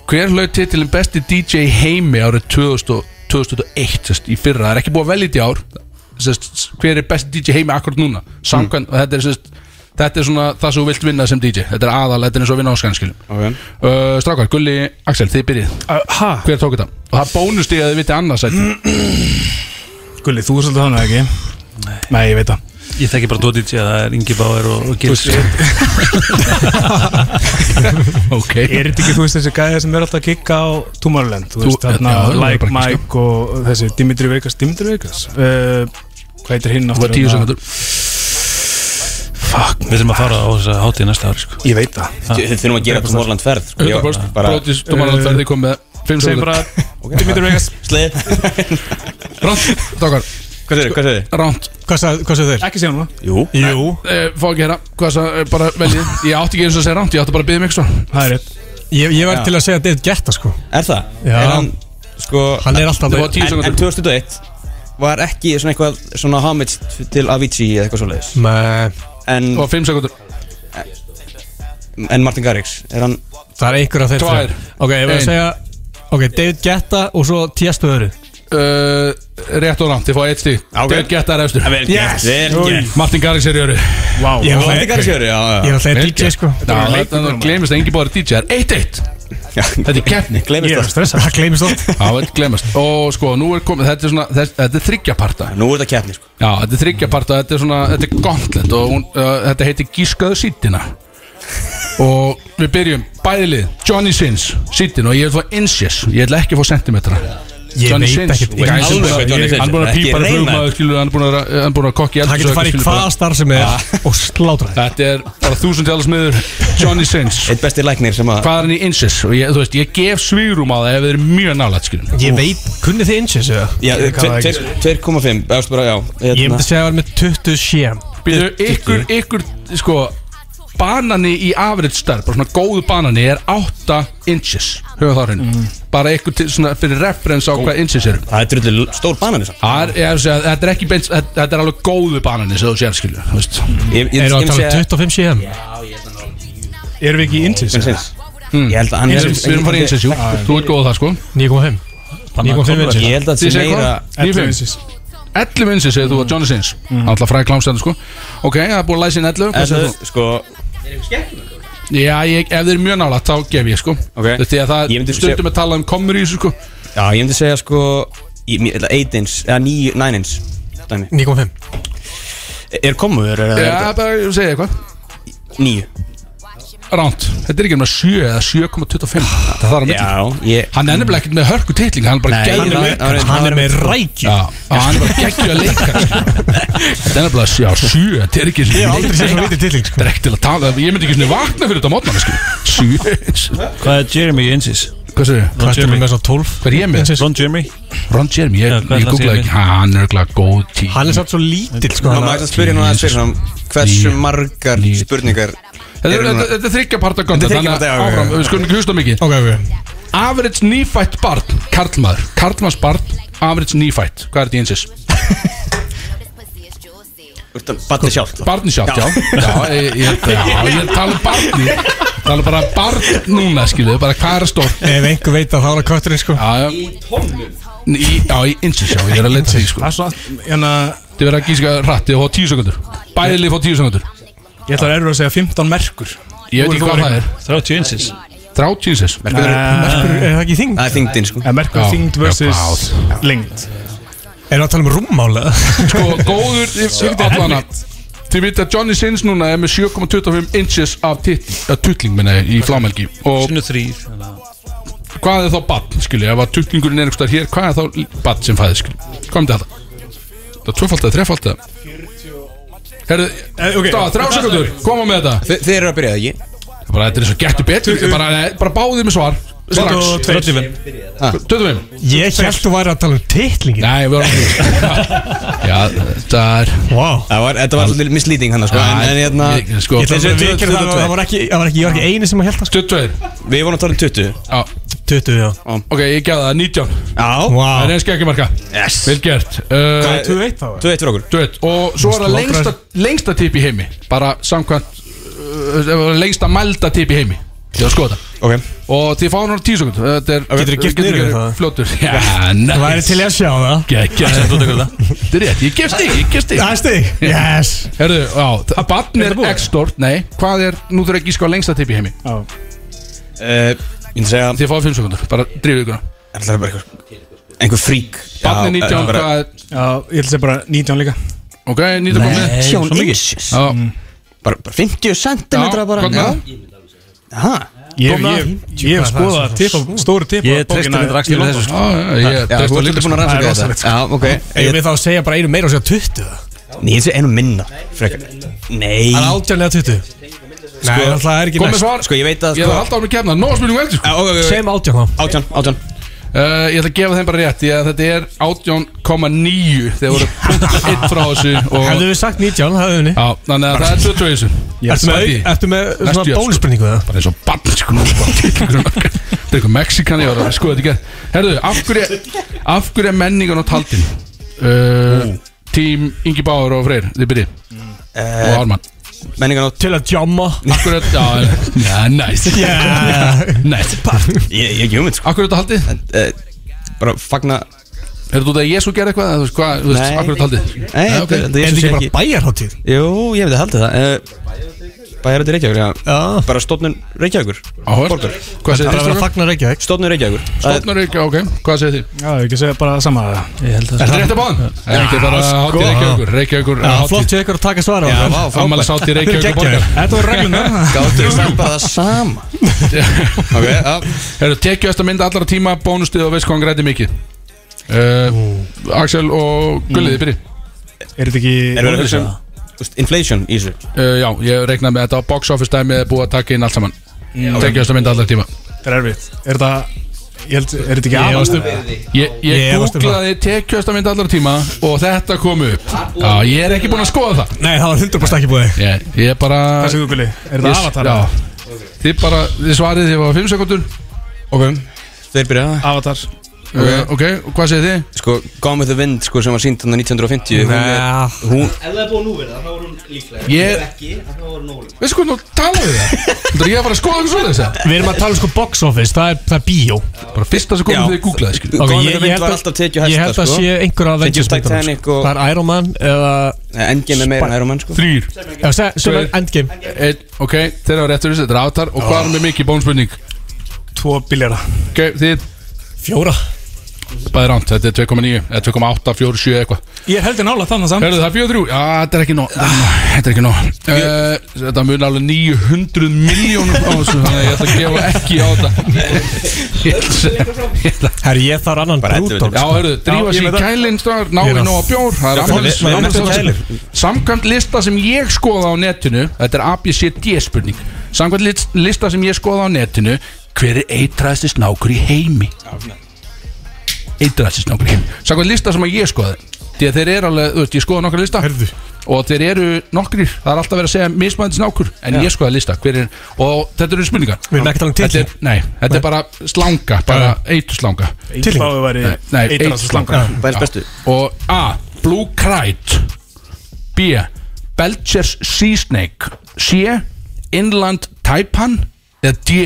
Hver hlaut titilin besti DJ í heimi árið 2000 og- 2001 sest, í fyrra, það er ekki búið að velja þetta í ár sest, hver er besti DJ í heimi akkurat núna samkvæmt, Mm. og þetta er sest, þetta er svona það sem þú vilt vinna sem DJ þetta er aðal, þetta er eins og að vinna áskanskilum okay. uh, Strákar, Gulli, Axel, þið byrjið uh, hver tók þetta? og það bónust ég að þið viti annars <clears throat> Gulli, þú er svolítið hann ekki Nei, ég veit það Ég þekki bara Dóti að það er Ingi Báer og, og Gils Ok Er þetta ekki, þú veist, þessi gæði sem er alltaf að kikka á Tomorrowland Þú Þú- veist, þarna já, það er Like bara ekki Mike og þessi Dimitri Vegas Dimitri Vegas uh, Hvað heitir hinn var aftur? tíu Þarna- sekundur Fuck Við þurfum að fara á þess að hátíð næsta ári sko. Ég veit það Þið þið þurfum að gera Tomorrowland ferð sko. Ég- 100% bara- Brótis, Tomorrowland ferð, þið kom með 5 Segðu sekundur bara Dimitri Vegas Sleið Ránt, tókar Hvað segir þið? Hvað segir þið? Ránt Hvað sagðu þeir? Ekki segja núna Jú Jú Eh, Fá ekki hérna, hvað það, bara veljið Ég átti ekki eins og að segja ránt, ég átti bara að um byggja mig eitthvað Það er rétt Ég, ég var Já. til að segja David Guetta sko Er það? Já. Er hann, sko, Hann er alltaf- Það var tíu En- sekúndur. En 2001 var ekki svona eitthvað svona homage til Avicii eða eitthvað svoleiðis Nei En Og 5 sekundur En Martin Garrix, er hann Það er einhver af þeir Tvær. þrjár. Ok, ég var Ein. að segja Ok, David Guetta og svo Tiesto öðru uh, Rétt og rámt, ég fá eitt stík okay. David Guetta er efstur Vel gert, vel gert. Martin Garrix er í öru wow. Ég var- Martin Garrix í öru, já, já. Ég er alltaf Vel DJ, gert. sko. Já, Þetta er glemist að engi báður DJ Það er 1-1 Þetta er keppni Gleymist Ég er oft. stressað Það gleymist oft Já, þetta glemist Og sko, nú er komið Þetta er svona þess- Þetta er þryggjaparta Nú er þetta keppni sko Já, þetta er þryggjaparta Þetta er svona Þetta er gauntlet Og hún, uh, þetta heitir Gískaðu sítina Og við byrjum Bæðilið Johnny Sins Sítin Og ég vil fá inches Ég ætla ekki að fá centimetra Ég Johnny veit Sins, ekkert- ég ég er veit alveg- alveg hvað Johnny Sins Hann er. búin að Ekki pípa reyna. flugmaður skilur Hann búin að, hann búin að kokki Það getur farið í hvaða starf sem er Og slátra Þetta er Ah. bara þúsundjálasmiður Johnny Sins Eitt besti læknir sem að Hvað er hann í inches? Og ég, þú veist, ég gef svírum á það ef þið eru mjög nálægt skilur Ég veit, kunni þið inches eða? Já, tve- tve- 2,5 Það er bara, já sko. Ég Hérna. myndi segja að það var með 20 shame Býtu, ykkur, ykkur, sko Banani í average stærð, bara svona góðu banani er 8 inches Höfum það á hreinu Bara ykkur til, svona, fyrir referens á hvað inches eru Mm. Það er drullu stór banani samt Það er, ég hef að segja, þetta er ekki beins Þetta þetta er alveg góðu banani sem þú sér skilur þú veist. Ég- ég- Eru að ég tala myndi um segja- 25 shame? Erum við ekki í Inches? Inches. Ég held að hann Inches, Við erum farið í inches, jú, þú ert góð á það sko 9,5 9,5 inches Ég held að Þið það sé segir meira hvað? 9,5 inches 11 inches segir þú að Johnny Sins Alltaf fræði klámstæðan sko Ok, það er búin að læsa inn 11 Hvað segir þú? Ellefu, Sko, Já, ég, ef þið eru mjög nálægt þá gef ég sko Ok. Þú veist því að það Ég myndi stundum segja- að tala um komur í þessu sko já, ég myndi segja sko 8 inch, eða 9 inch dæmi. E- 9,5 Er komuður? Já, bara segja eitthvað 9 Ránt, þetta er ekki með 7 eða 7,25 Það þarf að myndi Já, ég Hann er nefnilega ekkert með hörku titling Hann er bara Nei, hann gæður er- hann er- hann er með rækju Já, já, hann er bara geggjur að leika Þetta er nefnilega sjá, 7 Þetta er ekki Ég hef aldrei séð svona vitið titling sko Þetta er ekki til að tala Ég myndi ekki svona vakna fyrir þetta mótna sko. 7 Hvað er Jeremy Insis? Hvað segir Ron Hvað er Jeremy með svona 12? Hvað er ég með? Inches. Ron Jeremy Ron Jeremy, ég, Já, ég hvað ætlaði að googlaði segja ekki Hann er örugglega góð 10 Hann er samt svo lítill sko Má maður að spyrja núna að spyrja svona Hversu margar spurningar Þetta er- eru núna? þetta- þetta er þryggjaparta konta Þetta Þannig er að þriggja parta, já, já, áfram, já. við skulum ekki hlusta mikið Ok, ok Average nýfætt barn, karlmaður Karlmanns barn, average nýfætt Hvað er þetta í einsins? Batni sjálft Barni sjálft, já Já, ég, ég, já, ég tala um barni Tala bara barn núna, skiluðu Bara hvað er stórt Ef einhver veit að það var kötturinn sko Já, já Í tónum Já, í einsins, já, ég er að leita því, sko Það er svo, hérna, Þið verða að gíska rætt, þið fá tíu sekundur Bæði lið fá tíu sekundur ég ætla að erfa að segja 15 merkur Ég veit ekki hvað það er 30 inches 30 einsins Merkur Merkur, er það ekki þing? Það er þingdin sko Eh, Merkur Já, þingd já, versus lengd Er það að tala um rúmmála? Sko, góður, allan að Þið viti að Johnny Sins núna er með 7,25 inches af titt- af tutling minna í flámelgi Sinu þrýr Hvað er þá bann, skilji, ef að tutlingurinn er einhverstað hér Hvað er þá bann sem fæði, skilji Hvað myndi þetta? Það er tvöfaldið, þrefaldið Herðu, Eh, okay. þrjá sekundur, koma með þetta Þi, Þið eru að byrja það ekki bara, Þetta er svo gertu betur, bara, eh, bara báðið með svar Strax Ah. 25. 25 Ég held þú væri að tala um titlingin Nei, við varum <laughs> <laughs> Já, þetta er wow. var, Þetta var svolítið mislýting hann sko, en, en hérna ég- sko- Ég ætla bara að viðurkenna það, það var ekki, það var ekki, ég var ekki eini sem að held það 22 Við vorum að tala um 20 Já 20, já Ok, ég gef það 19 Já Ah. Það er eins geggjumarka Yes Vel gert uh, Hvað er 2-1 þá? 2-1 fyrir okkur 2-1 Og svo er það lengsta, lengsta tip í heimi Bara samkvæmt uh, Lengsta mælda tip í heimi Ég var að skoða það Ok Og þið fáum hann 10 sekund Þetta er Geturðu gift niður verið við það? <laughs> <laughs> Fljótur Já, næs Það væri til ég að sjá það Gekkja <laughs> Þetta er rétt, ég gef stig, ég gef stig Það er <laughs> stig, yes Herðu, já, það barn er X-stort, nei Hvað er, nú þurfa ekki sko lengsta tipp í heimi Já uh, Ég myndi segja Þið fáið 5 sekundur, bara drífið ykkur á. Það er bara einhver Einhver frík Barn er 19, bara- hvað er Já, ég ætla að segja bara 19 líka Ok, 19 kom með Sjón Svo mikið. inches Já. Bara bara 50 cm Já, bara gott með það. Aha Ég ég- ég hef skoðað tipa- stóru tipa Ég treysti bókina. reyndar Axel í Ég þessu, lofa- Ah, sko. Já, já, þú ert líka búin að rannsaka Það er þetta. Já, ok. Ég sko. við þá að segja bara einu meira og segja 20 Nei, ég segi einu minna Frekar Nei Það er 18 eða 20 Nei, það er ekki kom með næst svar. Sko, ég veit að Ég ætla að halda á mig kemna, nóg spilningum eftir sko. Segjum 18 þá Átján, átján Uh, ég ætla að gefa þeim bara rétt Því að þetta er 18,9 Þeir voru <laughs> <laughs> einn frá þessu og, Hefðu við sagt 19, hefðu við Já, þannig að það er 22 í þessu Ertu með, ertu með Næstu svona jörn, sko. bóluspurningu það? Bara eins og bann sko nú, bara titlingur um okkar. Þetta er eitthvað Mexikan Ég var að skoða þetta í gerð Herðu, af hverju Af hverju er menningan á taldin uh, Tím Ingi Báður og Freyr Þið byrji Og Ármann Mm. Eh, Menningan á Til að djamma Af hverju Já, já, næst <laughs> Næst Ég ég ekki hugmynd sko Af hverju er þetta haldið En, eh, Bara fagna Er þetta út af að Jésu gerði eitthvað? eða þú veist Hvað, þú veist, Nei. af hverju er þetta haldið Nei, Já, ok. þetta- þetta Er þetta sé ekki bara bæjarháttíð? Jú, ég hefði haldið það uh, Bæjaröndi Reykjavíkur, já. Já. Bara stofnun Reykjavíkur Áhört. Borgar. Hvað segir Það þið? er bara að fagna Reykjavík Stofnun Reykjavíkur Það er- Stofnar ekki, ok, hvað segir þið? Já, ég ekki segja bara sama Ég held Er þetta rétt að báðum? Er ekki bara hátíð Reykjavíkur, Reykjavíkur Já, flott hjá ykkur að taka svara Já, vá, frábært. Ammælis hátíð Reykjavíkur borgar Þetta var <laughs> reglunar Gáttu við samt bara það sama Ok, já Eru tekjuðast að mynda allara tíma, bónustið og veist hvað hann græti mikið uh, Axel og Gullið, þið byrji Er þetta ekki Erum við að hugsa um þú veist, Inflation í þessu uh, Já, ég reiknaði með þetta á box office dæmi er búið að taka inn allt saman Tekjuðast að mynda allara tíma Þetta er erfitt Er þetta Ég held, er þetta ekki Ég aðan? varst upp Ég, ég Ég efast um það. googlaði tekjuðast að mynda allara tíma og þetta kom upp Já, ég er ekki búinn að skoða það Nei, það var 100% ekki búið Ég, ég er bara Hvað segir þú, Gulli? Er þetta Ég- avatar? Já, þið bara, þið svarið þið var 5 sekundur Ok Þeir byrja það Avatar okay. ok, og hvað segir þið? Sko, Gone with the Wind, sko, sem var sínt hann 1950 Hún Nei. er, hún, Ef það er búið núverið, þá var hún líklega Ég- ekki, þá var hún ólega Veistu hvernig þú talaði það? Þú er ég að fara að skoða eitthvað svoleiðis það? Við erum að tala um sko box office, það er, það er bíó Bara fyrsta sem komið Já. þið googlaði, skil Gone Ok, with the Wind var alltaf tekið hæsta Ég held að sko. sé einhver af Tekið Avengers myndunum, Titanic sko. og- Það er Iron Man eða Nei, Endgame er meira en Iron Man, sko Þrýr Já, se- sem er Tveir. Endgame Einn, Eh, ok, þeirra var réttur þessu, þetta er avatar Og hvað er með mikið bónspurning? Tvo biljara Ok, þið, Fjóra bæði rámt, þetta er 2,9 Eða 2,8, 4, 7 eitthvað Ég held ég nála þannig samt Ah. Herðu það er 4, 3, já, þetta er ekki nóg þetta er ekki nóg, Þetta er ekki nóg uh, Þetta mun alveg 900 miljónum á þessu Þannig að ég ætla að gefa ekki á þetta Ég ætla að segja Herri, ég þarf annan sko. Bara ellefu brúdók til. Já, hörru, drífa Já, ég sér í veit það. kælinn strákar, náðu Ég nóg að bjór Það er Við- við- við- afmælis- við- við- afmælis- Samkvæmt lista sem ég skoða á netinu Þetta er ABCD spurning Samkvæmt lit- lista sem ég skoða á netinu Hver er eitræðasti snákur í heimi? Eitræðasti snákur í heimi Samkvæmt lista sem að ég skoði Því að þeir eru alveg, þú veist, ég skoða nokkra lista Herðu. Og þeir eru nokkrir Það er alltaf verið að segja mismæðandi snákur En ég skoða lista, hver er Og þetta eru spurningar Við erum ekki að tala um Þetta er, titling. nei, þetta er bara slanga, bara eitur Ég fáið væri Nei, eitrað svo slanga Bæðis bestu Og A. Blue Kite B. Belchers Sea Snake C. Inland Taipan eða D.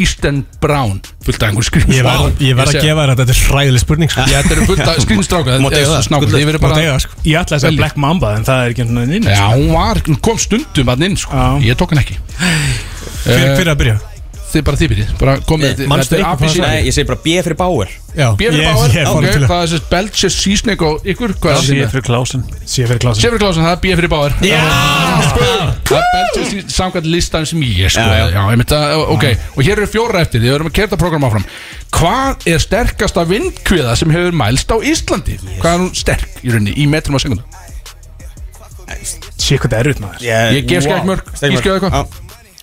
Eastern Brown fullt af einhver skrýmst Ég verð ég verð að gefa þér að þetta er hræðileg spurning sko. Þetta eru fullt af skrýmstráka Þú mátt eiga það. Þið verður Bara bara dega, sko. Ég ætla að segja Black Mamba En það er ekki einhvern veginn Já, hún var, hún kom stundum að inn sko. Já. Ég tók hann ekki Eh, Hver hver er að byrja? þið bara þið byrjið Bara komið Eh, þið- manstu þetta er eitthvað appelsín- frá- Nei, ég segi bara B fyrir Bauer Já. B fyrir Bauer, ok, fór í til það er sérst Belcher Seasoning og ykkur, hvað er Sé það? fyrir klásin Sé fyrir klásin Sefri Klausen, það er B fyrir Bauer Já Það er Belcher Seasoning samkvæmt listan sem ég sko Já, já, einmitt að, ok Og hér eru fjóra eftir, við erum að kerta program áfram Hvað er sterkasta vindkviða sem hefur mælst á Íslandi? Hvað er hún sterk í rauninni, í metrum á sekundum? Sér hvað það er út maður Ég gef skekkmörk, ég skjóðu eitthvað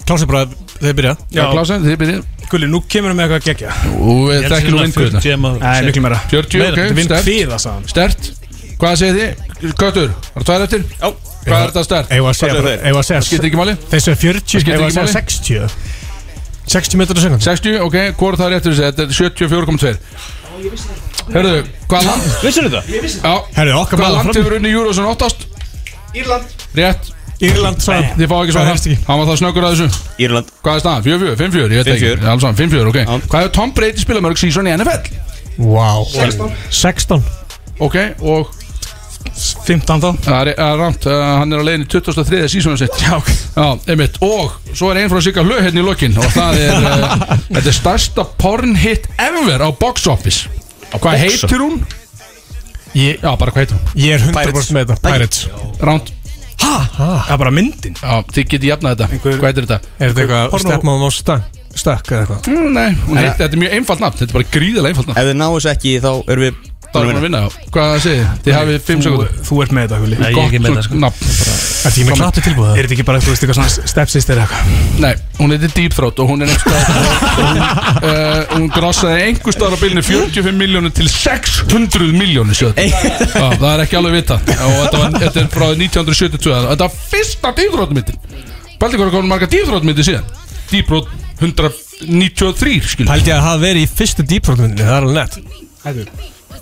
Klásið bara, þeir byrja Já, Klásen, þið byrjið eh, Gulli, nú kemur við með eitthvað gegja Og við þekkjum vindkviðna Nei, miklu meira Meira, 40, þetta er ok, vindkviða, sagði stert Stert Hvað segir þið? Köttur, var það tvær eftir? Já Hvað er þetta stert? Eigum við að segja bara- eigum við að segja- Það skiptir ekki máli Þessu er 40 Það skiptir eigum við ekki að segja máli. 60 60 metrar á sekund 60, ok, hvort það er réttur þessi? Þetta er 74,2 Herðu, hvað land? Vissir þetta? Ég vissi það Herðu, okkar Hvað maður land fram- hefur unni Júrósson óttast? Írland Rétt Írland, sagði Þið fá ekki svara Hann var það snöggur að þessu Írland Hvað er staðan? 4-4, 5-4, ég veit ekki 5-4. Alls saman, 5-4, ok Hvað hefur Tom Brady spilað mörg sísón í NFL? Wow 16. 16 Ok, og 15 þá Það er rámt, hann er á leiðin í 23. sísónu sitt Já, einmitt Og svo er einn frá Sigga Hlöð hérna í lokin Og það er, uh, þetta er stærsta porn hit ever á box office Hvað box heitir hún? Ég, Já, bara hvað heitir hún? Ég er 100% með þetta Pirates Rámt Ha? Það er bara myndin Já, þið getið jafnað þetta Hvað heitir þetta? Er þetta eitthvað Stepmom og Stökk eða eitthvað Mm, Nei, hún heitir, þetta er mjög einfalt nafn Þetta er bara gríðilega einfalt nafn Ef þið náu þessu ekki þá erum við Það er búin að vinna, já Hvað segir þið? Þið hafið 5 Þú- sekundur Þú ert með þetta, Gulli Nei, ég er ekki með þetta, sko. Nafn Er því með klappi tilbúið? Er þetta ekki bara, þú veist, eitthvað svona stepsistir eða eitthvað Nei, hún heitir Deep Throat og hún er einhverstað hún, uh, hún grossaði einhver staðar á bylnu 45 miljónir til 600 miljónir sjöðum Það er ekki alveg vita og þetta, var, þetta er frá 1972 og þetta var fyrsta Deep Throat myndin Baldi hvað er komin marga Deep Throat myndir síðan Deep Throat 193 skil Pældi að hafa verið í fyrstu dýprótmyndinni, það er alveg nett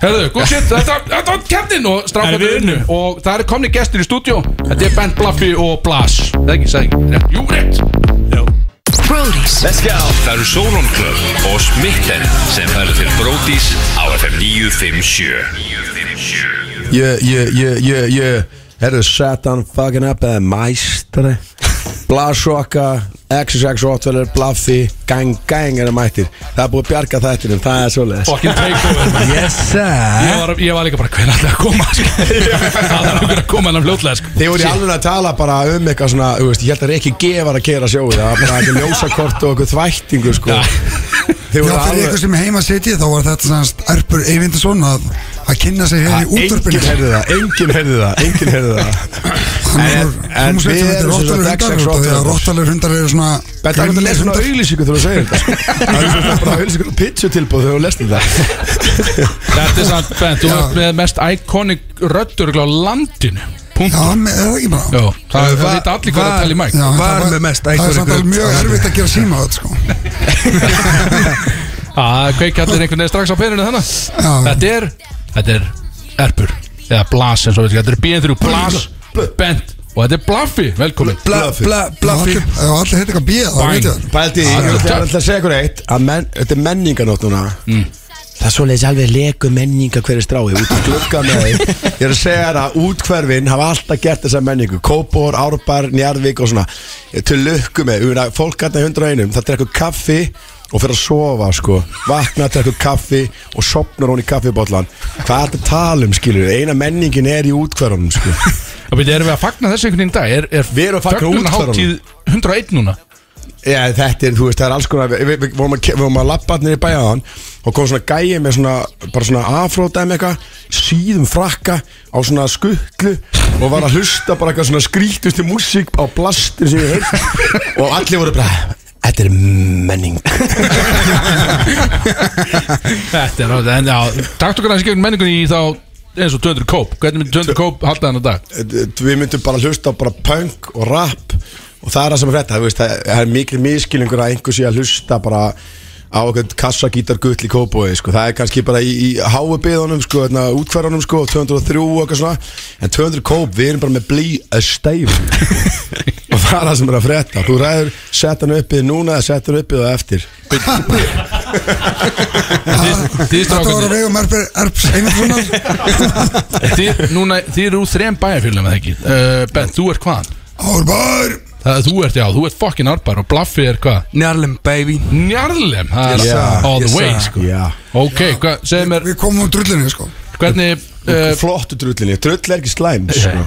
Herðu, góð shit, þetta, þetta var kemdin og Herðu, strafnættur við unnu og það eru komni gestir í stúdjó Þetta er Ben Bluffy og Blas Það er ekki, sagði ekki, Rétt. jú rétt Brodís Let's go Það eru Solon Club og Smitten sem færa til Brodís á FM 957 Yeah, yeah, yeah, yeah, yeah Herðu Satan fucking up eh, eða mæstari Blasroka, XXX8 Blaffi, gang, gang er mættir Það er búið að bjarga þættinum, það er svoleiðis Fucking takeover man. Yes sir Ég var, ég var líka bara, hvernig ætlaði að koma sko. Það er okkur að koma hennar fljótlega sko. Þið voru í Shit. alveg að tala bara um eitthvað svona, þú veist, ég held að Rikki G var að kera sjóið, það var bara eitthvað ljósakort og eitthvað þvættingu, sko. Já, Þið voru fyrir alveg, ykkur sem er heima sitið þá var þetta sannst Erpur Eyvindason að, að kynna sig hér í að útvarpinu. enginn heyrði það, enginn heyrði það, enginn heyrði það. En, en Þú við veist erum þetta sem er sagt rottalir hundar út XXX8. af því að rottalir hundar eru svona Þetta er að lesa svona auðlýsingu þegar þú segir þetta, sko. Það er svona bara auðlýsingu og pitchu tilbúð þegar þú lestir það. Þetta er samt bent, þú ert með mest iconic röddur á landinu Punkt Já, með- er það ekki bara? Jó, það það vita allir hvað að tala í mæk Það er samt alveg mjög erfitt að gera síma á þetta sko Það kveikja allir einhvern veginn strax á perinu þannig Þetta er, þetta er erpur Eða blas eins og við þetta er BN3 Blas, bent og þetta er Blaffi, velkomin Bluffy Já, allir heit eitthvað bíða, það Bang. veit ég það Pældi, í- Það er ég ætla töff. að segja ykkur eitt að menn, Þetta er menninganótt núna Það er svoleiðis alveg leku menninga hverju strái út í glugga með þeim Ég er að segja þér að útkverfin hafa alltaf gert þessa menningu Kópor, Árbær, Njarðvík og svona Ég er Til lukku með, Ég meina, fólk gætna í hundra einum Það drekku kaffi og fyrir að sofa sko Vakna, drekku kaffi og sopnar hún í kaffibóllan Hvað er þetta að tala um skilur Eina menningin er í útkverfunum sko Og við erum við að fagna þessu einhvern veginn í dag Er, er Við erum að fagna útkverfunum. Fögnunarhátíð 101 núna Já, þetta er, þú veist, það er alls konar Við vi, vi, vorum að, ke- við vorum að labba hann í bæjaðan og kom svona gæi með svona bara svona afródæmi eitthvað, síðum frakka á svona skuttlu og var að hlusta bara eitthvað svona skrítustu músík á blastir sem ég hef <laughs> og allir voru bara Þetta er menning Þetta er ráðið, en já, takk okkur aðeins gegn menningunni í þá eins og 200 kóp Hvernig myndi 200 kóp halda hann á dag? Við myndum bara hlusta á bara punk og rap og það er það sem er þetta, þú veist, það það er mikil miskilingur að einhver sé að hlusta bara á eitthvað kassagítargull í kópói sko. það er kannski bara í, í háu byðunum sko, hérna, útkverðunum sko, 203 og eitthvað svona en 200 kóp, við erum bara með blí að steif og það er það sem er að frétta þú ræður, sett hann uppið núna eða sett hann uppið á eftir Þetta var að Þið, vegum Erpur Erps Eyvindasonar Eh, þið, núna, þið eru úr þrem bæjarfélum eða ekki uh, Ben, þú ert hvaðan? Árbær Það, þú ert, já, þú ert fokkin árbær og blaffi er hvað? Njarlem, baby Njarlem, það er Yes, sir. all the Yes, way, sir. sko Ok, hvað, segir mér Við komum úr drullinu, sko Hvernig uh, Flottu drullinni, drull er ekki slæm sko.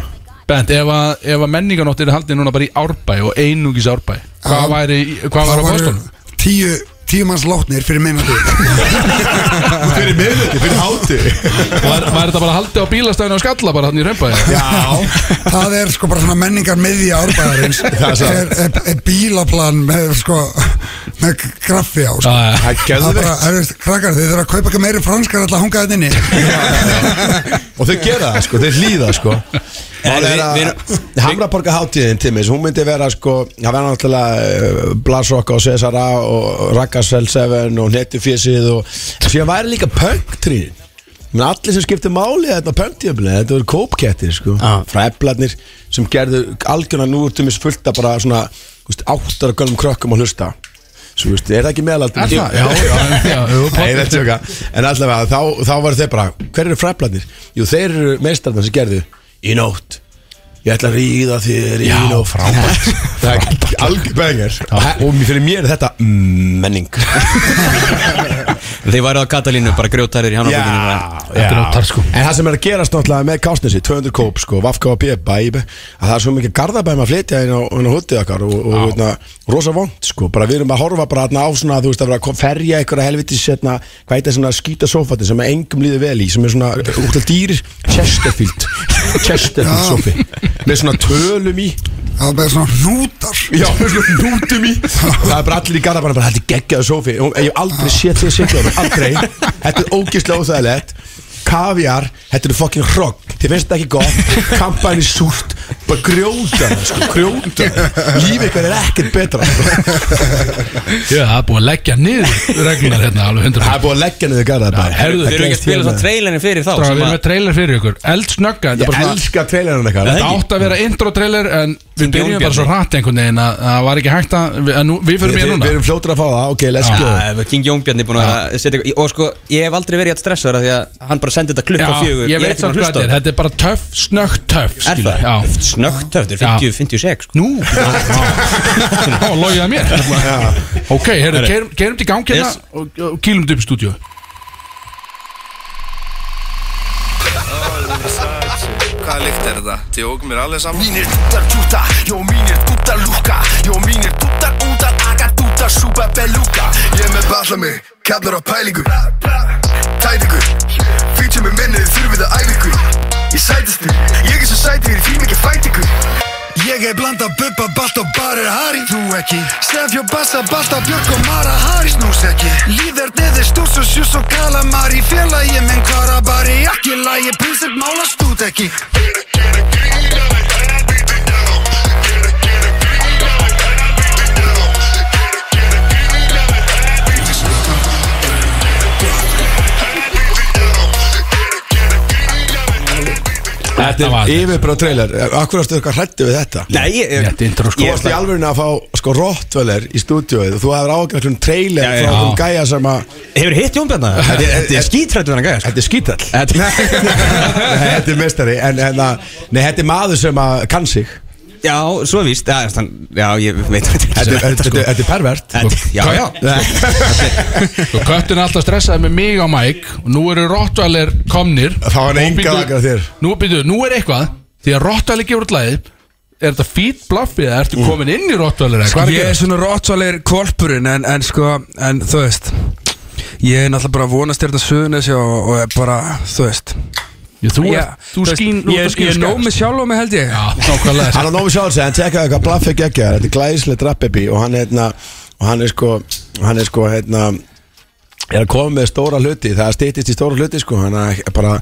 Bent, ef að, ef að menninganótt er haldið núna bara í árbæ og einungis árbæ Hvað Já. væri, hvað var á Það væru kostunum? Tíu, tíu manns látnir fyrir minnandi Fyrir miðvöldi, fyrir háti Var, var þetta bara haldið á bílastæðinu og skalla bara hann í römbæ? Já Það er sko bara svona menningar miðja árbæðarins Það er satt. er, er, er bílaplan með sko með graffi á sko. Já, já. Það er Það er bara, geðveikt. það er, krakkar þið þurfa að kaupa ekki meiri franskar alltaf að hanga þetta inni Og þau gera það sko, þau hlýða sko Það er að Hamraborga hátíðin til mig Hún myndi vera sko, það verða náttúrulega Blasokka og Cesara og Rakasvel 7 og Netufísið og síðan væri líka pöngtrín Men allir sem skiptir máli þetta pöngtjöfni, þetta voru kópkettir sko frá eflarnir sem gerðu algjörna nú úr tumis fullta bara svona þú veist, áttara gönnum krökkum að hlusta Svo, þú veist, er það ekki meðalaldri? Er það? Já, já, já, jú, Nei, þetta er okkar En allavega, þá, þá var þeir bara Hver eru fræflarnir? Jú, þeir eru meistarnar sem gerðu Í nótt Ég ætla að ríða þér í Já, nótt frábært. Það er algjör bengar Og mér- fyrir mér er þetta mm, menning Þið værið á Katalínu, bara grjótærir í hannabókinu Já. En það sem er að gerast náttúrulega með kásnesi 200 kóp sko, Vafka og Bébæ Að það er svo mikið garðabæm að flytja inn á, inn á hútið okkar og, og veitna, rosa vond sko, bara við erum að horfa bara þarna á svona þú veist að vera að ko- ferja einhverja helvitis hérna, hvað heitir svona skýta sófatin sem engum líður vel í, sem er svona út af dýrir Chesterfield <laughs> Chesterfield Já. sófi með svona tölum í Það er bara svona hnútar Já, við slúttum nútum <laughs> í Það er bara allir í garðabæna bara Þetta er geggjaðu sófi Og Ég hef aldrei séð þig sitja á mig Aldrei Þetta er ógeðslega óþægilegt Kaviar Þetta eru fucking hrogg Þið finnst þetta ekki gott Kampan er súrt Bara grjóta það, sko, Grjóta það. Líf ykkar er ekkert betra Já, það er búið að leggja niður reglunar hérna alveg 100% Það er búið að leggja niður garðabæ Herðu, Þeir eru ekki að spila svo trailerin fyrir þá Strákar, sem Við að- erum með trailer fyrir ykkur Eldsnögga þetta er Ég bara svona- elska trailerinn ykkar Þetta átt að vera intro trailer En við Sem Jón byrjum bara Bjarni. svo hratt einhvern veginn að að það var ekki hægt að við- að nú- Við fyrir Við- mér við- núna Við erum fljótur að fá það Ok, let's go Já, ef King Jónbjarni búin að setja eitthvað Og sko, ég hef aldrei verið að stressa það Því að hann bara sendi þetta klukk á fjögur ég er veit ekki búinn samt að hvað hlusta þetta er á Þetta er bara töff, snöggt töff Er skilur. það? Já. Snöggt töff, þetta er 50, 56 sko. Nú, þá logið að mér Ok, herru, Herru. keirum- keirum til gangi hérna Yes. og- og kýlum þetta upp í stúdíu Hvaða lykt er þetta? Þið ógum mér alveg saman Mínir dúttar djúta, jó mínir dúttar lúka Jó mínir dúttar útar, aga dúttar súpa beluga Ég er með balla mig, kallar á pælingu Tætingu Fýtjum með minni, þið þurfið að æfingu Ég sætist þig, ég er svo sætið, ég þým ekki fætingu Ég er blanda bubba, balt og barir Harry Þú ekki Stefjó, Bassa, Balta, Björk og Mara Harry Snús ekki Líðar neðir stús og sjús og kalamari Félagi minn kvara bari Ekki lagi, prinsip mála stút ekki Þetta var yfirbróð trailer Akkur ástu eitthvað hrættu við þetta Nei, ég- ég- Þetta intro sko. Þú varst í alveg að fá sko rottveler í stúdíóið og þú hefur ágjörð svona trailer Já, já, frá já. hún gæja sem að Hefur hitt Jón Bjarni? <laughs> Þetta er- Þetta er skítrættu hann sko. gæðast Þetta er skítall Þetta er mestari en, en að, nei, þetta er maður sem að kann sig Já, svo víst Já, þann, já ég veit Þetta er- þetta er- þetta er pervert Já, já Og Sko, köttin er alltaf stressaði með mig á mæk Og nú eru Rottweiler komnir Þá hann enga lagar þér. Nú, býtu, nú er eitthvað Því að Rottweiler gefur út lagið Er þetta fít blaffi eða ertu komin inn í Rottweiler eða hvað er að Sko, Ég er gera? svona rottvalir kvolpurinn en, en sko, en þú veist Ég er náttúrulega bara að vonast þér þetta suðunessi og, og er bara, þú veist Ég, þú ert- þú veist, skín- þú ert Ég, að skína ég er nóg skærast. með sjálf og mig held ég <laughs> Hann er nógu sjálfsæð, hann tekkaði eitthvað blaffi geggjaðar Þetta er glæslega drappebi og hann er hérna og hann er sko hann er sko hérna er að koma með stóra hluti það stýttist í stóra hluti sko hann er bara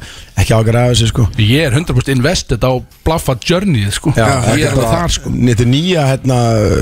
ekki ágjörð af þessu sko Ég er 100% invested á blaffa journey sko. Já, Ég er alveg þar sko. Þetta er nýja hérna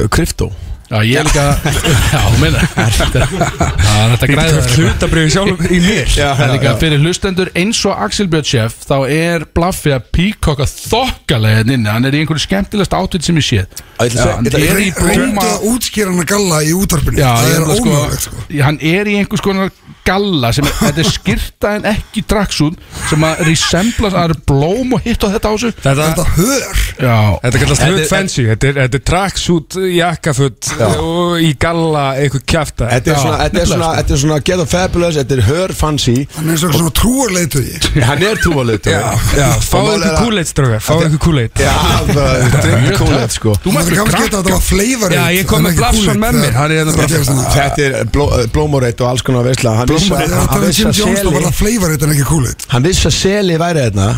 krypto Já, ég er líka <laughs> Já, þú meina Það er þetta Ég græða get haft hlutabrif sjálf í mér. Já, Já, já, já, líka, já. Fyrir hlustendur eins og Axel Björn Sjöf Þá er Blaffi að píkokka þokkalega hérna inni Hann er í einhverju skemmtilegast átvit sem ég séð ætla Já, að segja- Hann þetta er- er í Reyndu blóma að útskýra hann að galla í útvarpinu Já, Það ég ætla er að sko- ómögulegt sko Hann er í einhvers konar skalla sem er, þetta er skyrta en ekki traksún sem að resembla, það eru blóm og hitt og þetta á þessu Þetta- Þetta hör Já Þetta kallast Þetta- hood fancy Þetta er, þetta er tracksuit, jakkafutt og í galla eitthvað kjafta Þetta er svona, þetta er svona, sko. þetta er svona get of fabulous, þetta er hör fancy Hann er svona trúarleituði <laughs> Hann er trúarleituði Já, já, fáðu ykkur kúleit strókar, fáðu ykkur kúleit Já, það er kúleit sko Þú mátt ekki kannski geta að þetta var flavor Já, ég kom með blafsan með mér hann er hérna bara- Þetta er bló- blómoreit og alls konar veisla Hann vissi að- Þetta hann er vissi um Jim að Jones og bara seli flavor þetta en ekki kúlit Hann vissi að seli væri þarna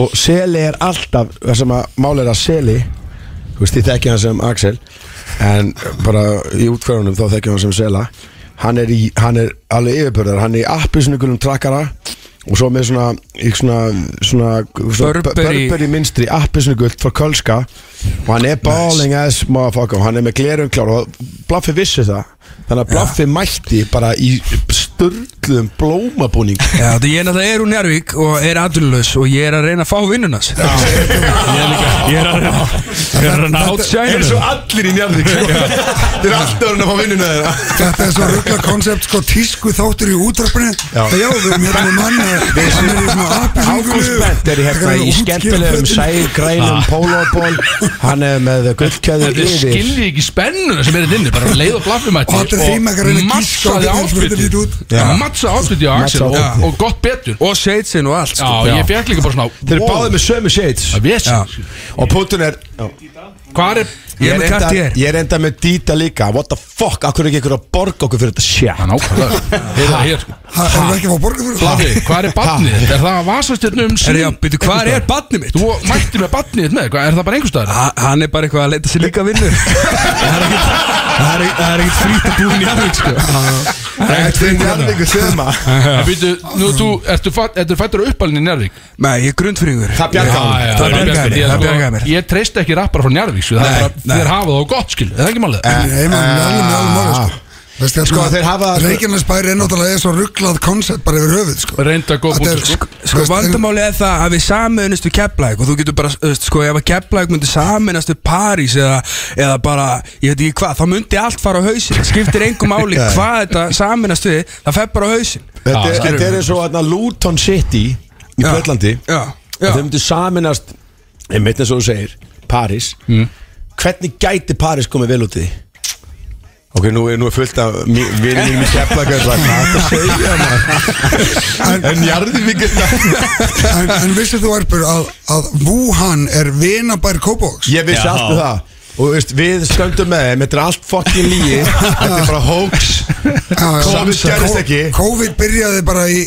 Og seli er alltaf Það sem að máli er að seli Þú veist, ég þekki hann sem Axel En bara í útkvæðunum þá þekki hann sem sela Hann er, í, hann er alveg yfirbörðar Hann er í appisnukulum trakkara Og svo með svona, í svona, svona, svona Burberry- Burberry minnstri appisnugult frá Kölska Og hann er balling as motherfucker Og hann er með glerun klár Og Blaffi vissi það Þannig að Blaffi mætti bara í sturgluðum blómabúning Já, þetta ég er náttúrulega er úr Njárvík og er aðlulaus og ég er að reyna að fá vinnunas <laughs> Ég er að reyna Ég er að reyna að Þetta átsæna er svo allir í Njarðvík Þeir eru alltaf að fá vinnuna þeirra Þetta er svo ruggla koncept sko tísku þáttur í útarpinu Já. Já, við erum hérna með manna Við Hann er í svona sko. appisungulu Ágúst Bent er í hérna í skemmtilegum sælgrænum Ah. pólóból Hann er með gullkjöður Þetta yfir skilji ekki spennuna sem er þetta inni bara leið og blaffi mætti Og þetta er þeim ekki að reyna að gíska á matsaði hvernig þetta áspiti lít út. Já, Já. matsaði áspiti á Axel Matsaði og, outfitið. og gott betur Og shadesinn og allt sko. Já, ég fekk líka bara svona Þeir eru báðið með sömu shades Það vissi. Og putun er Hvað er Ég er, enda, ég er enda með Dita líka What the fuck, akkur er ekki ykkur að borga okkur fyrir þetta shit Nákvæmlega Heyrðu það hér sko Hann er ekki að fá borga fyrir Blaffi, hvað er barnið þitt? Er það að vasastjörnum Er ég- bíddu, hvar er barnið mitt? Þú mætti með barnið þitt með, hvað, er það bara einhverstaðar? Ha- Hann er bara eitthvað að leita sér líka vinnu Það er ekkert- það er ekkert frýtt að búin í Njárvík sko Það er ekkert frýtt að Njarðvíkur söma En býtu, nú þú, ertu, fætt, ertu fættur á uppalinn í Njarvík? Nei, ég er grundfrýður Það bjargaði honum. Það bjargaði mér, það bjargaði mér. Ég treysti ekki rappar frá Njarvík, sko, það Nei, er bara, nei. þér hafa það á gott, skil, það er ekki málið Nei, maður, með alveg með alveg máli sko Veist, Sko, þeir hafa- Reykjanesbæri er náttúrulega er svo rugglað koncept bara yfir höfuð sko Reynda góð Þetta er- búti, sko Sko vandamáli er það að við saminist við Keflæk og þú getur bara, þú veist, sko ef að Keflæk myndi saminast við París eða, eða bara, ég veit ekki hvað, þá myndi allt fara á hausin, það skiptir engum máli <laughs> Já. hvað þetta saminast við, það fer bara á hausin Þetta er- þetta er eins og hérna, Luton City Í Já. Breitlandi Já, já. Þeir myndu saminast Ég meit eins og þú segir, París Hvernig gæti París komið vel út í því? Ok, nú er, nú er fullt af vinnir mínum í Keflavík og það er hvað <laughs> það segja maður En Njarðvík er En, en vissið þú erpur að, að Wuhan er vinabær Kópavóks Ég vissi alltaf það Og þú veist, við stöndum með þeim, þetta er allt fokkin líi Þetta er bara hoax Covid gerðist ekki COVID byrjaði bara í,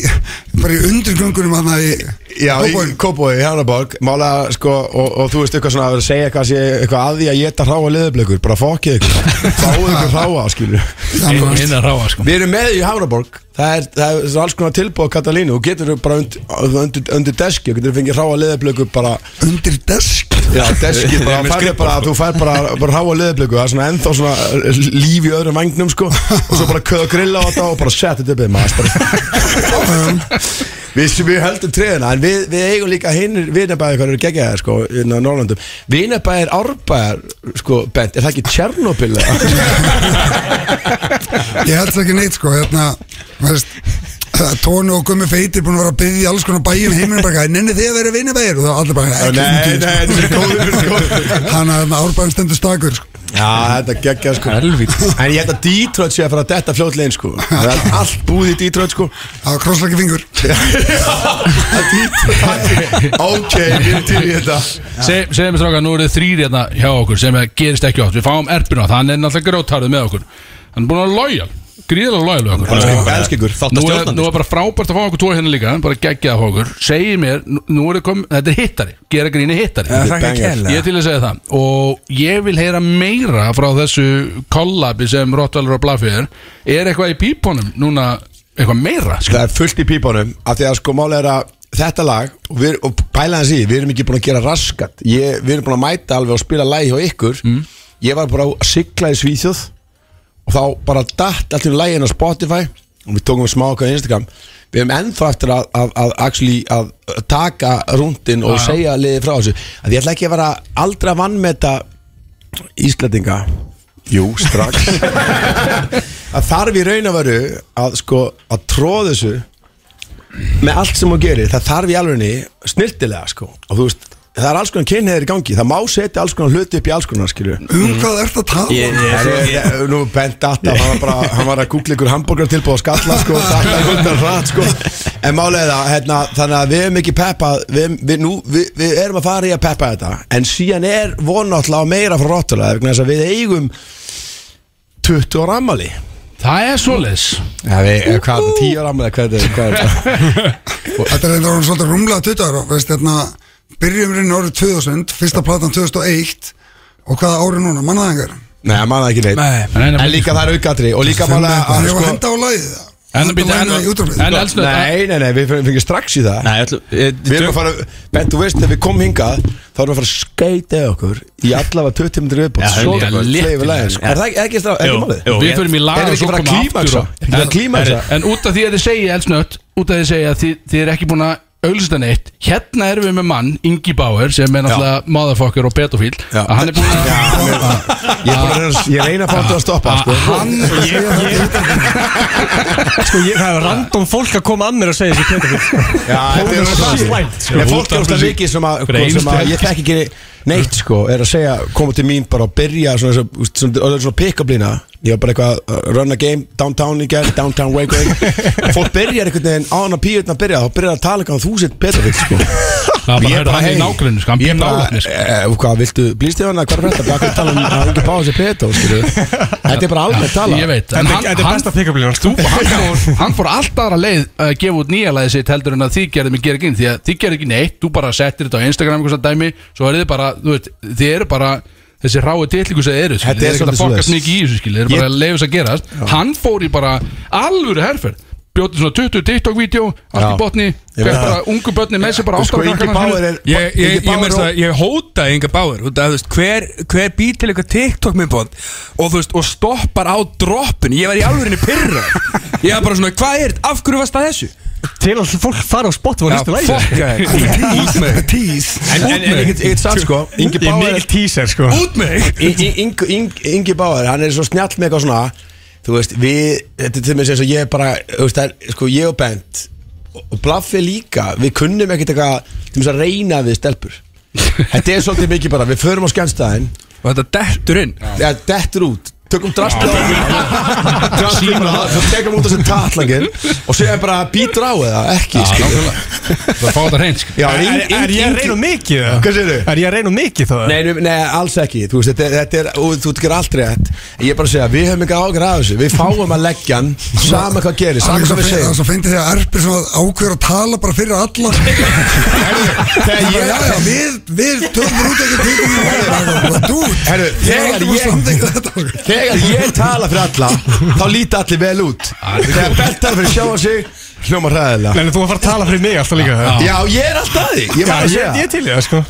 bara í undirgöngunum hann í Já, í Kópói, í Hannaborg Mála, sko, og, og þú veist eitthvað svona að vera að segja eitthvað, sé, eitthvað að því að geta hráa liðublökur Bara fokkið <laughs> ykkur, fáið ykkur hráa, skilur Einn að ráa, sko Við erum með í Hafnaborg Það er, það er alls konar tilbúið á Katalínu og getur bara undir, undir, undir deski og getur fengið hráa liðablöku bara Undir desk Já, deski Við bara, erum með færði bara skrifborð, sko. þú fær bara, bara hráa liðablöku það er svona ennþá svona eh, líf í öðrum vangnum sko og svo bara köða grilla á þetta og bara setja þetta upp við maður Við, við höldum treðina en við, við eigum líka hinnir vinabæðir hvað eru geggjaðir sko inn á Norrlandum vinabæðir árbæðir sko bent, er það ekki Tjernobyl eða? Ég held það ekki neitt sko hérna, veist, Tónu og Gummi Feitir búin að vera að byggja í alls konar bæjum heiminu bara, nenni þið að vera vinabæðir og það allir bara, ekki Nei, nei, þetta er góður <laughs> sko Þannig að árbæðin stendur stakur sko. Já, þetta geggja sko Helvít En ég held að Detroit sé að fara að detta fljótlegin sko Það er allt búið í Detroit sko Það var krosslæki fingur <laughs> Ok, við erum til í þetta Se- Segðu mér stráka, nú eru þið þrýr hérna hjá okkur sem gerist ekki oft Við fáum erpina, hann er náttúrulega grótarðið með okkur Hann er búin að lojal, gríðilega lojal við okkur Elskar ykkur, elskar ykkur, sko þátt að Nú er, stjórnandi sko. nú er bara frábært að fá okkur tvo hérna líka bara geggjað að fá okkur segir mér, nú- nú er kom, þetta er hittari gera gríni hittari Já, þakka Banger. kærlega. ég er til að segja það og ég vil heyra meira frá þessu kollabi sem Rottweiler og Blaffi er er eitthvað í pípunum núna eitthvað meira Sko, Það er fullt í pípunum af því að sko máli er að þetta lag og, við, og pæla hans í, við erum ekki búin að gera raskat ég, við erum búin að mæta alveg og spila lagi hjá ykkur ég var bara að sigla í Svíþjóð og þá bara datt allt í lagin á Spotify og við tókum smá okkar á Instagram við erum ennþá eftir að, að, að, actually, að taka rúndin og Já, já. segja liði frá þessu að ég ætla ekki að vera aldrei <laughs> að vann með þetta Íslandinga Jú, strax að þarf í raun að veru að sko að tróða þessu með allt sem hún gerir, það þarf í alvegni snildilega sko og þú veist það er alls konar kynheðir í gangi, það má setja alls konar hluti upp í alls konar skilju Um hvað ert að tala? Ég, ég, ég, Eh, nú bent Data, hann var, bara, hann var að googla ykkur hambúrgar tilbúið á skalla sko, Data er hundar hratt sko En málega það, hérna, þannig að við erum ekki peppað við, við, nú, við, við erum að fara í að peppa þetta En síðan er vonáttlega meira frá rottulega vegna þess að við eigum 20 ára ammali Það er svoleiðis Já, við, eh, hvað, 10 ára ammali, hvað er þetta? Hvað er þetta? sko. Þetta er einhverjum svolítið rúmlega 20 ára veist, hérna, Byrjum rinn árið 2000 Fyrsta platan 2001 Og hvaða árið núna, mannaðingar Nei, maður það ekki neitt Nei, nei, En líka það er aukatri Og líka sko, Fimm málega eitthvað. Ég var að henda á lagið það. En Henda á laginu í útvarpið. Nei, nei, nei, við fengum strax í það Nei, ætlum, eh, Við erum að fara, Ben, þú veist, ef við komum hingað Þá erum við að fara að skeita okkur Í allavega 20 minnir viðbótt Já, Svo helvíti, gott, léttir. leifu lagið, sko. Er það ekki- er ekki strá, er Jú, ekki málið? jú. Við förum í laga Er og ekki svo bara að komum við aftur klímaksa? og- Er ekki bara að klímaksa? sko? En- En út af því að þið segja elsnött Út af því að þið segja að þið, þið er ekki búin að auðvitað neitt Hérna erum við með mann, Ingi Bauer Sem er náttúrulega motherfucker og pedofíl Að hann er búin að Ég er bara að reyna- Ég reyna að fá þetta að stoppa, sko <laughs> Sko ég það er random fólk að koma að mér og segja þessi pedofill Já, þetta er Holy það shit. sko. slæmt sko. Ég fólk er óslega mikið sem að, sko, Fyrir sem að einstu- Ég þekk ekki neitt, sko Er að segja, koma til mín bara og byrja Svona, svona, úst, svona, svona, svona pick-up lína Ég var bara eitthvað að run a game Downtown í gerð, downtown way going <laughs> Fólk byrjar einhvern veginn á hana píutna að byrja Þá byrjar að tala eitthvað um þú sitt pedofill, sko Það er bara að Ég höra hann í hey, nágrunni, sko, hann ég býr bara, nálægt mér, sko. eh, Hvað, viltu blístíðana, hvað er þetta? Bara að tala um að ekki báða sér pedo, skilju <laughs> Þetta er bara alveg tala Ég veit en hann- hann- pick-up-línan Þú- hann fór- Hann fór allt aðra leið að gefa út nýja leið sitt heldur en að þið gerðum ekki ekki því að þið gerðu ekki neitt, þú bara settir þetta á Instagram einhversa dæmi, svo er þið bara þú veit, þið eru bara þessi ráu tillingu sem þið eru, skilur, Þetta þið eru er ekki að svolítið fokast svoleiðis. mikið í þessu skilur, þið eru bara Ég- að leiðis að gerast hann fór í bara alvöru herferð bjóti svona 20 TikTok-vídeó allt Já. í botni, Ég hver veit bara það. ungu börni með sér bara Sko, ástæða Ingi krakkana Bauer sína. er- Ég, ég, Ingi ég, Bauer ég, og- ég, ég hóta Inga Bauer út af, þú veist, hver, hver býr til eitthvað TikTok minnbóð og, þú veist, og stoppar á droppin Ég var í alvörinni pyrra Ég var bara svona, hvað er þetta? Af hverju varst það þessu? Til að fólk fara á Spotify og listu lægir Tís En en- en ég get- ég get sagt sko Ingi Ég er Báður mikill teaser, sko. Út mig Ingi Báður, hann er svo snjall með eitthvað svona Þú veist, við Þetta er til mig sem svo ég er bara Þú veist, það er Sko, ég og Bent Og Blaffi líka Við kunnum ekkert eitthvað Til þess að reyna við stelpur Þetta er svolítið mikið bara Við förum á skjænstæðin Og þetta dettur inn Já, dettur út Tökum drastið á Drastið bara Svo tekum út þessi tatlangin Og segja bara Býtur á eða ekki Já, skilur. nákvæmlega. Það er fá þetta hreins sko. Já, Er- Ing- er- er ég að Ingi- reyna of mikið, eða? Hvað segir Er ég að reyna of mikið þá? Nei, nei, nei, alls ekki, þú veist, þetta, er- þetta er, og þú getur allt rétt Ég er bara að segja, við höfum ekki ágjör að þessu Við fáum að leggja hann, sama hvað gerir, sama hvað við Það er segjum svo fyndi því að erpir sem ákveður að tala bara fyrir alla <laughs> Þegar Bara, já, já, Við, við tökum út ekki tíkum í Herru, þegar ég, þegar ég tala fyrir alla, þá líti allir vel út Þegar Bertar fyrir sjá sig, hljóma hræðilega Nei, þú var að fara að tala fyrir mig alltaf líka Já, ég er alltaf að því, ég var að Já, segja Ég er til í það, sko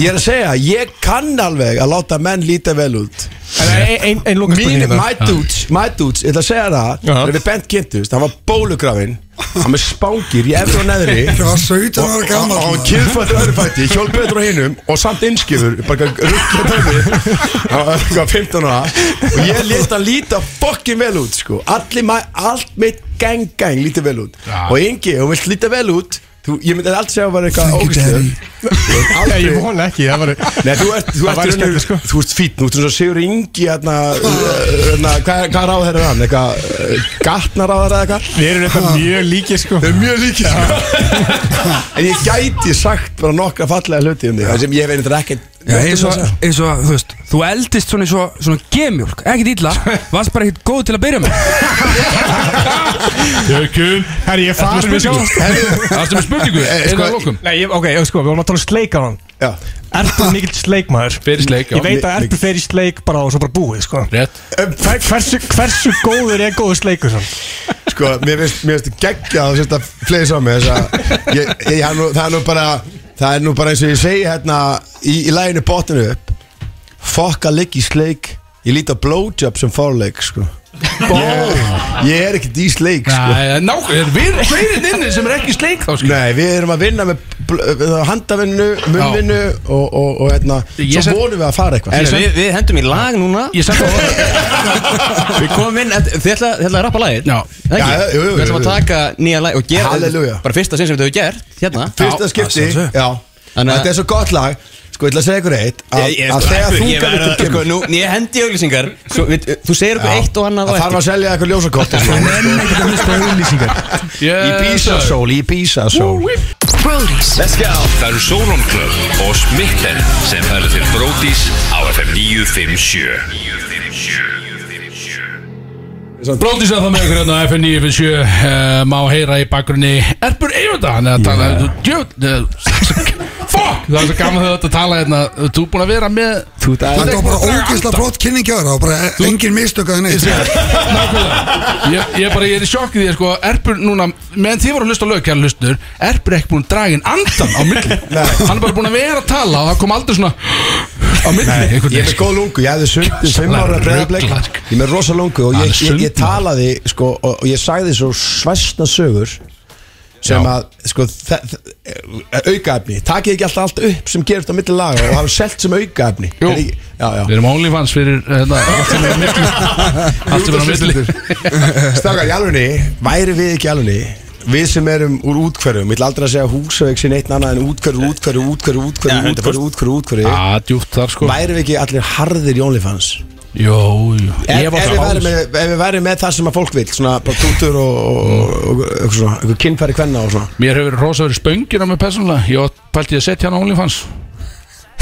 Ég er að segja, ég kann alveg að láta menn líta vel út Ein, ein, ein loka Mín, my dudes, my dudes, ég ætla að segja það Þegar við bent kynntust, hann var bólugrafin Hann með spángir í efri og neðri <laughs> Það var 17 ára Og- og- Og gamall, maður. hann kynfætti öðru fætti, hjól betur á hinum Og samt innskifur, bara rukki og dæmi Hann var eitthvað 15 ára Og ég lét hann líta fokkin vel út sko. Allir, ma- Allt mitt gang gang líti vel út Og Ingi, hún vilt líta vel út Þú, ég myndi alltaf segja að vera eitthvað ógæslega Nei, ég vona ekki Það var Nei, þú ert, þú ert, þú ert, sko. þú ert fýtt Þú ert eins og Sigur Ingi hérna, hérna, Hvað, hvað ráð er hann? Eitthvað, eh, gatnaráðar eða eitthvað? Við erum eitthvað mjög líkir sko Við erum mjög líkir sko En ég gæti sagt bara nokkra fallega hluti um þig það sem ég veit þetta ekki Já, eins og, eins og, þú veist, þú eldist svona, svona, svona gemjólk, ekkert illa, varst bara ekkert góð til að byrja með. Jökul Herri, ég Ertu fari með spurningu? <laughs> sjálf Ertu með spurningu? Eh, Einu sko, að lokum? Nei, ég- ok, sko, við vorum að tala um sleik á hann Já Ertu mikill sleikmaður? Fer í sleik, já. Ég veit að Mi- ertu fer í sleik bara og svo bara búið, sko Rétt Hver- Hversu, hversu góður er góður sleikur sann? Sko, mér finnst, mér finnst geggja að þú sérst að fleisa á mig þess að ég, ég, það, er nú, það er nú bara það er nú bara eins og ég segi hérna í, í læginu botninu upp fokka ligg í sleik ég líti á blowjob sem fárleik sko Ég er ekkert í sleik sko. Nei, ná, við erum fleiri inni sem er ekki í sleik þá sko. Nei, við erum að vinna með bl- uh, handavinnu, munvinnu og, og, og hérna, Ég svo sem- vonum við að fara eitthvað En Sko. við, við hendum í lag núna Við komum inn Þið ætla, þið ætla að rappa lagið Já, já, Já, já, jú, jú, Við ætlum að jú. taka nýja lag og gera Halleluja. Bara fyrsta sinn sem við höfum gert Hérna Fyrsta skipti, já Þannig að- Þetta er svo gott lag Sko, ég ætla að segja ykkur eitt Að, Ég- ég- að Ég- þegar þú ég- gæmur ég- sko, nú, Ég hendi auglýsingar svo, við, Þú segir okkur eitt og annað Það þarf að selja eitthvað ljósakort Ég nenni ekkert að hlusta á auðlýsingar Í Eh, Bísasól, í Bísasól Brody's Let's go Það eru Solon Club og Smitten sem færa til Brody's á FM 957 Bróðis að það með ykkur hérna á FN 957 uh, Má heyra í bakgrunni Erpur Eyvunda Hann er að tala Djöð Fuck Það er svo gaman þau þetta að tala hérna Þú er búin að vera með Þú Þetta var bara ógeðslega flott kynningjára og bara engin mistök að neitt Ég ég bara, ég er í sjokki því að sko Erpur núna Meðan þið voru að hlusta á lög, kæra hlustnur Erpur er ekki búin að draga inn andan á milli <laughs> Hann er bara búin að vera að tala Og það kom aldrei svona Á Nei, milli sko. ég er með góð lungu, ég hefði sundið 5 ára breyðarbleik Rugglar. Ég er með rosa lungu og Hann ég, er ég, ég sundmaður. talaði sko, og, og ég sagði svo svæsna sögur sem Já. að sko, þe- þe- aukaefni, takið ekki alltaf allt upp sem gerist á milli laga og hafa selt sem aukaefni Jú. Er ekki- Já, já Við erum OnlyFans fyrir hérna, allt sem er á milli. Allt sem er á milli Staka, í alvegni, væri við ekki í alvegni Við sem erum úr útkverfum Ég ætla aldrei að segja húsavík sín eitt annað en útkverf, útkverf, útkverf, Já, útkverf, 100%. útkverf, útkverf, útkverf Já, djúpt þar sko Væri við ekki allir harðir í OnlyFans? Jó, jú Ef, Ég ef, var bara við værum með, ef við værum með það sem að fólk vil Svona bara tútur og, og, og, og, og, og kynfæri kvenna og svona Mér hefur rosa verið spöngir á mig persónulega Ég átt- pælti ég að setja hann á OnlyFans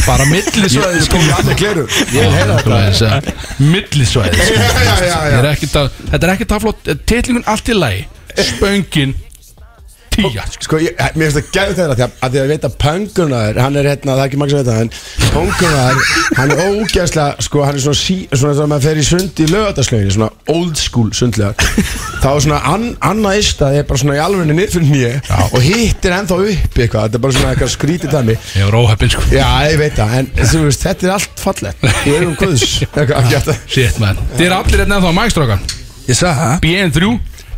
Bara sko. millisvæði Ég- ég kom í allir gleraug. Ég vil heyra þetta. Millisvæði Já, já, já, já. Þetta er ekki það flott Titlingun allt í lagi Spöngin Tíja Sko, ég, mér finnst það gæðu þeirra því að, að því að ég veit að pöngunar, hann er hérna, það er ekki maður sem veit það en pöngunar, hann er ógæðslega sko, hann er svona, sí, svona þegar maður fer í sund í lögataslaugin, svona old school sundlegar, þá er svona an, annað istað er bara svona í alvegni niðfyrir nýja og hittir ennþá upp í eitthvað þetta er bara svona eitthvað skrítið dæmi Ég var óheppin sko Já, ég veit það, en þú veist, þetta er allt fallegt Við erum guðs <laughs> Eitthvað, ekki þetta. Shit man Þið er allir hérna ennþá á mægstrákan Ég sagði það BN3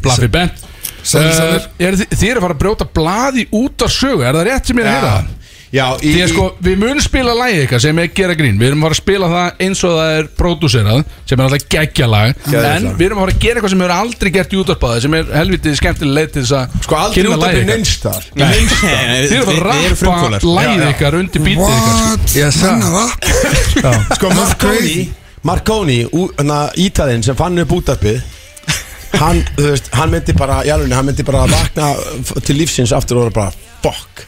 Blaffi Bent Sælir, sælir. Eh, eru þið- Þið eru að fara að brjóta blaði út af sögu Er það rétt sem ég er að heyra það? Já, í, Því að sko, við munum spila lagið ykkar sem er gera grín Við erum að fara að spila það eins og það er pródúserað sem er alltaf geggja lag Geðveikt En lag. við erum að fara að gera eitthvað sem við erum aldrei gert í útarpaði sem er helvitið skemmtileg leið til þess að Sko, aldrei kynna lagið útvarpið ykkar. neins staðar. Nei, Neins staðar. nei, Þið erum að Við- við erum frumkvöðlar. rappa lagið Já, já. ykkar undir bítið ykkar sko. Ég sagði það Sko Marconi Marconi, ú- hérna, ítalinn sem fann upp útarpið hann, þú veist, hann myndi bara í alveg, hann myndi bara að vakna f- til lífsins aftur og vera bara fuck,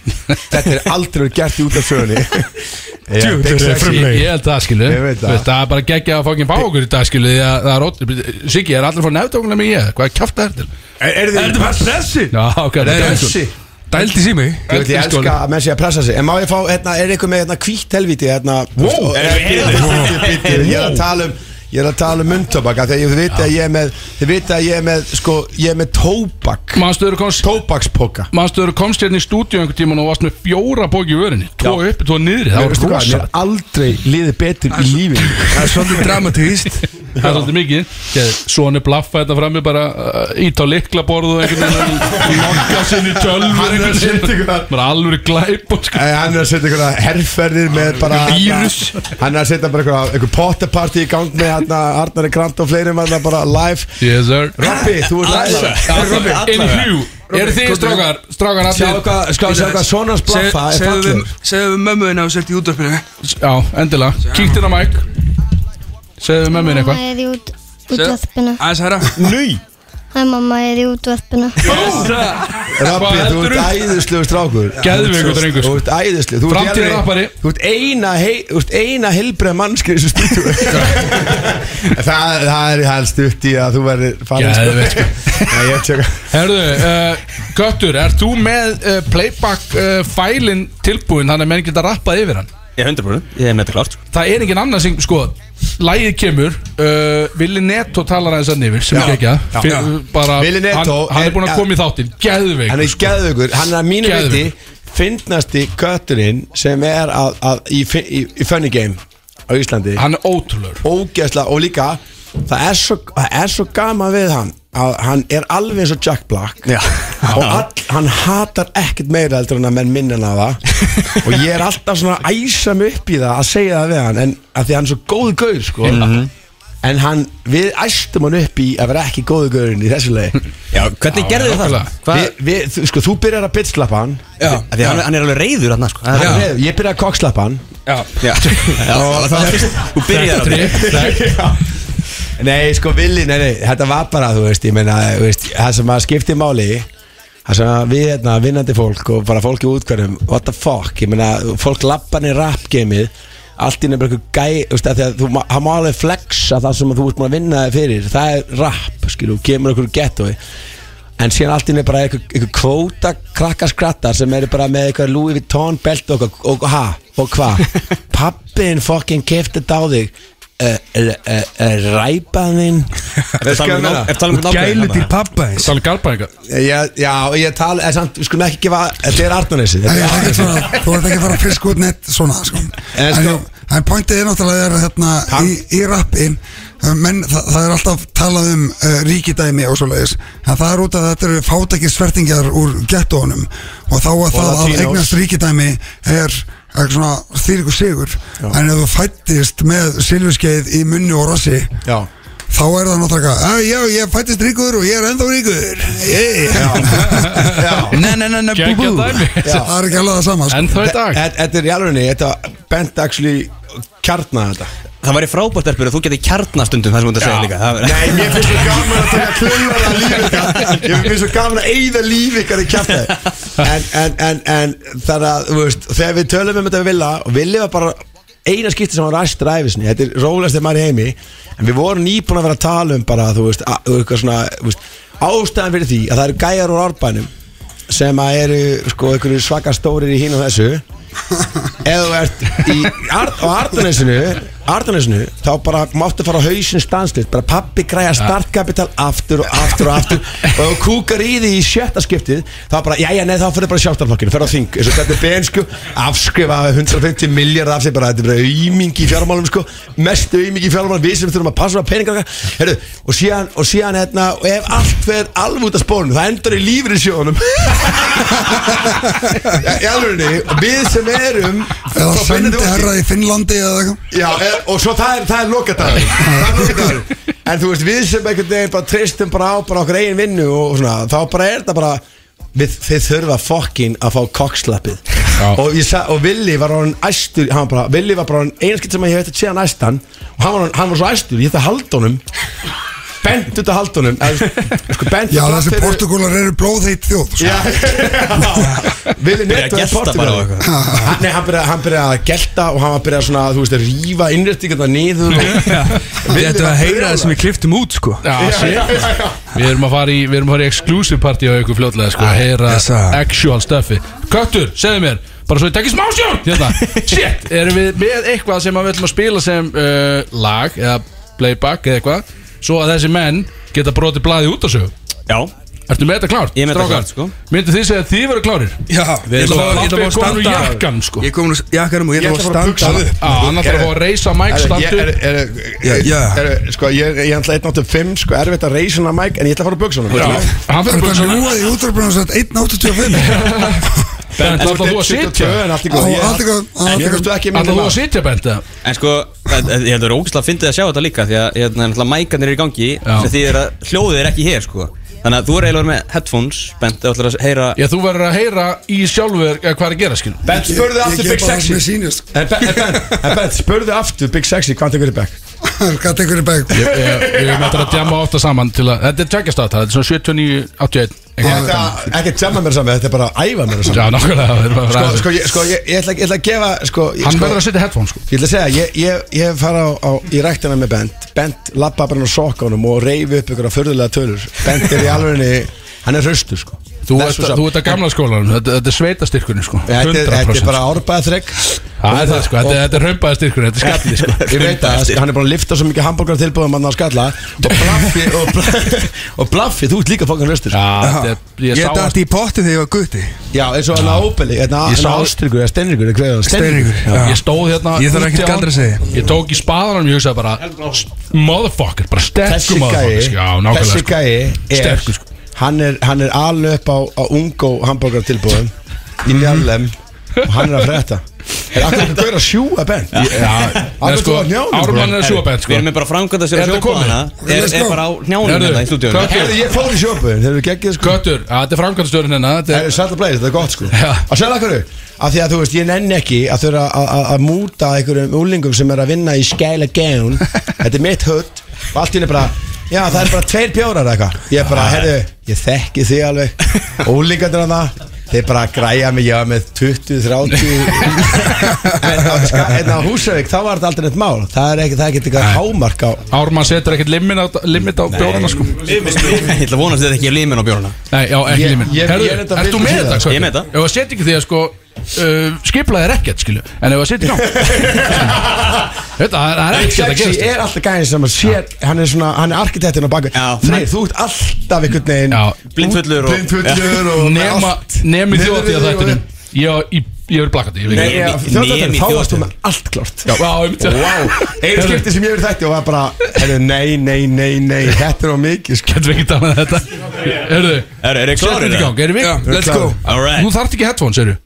þetta er aldrei verið gert í útarpsögunni Djú, þetta er frumleg. Ég held það skilu Ég veit það. Veist, Það er bara geggja að fókin fá okkur í dag skilu því að það er ótt Siggi, er allir að fá nefntóknum í ég? Hvað er kjátt það er til? Er þið bara pressi? Já, ok, þetta er Pressi? Dældi sími Ég veit, ég elska að menn sé að pressa sig En má ég fá, hérna, er eitthvað með hérna hvítt helviti hérna Wow, er eitthvað Ég er að tala um Ég er að tala um mundtóbak af því að Þið vita að ég er með Þið vita að ég er með, sko, ég er með tóbak Manstuður komst Tóbakspoka Manstuður komst hérna í stúdíu einhvern tíman og varst með fjóra bóki í vörinni Tvo uppi, tvo niðri, það Mér var veistu hvað, rosa mér er aldrei liðið betur í lífi Það er svolítið dramatíst Það er svolítið mikið Geð- Sóni blaffa þetta frammi bara uh, Ít á liklaborðu og einhvern veginn Lokka sinni tölvur Hann er að einhvern setja veginn. ykkur að- Bara alveg glæp og Æ, Hann er að setja einhverja herrferðir með bara hérna- Vírus. Hann er að setja bara einhverja einhver pottapartí í gang með hérna Arnari Grant og fleirum hérna bara live Yes sir Rappi, þú ert Allavega. live Allavega. In hue. Eru þið strákar- strákar allir- Sjá hvað, sko, sjá sjá hvað sonans blaffa er fallur Segðu við mömmuðina og sért í útvarpinu Já, endilega Kíkt inn á mæk Segðu með mér eitthvað Mamma er í út, útvarpinu Æs herra Nú Hæ, mamma er í útvarpinu Rappi, þú heldurðu? ert æðislegu strákur Geðveikur drengur, sko. Þú ert æðislegu Þú ert Framtíðar í alveg- rappari. Þú ert eina, hei- þú ert eina helbreið mannskri í þessu <laughs> stúdíu það, það er helst upp í að þú verður farin Geðveikt, sko. <laughs> Nei, ég tjóka Herðu, uh, Göttur, er þú með uh, playback uh, fælin tilbúin þannig að menn geta rappað yfir hann? Ég er 100% Ég er með þetta klart Það er engin annað sem, sko, lægið kemur uh, Vili Netto talar aðeins að yfir sem Já, ekki ekki já. að bara, Willi Netto hann, hann er- er búin að koma í þáttinn Geðveik Hann er geðveikur, hann er að mínu viti sko. Geðveikur. Fyndnasti kötturinn sem er að, að, í, fi- í, í funny game á Íslandi Hann er ótrúlegur Ógeðslega og líka það er svo, það er svo gaman við hann að hann er alveg eins og Jack Black Já. og all, hann hatar ekkert meira heldur en að menn minna hann að <laughs> það og ég er alltaf svona að æsa mig upp í það að segja það við hann en að því hann er svo góð gaur sko Mhm. en hann, við æstum hann upp í að vera ekki góðu gaurinn í þessu leið <laughs> Já, hvernig gerðu þið það? Hvað- Við, við, þú- sko, þú byrjar að bitslappa hann Já. Af því hann- hann er alveg reiður hann sko. Hann er reiður. Ég byrja að kokslappa hann Já. Já. <laughs> Já, það var fyrst- þú byrjar að- Já. Nei, sko, villi, nei, nei, þetta var bara, þú veist, ég meina, þú veist, það sem að skipti máli Það sem að við, hérna, vinnandi fólk og bara fólk í útkvæðum What the fuck, ég meina, fólk lappan í rap-gameið Allt í nefnir einhver gæ, þú veist, af því að þú, ma- hann má alveg flexa það sem að þú ert búin að vinna þig fyrir Það er rap, skilu, kemur einhver gettói En síðan allt í nefnir bara einhver, einhver kvóta krakkaskrattar sem eru bara með einhver Louis Vuitton belt og, og, og ha, og hva <laughs> Pappin fucking kefti þetta á þig Uh, uh, uh, uh, ræpaðinn Ertu að tala um nál- ertu að tala um nágranna þarna? hérna? pappaðins Tala um galbæðinga Já, já, ég tala, en samt, við skulum ekki gefa Þetta er Arnarnesi Nei, það er ekkert svona, þú ert ekki að fara að friska út neitt svona sko. En En, sko- sko, en pointið er náttúrulega er, hérna, í, í rappin menn, það, það er alltaf talað um uh, ríkidæmi og svoleiðis en það er út að þetta eru fátækir svertingjar úr gettónum og þá að Og það að Latinos. eignast ríkidæmi er er svona þýrkur sigur en ef þú fættist með silfiskeið í munni og rossi Já. <laughs> þá er það náttúrulega "Ah, já, ég fættist ríkur og ég er ennþá ríkur yeah. Nei, nei, nei, nei, bú, bú. Já. það er ekki alveg það sama sko. Þe- Þetta er í alvegni, þetta bent actually kjarna þetta Það væri frábært erfur að þú geti kjarnastundum það sem þú ert að segja Já. líka Það- Nei, mér finnst svo gaman að taka tölunar að lífi ykkar Ég finnst svo gaman að eyða lífi ykkar í kjæfti En, en, en, en þar að, þú veist, þegar við tölum um þetta við Villa Og Villa var bara eina skipti sem var ræst ræfisni Þetta er rólegast þegar maður í heimi En við vorum nýbúin að vera að tala um bara, þú veist, að, eitthvað svona, þú veist Ástæðan fyrir því að það eru gæjar úr árbænum Sem að eru, sko, einhverju svaka stórir í hín og þessu eða þú ert í, Ar á Ardanesinu Ardanesinu, þá bara máttu fara á hausin stanslið, bara pappi græja startkapital aftur og aftur og aftur og ef þú kúkar í því í sjötta skiptið þá bara, jæja, nei, þá fyrir bara sjálfstaflokkinu fyrir á þing, eins og sko, þetta er bensku afskrifa 150 miljard af sig bara þetta er bara aumingi í fjármálum, sko mest aumingi í fjármálum, við sem þurfum að passa á peningar okkar. Heyrðu, og síðan, og síðan hérna, og ef allt fer alveg út af spórnum, það endar í lífri <laughs> í alvegni við sem erum Um, Eða frá sendi Benidorm- herra í Finnlandi eða eitthvað Já, e- og svo það er, það er lokadagur Það er lokadagur. en þú veist, við sem einhvern veginn bara tristum bara á bara okkar eigin vinnu og svona, þá bara er þetta bara við, þið þurfa fokkin að fá kokslappið og, ég sa, og Willi var hann æstur hann var bara, Willi var bara hann einskilt sem ég veit að sé hann æstan og hann var, orðinn- hann var svo æstur, ég ætti að halda honum bent út að halda honum en, sko, bent Já, þessi Portugalar eru blóðheit þjóð sko. Vili Byrja að Neto er gelta bara á Portugal eitthvað. Hann- Nei, hann byrjaði hann byrja að gelta og hann var byrjað svona, þú veist, að rífa innrættingarna niður <laughs> Við ættum að heyra það sem við kliftum út sko Já, shit. Við erum að fara í, við erum að fara í exclusive party á ykkur fljótlega sko, að heyra actual stuffi Köttur, segðu mér, bara svo ég tekki smásjón hérna. Shit, erum við með eitthvað sem að við ætlum að spila sem uh, lag eða playback eða eitthvað svo að þessi menn geta brotið blaði út á sig Já Ertu með þetta klárt? Ég er með þetta strákar? klárt, sko. Myndu þið segja að þið verður klárir? Já, Við erum Ég ætla að bara koma úr standa- jakkan sko Ég kom úr jakkanum og ég ætla bara að um standa upp Já, hann ætlar að fá að reisa mic standu Já, já Sko, ég er ég er alltaf 1.85, sko, erfitt að reysa hana mic En ég ætla að fara að bugsa hana hann Það er bara núaði í útrafbrunum sem 1.85 <laughs> Bent, En- ætlar þú að 1.72 sitja? en allt í góðu. Á, allt í góðu, allt í góðu. Ætlar þú að sitja, Bent? eða? <laughs> En sko, það- ég heldur ógislega að fyndið að sjá þetta líka Því að hérna, náttúrulega mækarnir eru í gangi sem Því að hljóðið er ekki hér sko Þannig að þú er eiginlega með headphones Bent, þú ætlar að heyra Já, þú verður að heyra í sjálfur eh, hvað er að gera, skil Ben spurði aftur Big Sexy sýnist En Ben- en Ben- en Ben spurði aftur Big Sexy hvað tekur þið back Hvað tekur þið back? Ég ég er með þetta að djama ofta saman til að Þetta er tveggjast aðtala, þetta er svona 79, 81 Þetta er ekki að jamma mér saman, þetta er bara að æfa mér saman Já, nákvæmlega, við erum bara að Sko, ræða þetta. sko, ég, sko ég, ég, ætla, ég ætla að gefa sko, ég, Hann sko, verður að setja headphone, sko Ég ætla að segja, ég, ég, ég fara á, á, í ræktina með Bent Bent lappa bara á sokkanum og reyfi upp ykkur að förðulega tölur Bent er í alvegni, hann er hraustur sko Þú ert, þú ert að gamla skólanum, þetta, þetta er sveitastyrkunni sko Þetta er- þetta er 100%. bara árbæða þrygg Það er það sko, þetta, þetta er römbaðastyrkunni, þetta er skallið sko Ég veit að hann er búin að lifta svo mikið hambúrgar tilbúðum að skalla Og blaffi, og blaffi, <laughs> og blaffi þú ert líka fokkan hlustur Já, Ég dætti í potti þegar ég var gutti Já, eins og hann á óbeli Ég sá- Hérna ástyrkur, eða steinryggur, eða hvað er það? Steinryggur, já. Ég stóð hérna Ég þarf úti ekkert á- galdra að segja. Ég tók í spaðanum, ég hugsaði bara Motherfucker, bara Þessi sterkur gæi, motherfucker sko, Já, nákvæmlega þessi sko. gæi er, Sterkur sko. hann er, hann er alveg upp á, á ungó hambúrgar tilbúðum Í Mhm. mjallem Og hann er að frétta Er akkur að gauðra sjúa benn? Akkur sko, þú að njánum sko. Við erum með bara framkvæmt að sér að sjópa hana er, er bara á njánum hérna í stúdíónu Herðu, ég fór í sjópaðin, þeir eru geggið sko Köttur, að þetta er framkvæmstjórin hérna Þetta er sætt að blæði, þetta er gott sko Að sjálf akkur, af því að þú veist, ég nenni ekki að þurfa að- að- að múta einhverjum úlingum sem er að vinna í skæla gæun Þetta er mitt hutt og allt í henni bara, já það er bara tveir bjórar eða eitthvað Ég er bara, herðu, ég þekki þig alveg, úlingarnir að það Þeir bara græja mig, ég var með 20, 30 En á Ska- en á Húsavík, þá var þetta aldrei neitt mál Það er ekki, það er ekki eitthvað hámark á Ármann setur ekkert limit á, limit á bjórana sko Ég ætla að vonast þetta ekki er limin á bjórna Nei, já, ekki Ég- limit ég- Herðu, ég er þetta ert þú um vildi með síðan. þetta? sko? Ég er með þetta. Ef að setja ekki því að sko uh, skiplaði er ekkert, skilju En ef að setja ekki <laughs> á Þetta, það er- það er ekkert að Sexy gerast er alltaf gæðin sem að sér Hann er svona, hann er arkitektinn á baku Freyr, þú ert alltaf einhvern veginn Blindfullur og- Blindfullur og Nema, nema í þjóðtíða þættinum Ég, ég, ég verið plakandi ég veit ekki. Þjóðtættin, þá varst þú með allt klart Já, já, einmitt. Wow, einu Herðu. skipti sem ég verið þætti og var bara Herru, nei, nei, nei, nei, þetta er á mikið sko. Getur við ekki talað um þetta? Herðu, Herðu, eru þið klárir Setjum þetta í eða? gang, erum við? Já, við erum Let's go klárir. All right. Þú þarft ekki headphones, eru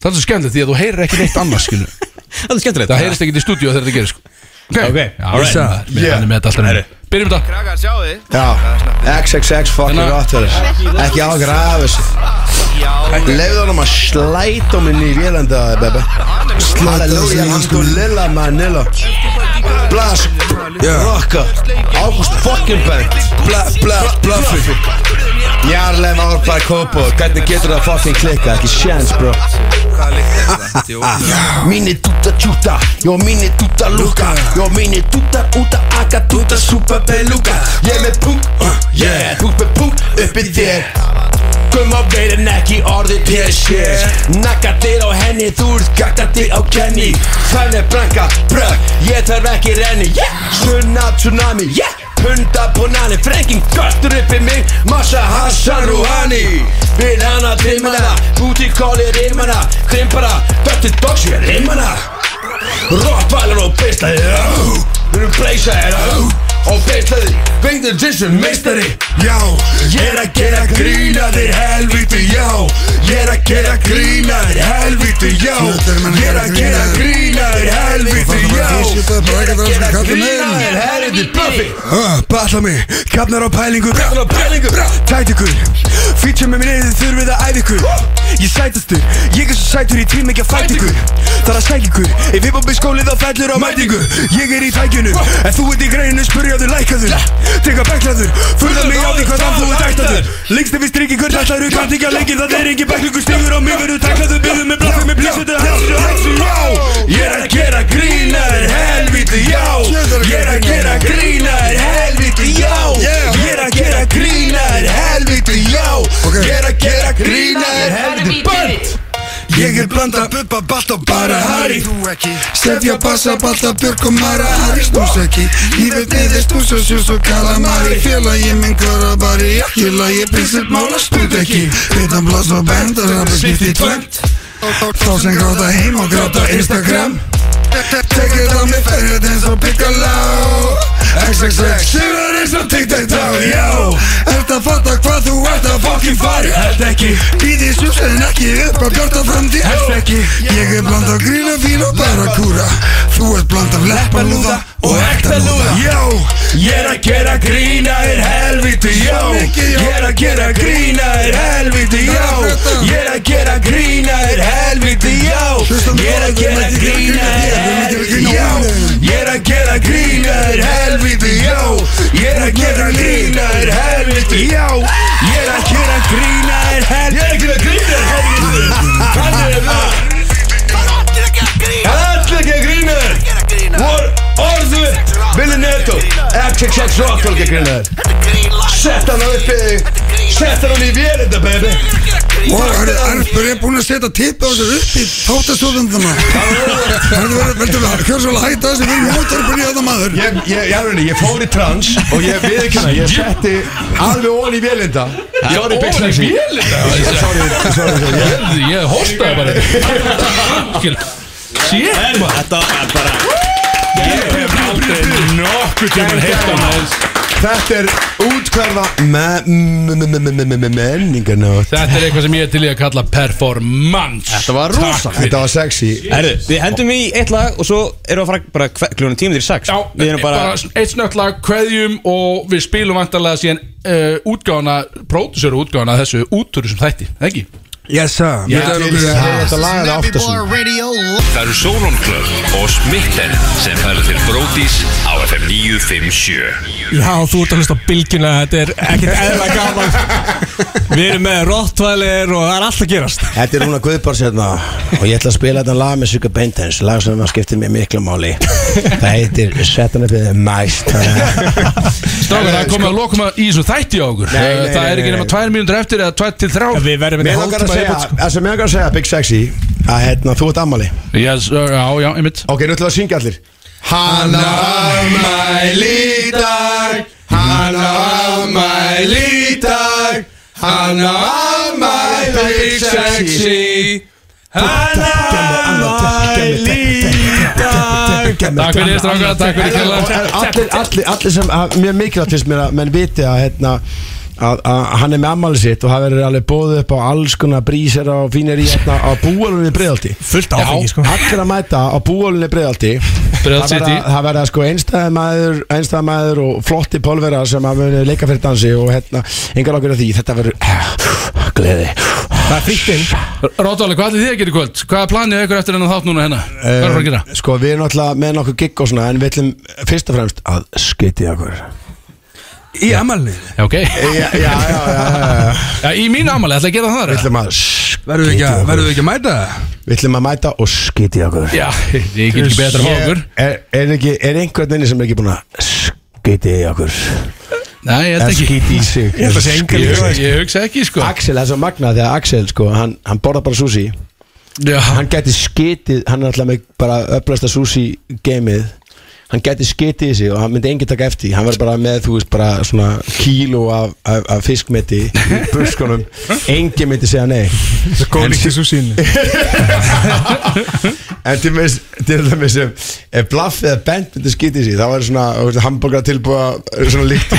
Það er svo skemmtilegt því að þú heyrir ekki neitt annars, skilu <laughs> Það er skemmtilegt Það heyrist ekkert í stúdíu þegar þetta gerir, sko Ok, Ok, Já, all right. það er- mér- hann er með þetta alltaf núna. Byrjum þetta Krakkar, sjáu þið Já, XXX fucking Hérna. gott verður Ekki ágjör af þessu Leifðu honum að slæta minn í vélanda, bebe Halleluja, hann stú lilla manila Blas, rocka Ágúst fucking bent Bla, bla, bluffi Jarlem árbær kópo Hvernig getur það fucking klikka, ekki sjans, bro Ah, Mini tuta tjuta, yo mini tuta luka Yo mini tuta uta aka tuta super peluka Ég er með punkt, uh, yeah, e punkt með punkt uppi þér Gumma veit en ekki orðið þér sér Nakka þér á henni, þú ert gata þér á Kenny Þannig branka, brögg, ég þarf ekki renni Yeah, sunna tsunami, yeah, punda bonani Frenkin göttur uppi mig, massa Hassan Rouhani Vil hana dimmana, út í kóli rimmana Krimpara, döttir dogs, ég rimmana Rottvælar og beislaði, oh Við erum bleysaðir, oh Og beislaði, vengdur þessu meistari Já, ég er að gera grína þér helviti, já Ég er að gera grína þér helviti, já Ég er að gera grína þér helviti, já Ég er að gera grína þér helviti, Buffy Batla mig, kafnar á pælingu Kafnar á pælingu Tæt ykkur Feature með mér eða þurfið að æfa ykkur Ég sætastur, ég er svo sætur í tím ekki að fæta ykkur Það er að sækja ykkur Ef við bóðum skólið þá fellur á mætingu Ég er í tækjunum, en þú ert í greinu Spurjaður, lækaður, teka bæklaður Furða mig á því hvað þann þú ert ættaður Lengstu við strikki hvern ætlaður, kannt ekki að lengi Það er engin bæklingu stígur á mig Verður tæklaður, byggður með blaffi, með blísu Þetta er hættu, hættu, já Ég er að gera grína þér helviti, já Ég er að gera grína þér helviti, já Ég er að gera grína þér helviti, já Ég er að gera grína þér helviti, börn Ég er blanda bubba balt og bara Harry Stefja bassa balta björk og mara Harry snús ekki Lífið niður snús og sjús og kalamari Félagi minn kvara bari Ég lagi prinsip mála stúd ekki Hitan blás og bend og rappa skipt í tvönd Þá sem gráta heim og gráta Instagram Tekir það með ferðið hérna eins og Piccolo XXX Sýrar eins og TikTok-tá, já Ert að fatta hvað þú ert að fokkin fari Ert ekki Býði sjús en ekki upp á bjarta framtíð Ert ekki Ég er bland af grína fín og bara kúra Þú ert bland af leppalúða og ekta lúða Já Ég er að gera grína þér helviti, já Ég er að gera grína þér helviti, já Ég er að gera grína þér helviti, já Ég er að gera grína þér helviti, já Ég er að gera grína þér helviti, já Ég er að gera grína þér helviti, já Ég er að gera grína þér helviti Ég er að gera grína þér helviti Þannig er það Allir ekki að grína þér Vor orðu Villinetto XXX rockálgi grunnaður Sett hann upp í Sett hann í vélinda baby Og hörru, Erfur er búin að setja tippi á þessu upp í þáttastóðundana Hörru, verður, veldur við, hörru svo að hætta þessu, við erum mótarbunni að það maður Ég, ég, ég, alveg, ég fór í trans og ég viðkynna, ég setti alveg ofan í vélinda Ég var í Ofan í byggslæsi vélinda? Sorry, sorry, sorry Ég, ég hostaði <laughs> bara Skil Sér maður Þetta var bara Ég hef aldrei nokkuð tímann heyrt á maður Þetta er útkverfa me- me- me- me- me- me- me- menningarnót Þetta er eitthvað sem ég er til í að kalla performance Þetta var Þetta var sexy Herðu, við hendum í eitt lag og svo erum við að fara bara klunum tímið í sex Já, við erum bara, bara eitt snögt lag, kveðjum og við spilum vantarlega síðan uh, útgána, pródusöru útgána af þessu útúru sem þætti, ekki? Yes sir Ég ætla okkur að- ég ætla að laga það aftur svona. Það eru Solon Club og Smitten sem færa til Brótis á FM 957 Já, þú ert að hlusta á bylgjuna, þetta er ekkert eðla gaman Við erum með rottvælir og það er alltaf gerast Þetta er Rúna Guðbárs hérna og ég ætla að spila þetta lag með Sugar Bentens lag sem að skiptir mér miklu <laughs> máli Það heitir Settan upp eða mæst Strákar, það er komið að lokum að í þessu þætti á okkur Eh, Nei, nei, Það nei, er ekki nei, nema tvær mínútur eftir eða tvær til þrjá Við verðum Mér langar að segja, sko. það sem mér langar að segja Big Sexy að hérna, þú ert ammali yes, uh, Já, já, einmitt Ok, nú ætlum við að syngja allir Hann á afmæli í dag Hann á afmæli í dag Hann á afmæli Big Sexy Hann á afmæli í dag Takk fyrir strákar, takk fyrir Og kjöla er allir, allir, allir sem, að, mjög mikilvægt finnst mér að menn viti að hérna að, að hann er með ammali sitt og hann verður alveg bóðið upp á alls konar brísera og fínir í hérna á búalunni breyðaldi Fullt áfengi, sko. Allir að mæta á búalunni breyðaldi Breiðholt City. Það verða sko einstæðamæður einstæðamæður og flotti pólverar sem að muni leika fyrir dansi og hérna engar okkur af því, þetta verður gleði Það er frítt inn Róttáli, hvað ætlið þið að gera í kvöld? Hvað er planið ykkur eftir hennan þátt núna hérna? Hvað er að fara að gera? Sko við erum alltaf með nokkuð gigg og svona en við ætlum fyrst og fremst að skytið okkur Í amalni Já, ok Já, já, já, já, já Í mín amalni, ætla að gera það Við ætlum að Verðum við ekki að- verðum við ekki að mæta það? Við ætlum að mæta og skytið okkur Já, ég get ekki betra með okkur Er, er, ekki, er einhvern veginn sem er ekki búin að skytið í okkur? Nei, ég held ekki Skytið í sig Ég held að segja engan Ég- ég hugsa ekki sko Axel, það er svo magna því að Axel sko, hann, hann borða bara sushi Já. Hann gæti skytið, hann er alltaf með bara öflasta sushi geimið Hann gæti skytið í sig og hann myndi engin taka eftir því. Hann var bara með, þú veist, bara svona kíló af, af, af fiskmeti í buskunum Engin myndi segja nei Það góð líkt í súsínu <laughs> En til með til dæmis ef, ef Blaff eða Bent myndi skýta í sig þá væri svona hambúrgar tilbúa svona líkt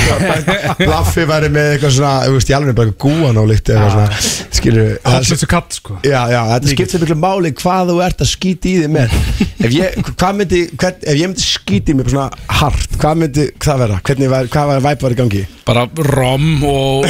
Blaffi væri með eitthvað svona þú veist, ég alveg bara gúan á líkt eitthvað svona skilur Allir svo katt sko Já, já, þetta skiptir miklu máli hvað þú ert að skýta í þig með ef ég, hvað myndi, hvern, ef ég myndi skýta í mig svona hart, hvað myndi það vera, hvernig var, hvað var væp var í gangi Bara rom og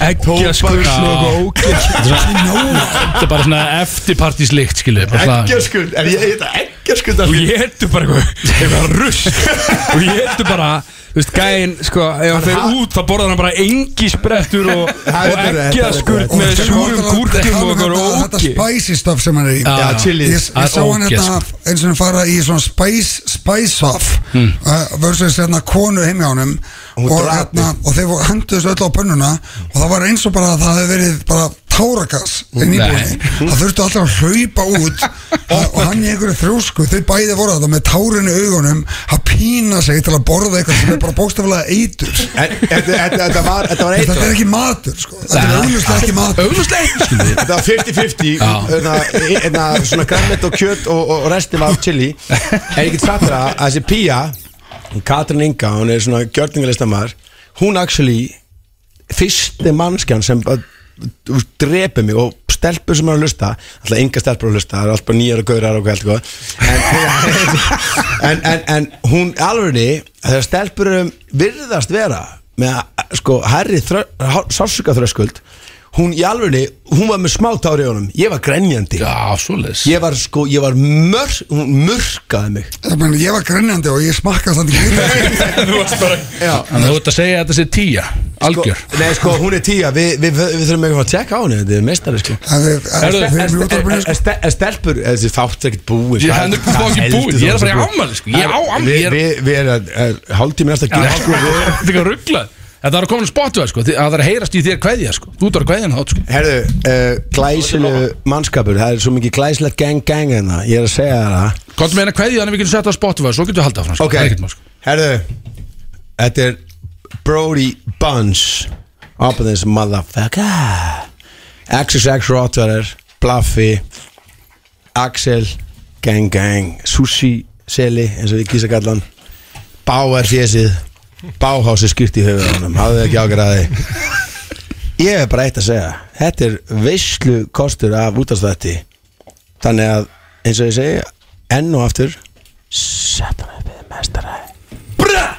Tóbaksskurn og ógeð. Þetta er bara svona eftirpartíslikt skilu Eggjaskurn, ef ég heita eggjaskurn Og ég heldur bara eitthvað eitthvað rust Og ég heldur bara, þú veist, gæinn, sko Ef hann fer út, þá borðar hann bara engi sprettur Og, Það er og rétt, ekkjaskurt með súrum gúrkum og eitthvað Þetta ógi spicy stuff sem hann er í Já, já, chilies. Ég, Það ég er sá hann ógeð, hérna eins og hann fara í svona spice, spice off Mm. uh, versus hérna konu heim hjá honum og, hérna, og þeir voru- henduðu þessu öll á pönnuna og það var eins og bara að það hefði verið bara táragas inn í Nei. búinni það þurftu allir að hlaupa út og og hann í einhverju þrjósku, þau bæði voru þetta með tárinu augunum að pína sig til að borða eitthvað sem er bara bókstaflega eitur En þetta- þetta- þetta var- þetta var eitur. Þetta er ekki matur sko. þetta er Nei. auglustlega ekki matur auglustlega ekki Þetta var 50-50 Já. hérna, hérna, Svona græmmet og kjöt og, og resti var chili En ég get sagt þér að að þessi Pía hún Katrin Inga, hún er svona gjörningalistamaður Hún actually Fyrsti mannskjan sem bara, þú veist, drepi mig og stelpur sem er að hlusta alltaf enga stelpur að hlusta, það er alltaf bara nýjar og gaurar og hvað heldur góð en, en, en, en hún alveg þegar stelpurum virðast vera með sko herri sársöka þröskuld hún í alvegni, hún var með smátár í honum ég var grenjandi Já, svoleiðis Ég var sko, ég var mör, hún mörkaði mig Ég, meni, ég var grænjandi og ég smakkaði þannig Þú varst bara Þú ert að segja að þetta sé tíja Algjör Nei, sko, hún er tíja Við vi, vi, við þurfum eitthvað að tjekka á henni Þetta er meistari, sko Herðu, En við erum í ste- útvarpinu, en- en ste- en stelpur Þessi þátt er ekkert búið Ég- hann er bara ekki búinn. Ég er að fara í afmæli, sko. Ég á afmæli, ég er- Við erum hálftími næsta gíl Sko, <laughs> Þetta er ekki að ruggla Þetta er að koma að spottu sko. Þi- Það er að heyrast í þér kveðja sko. Þú ert að kveðja hann þátt sko. Herðu, uh, glæsilegu mannskapur Það er svo mikið glæsilegt gang gang en það Ég er að segja þér það Hvað meina kveðja þannig við getum sett á spottu Svo getum við haldið áfram sko. Ok, Það er ekkert mál, sko. herðu Þetta er Brody Bunch Up in this motherfucker XXX Rottweiler Bluffy Axel Gang Gang Sushi Seli eins og við kýsa kallan Báar fjesið Báhási skýrt í höfuðanum Hafðu ekki ágræði Ég er bara eitt að segja Þetta er veislu kostur af útastætti Þannig að eins og ég segi Enn og aftur Settum við mestaræði Bra!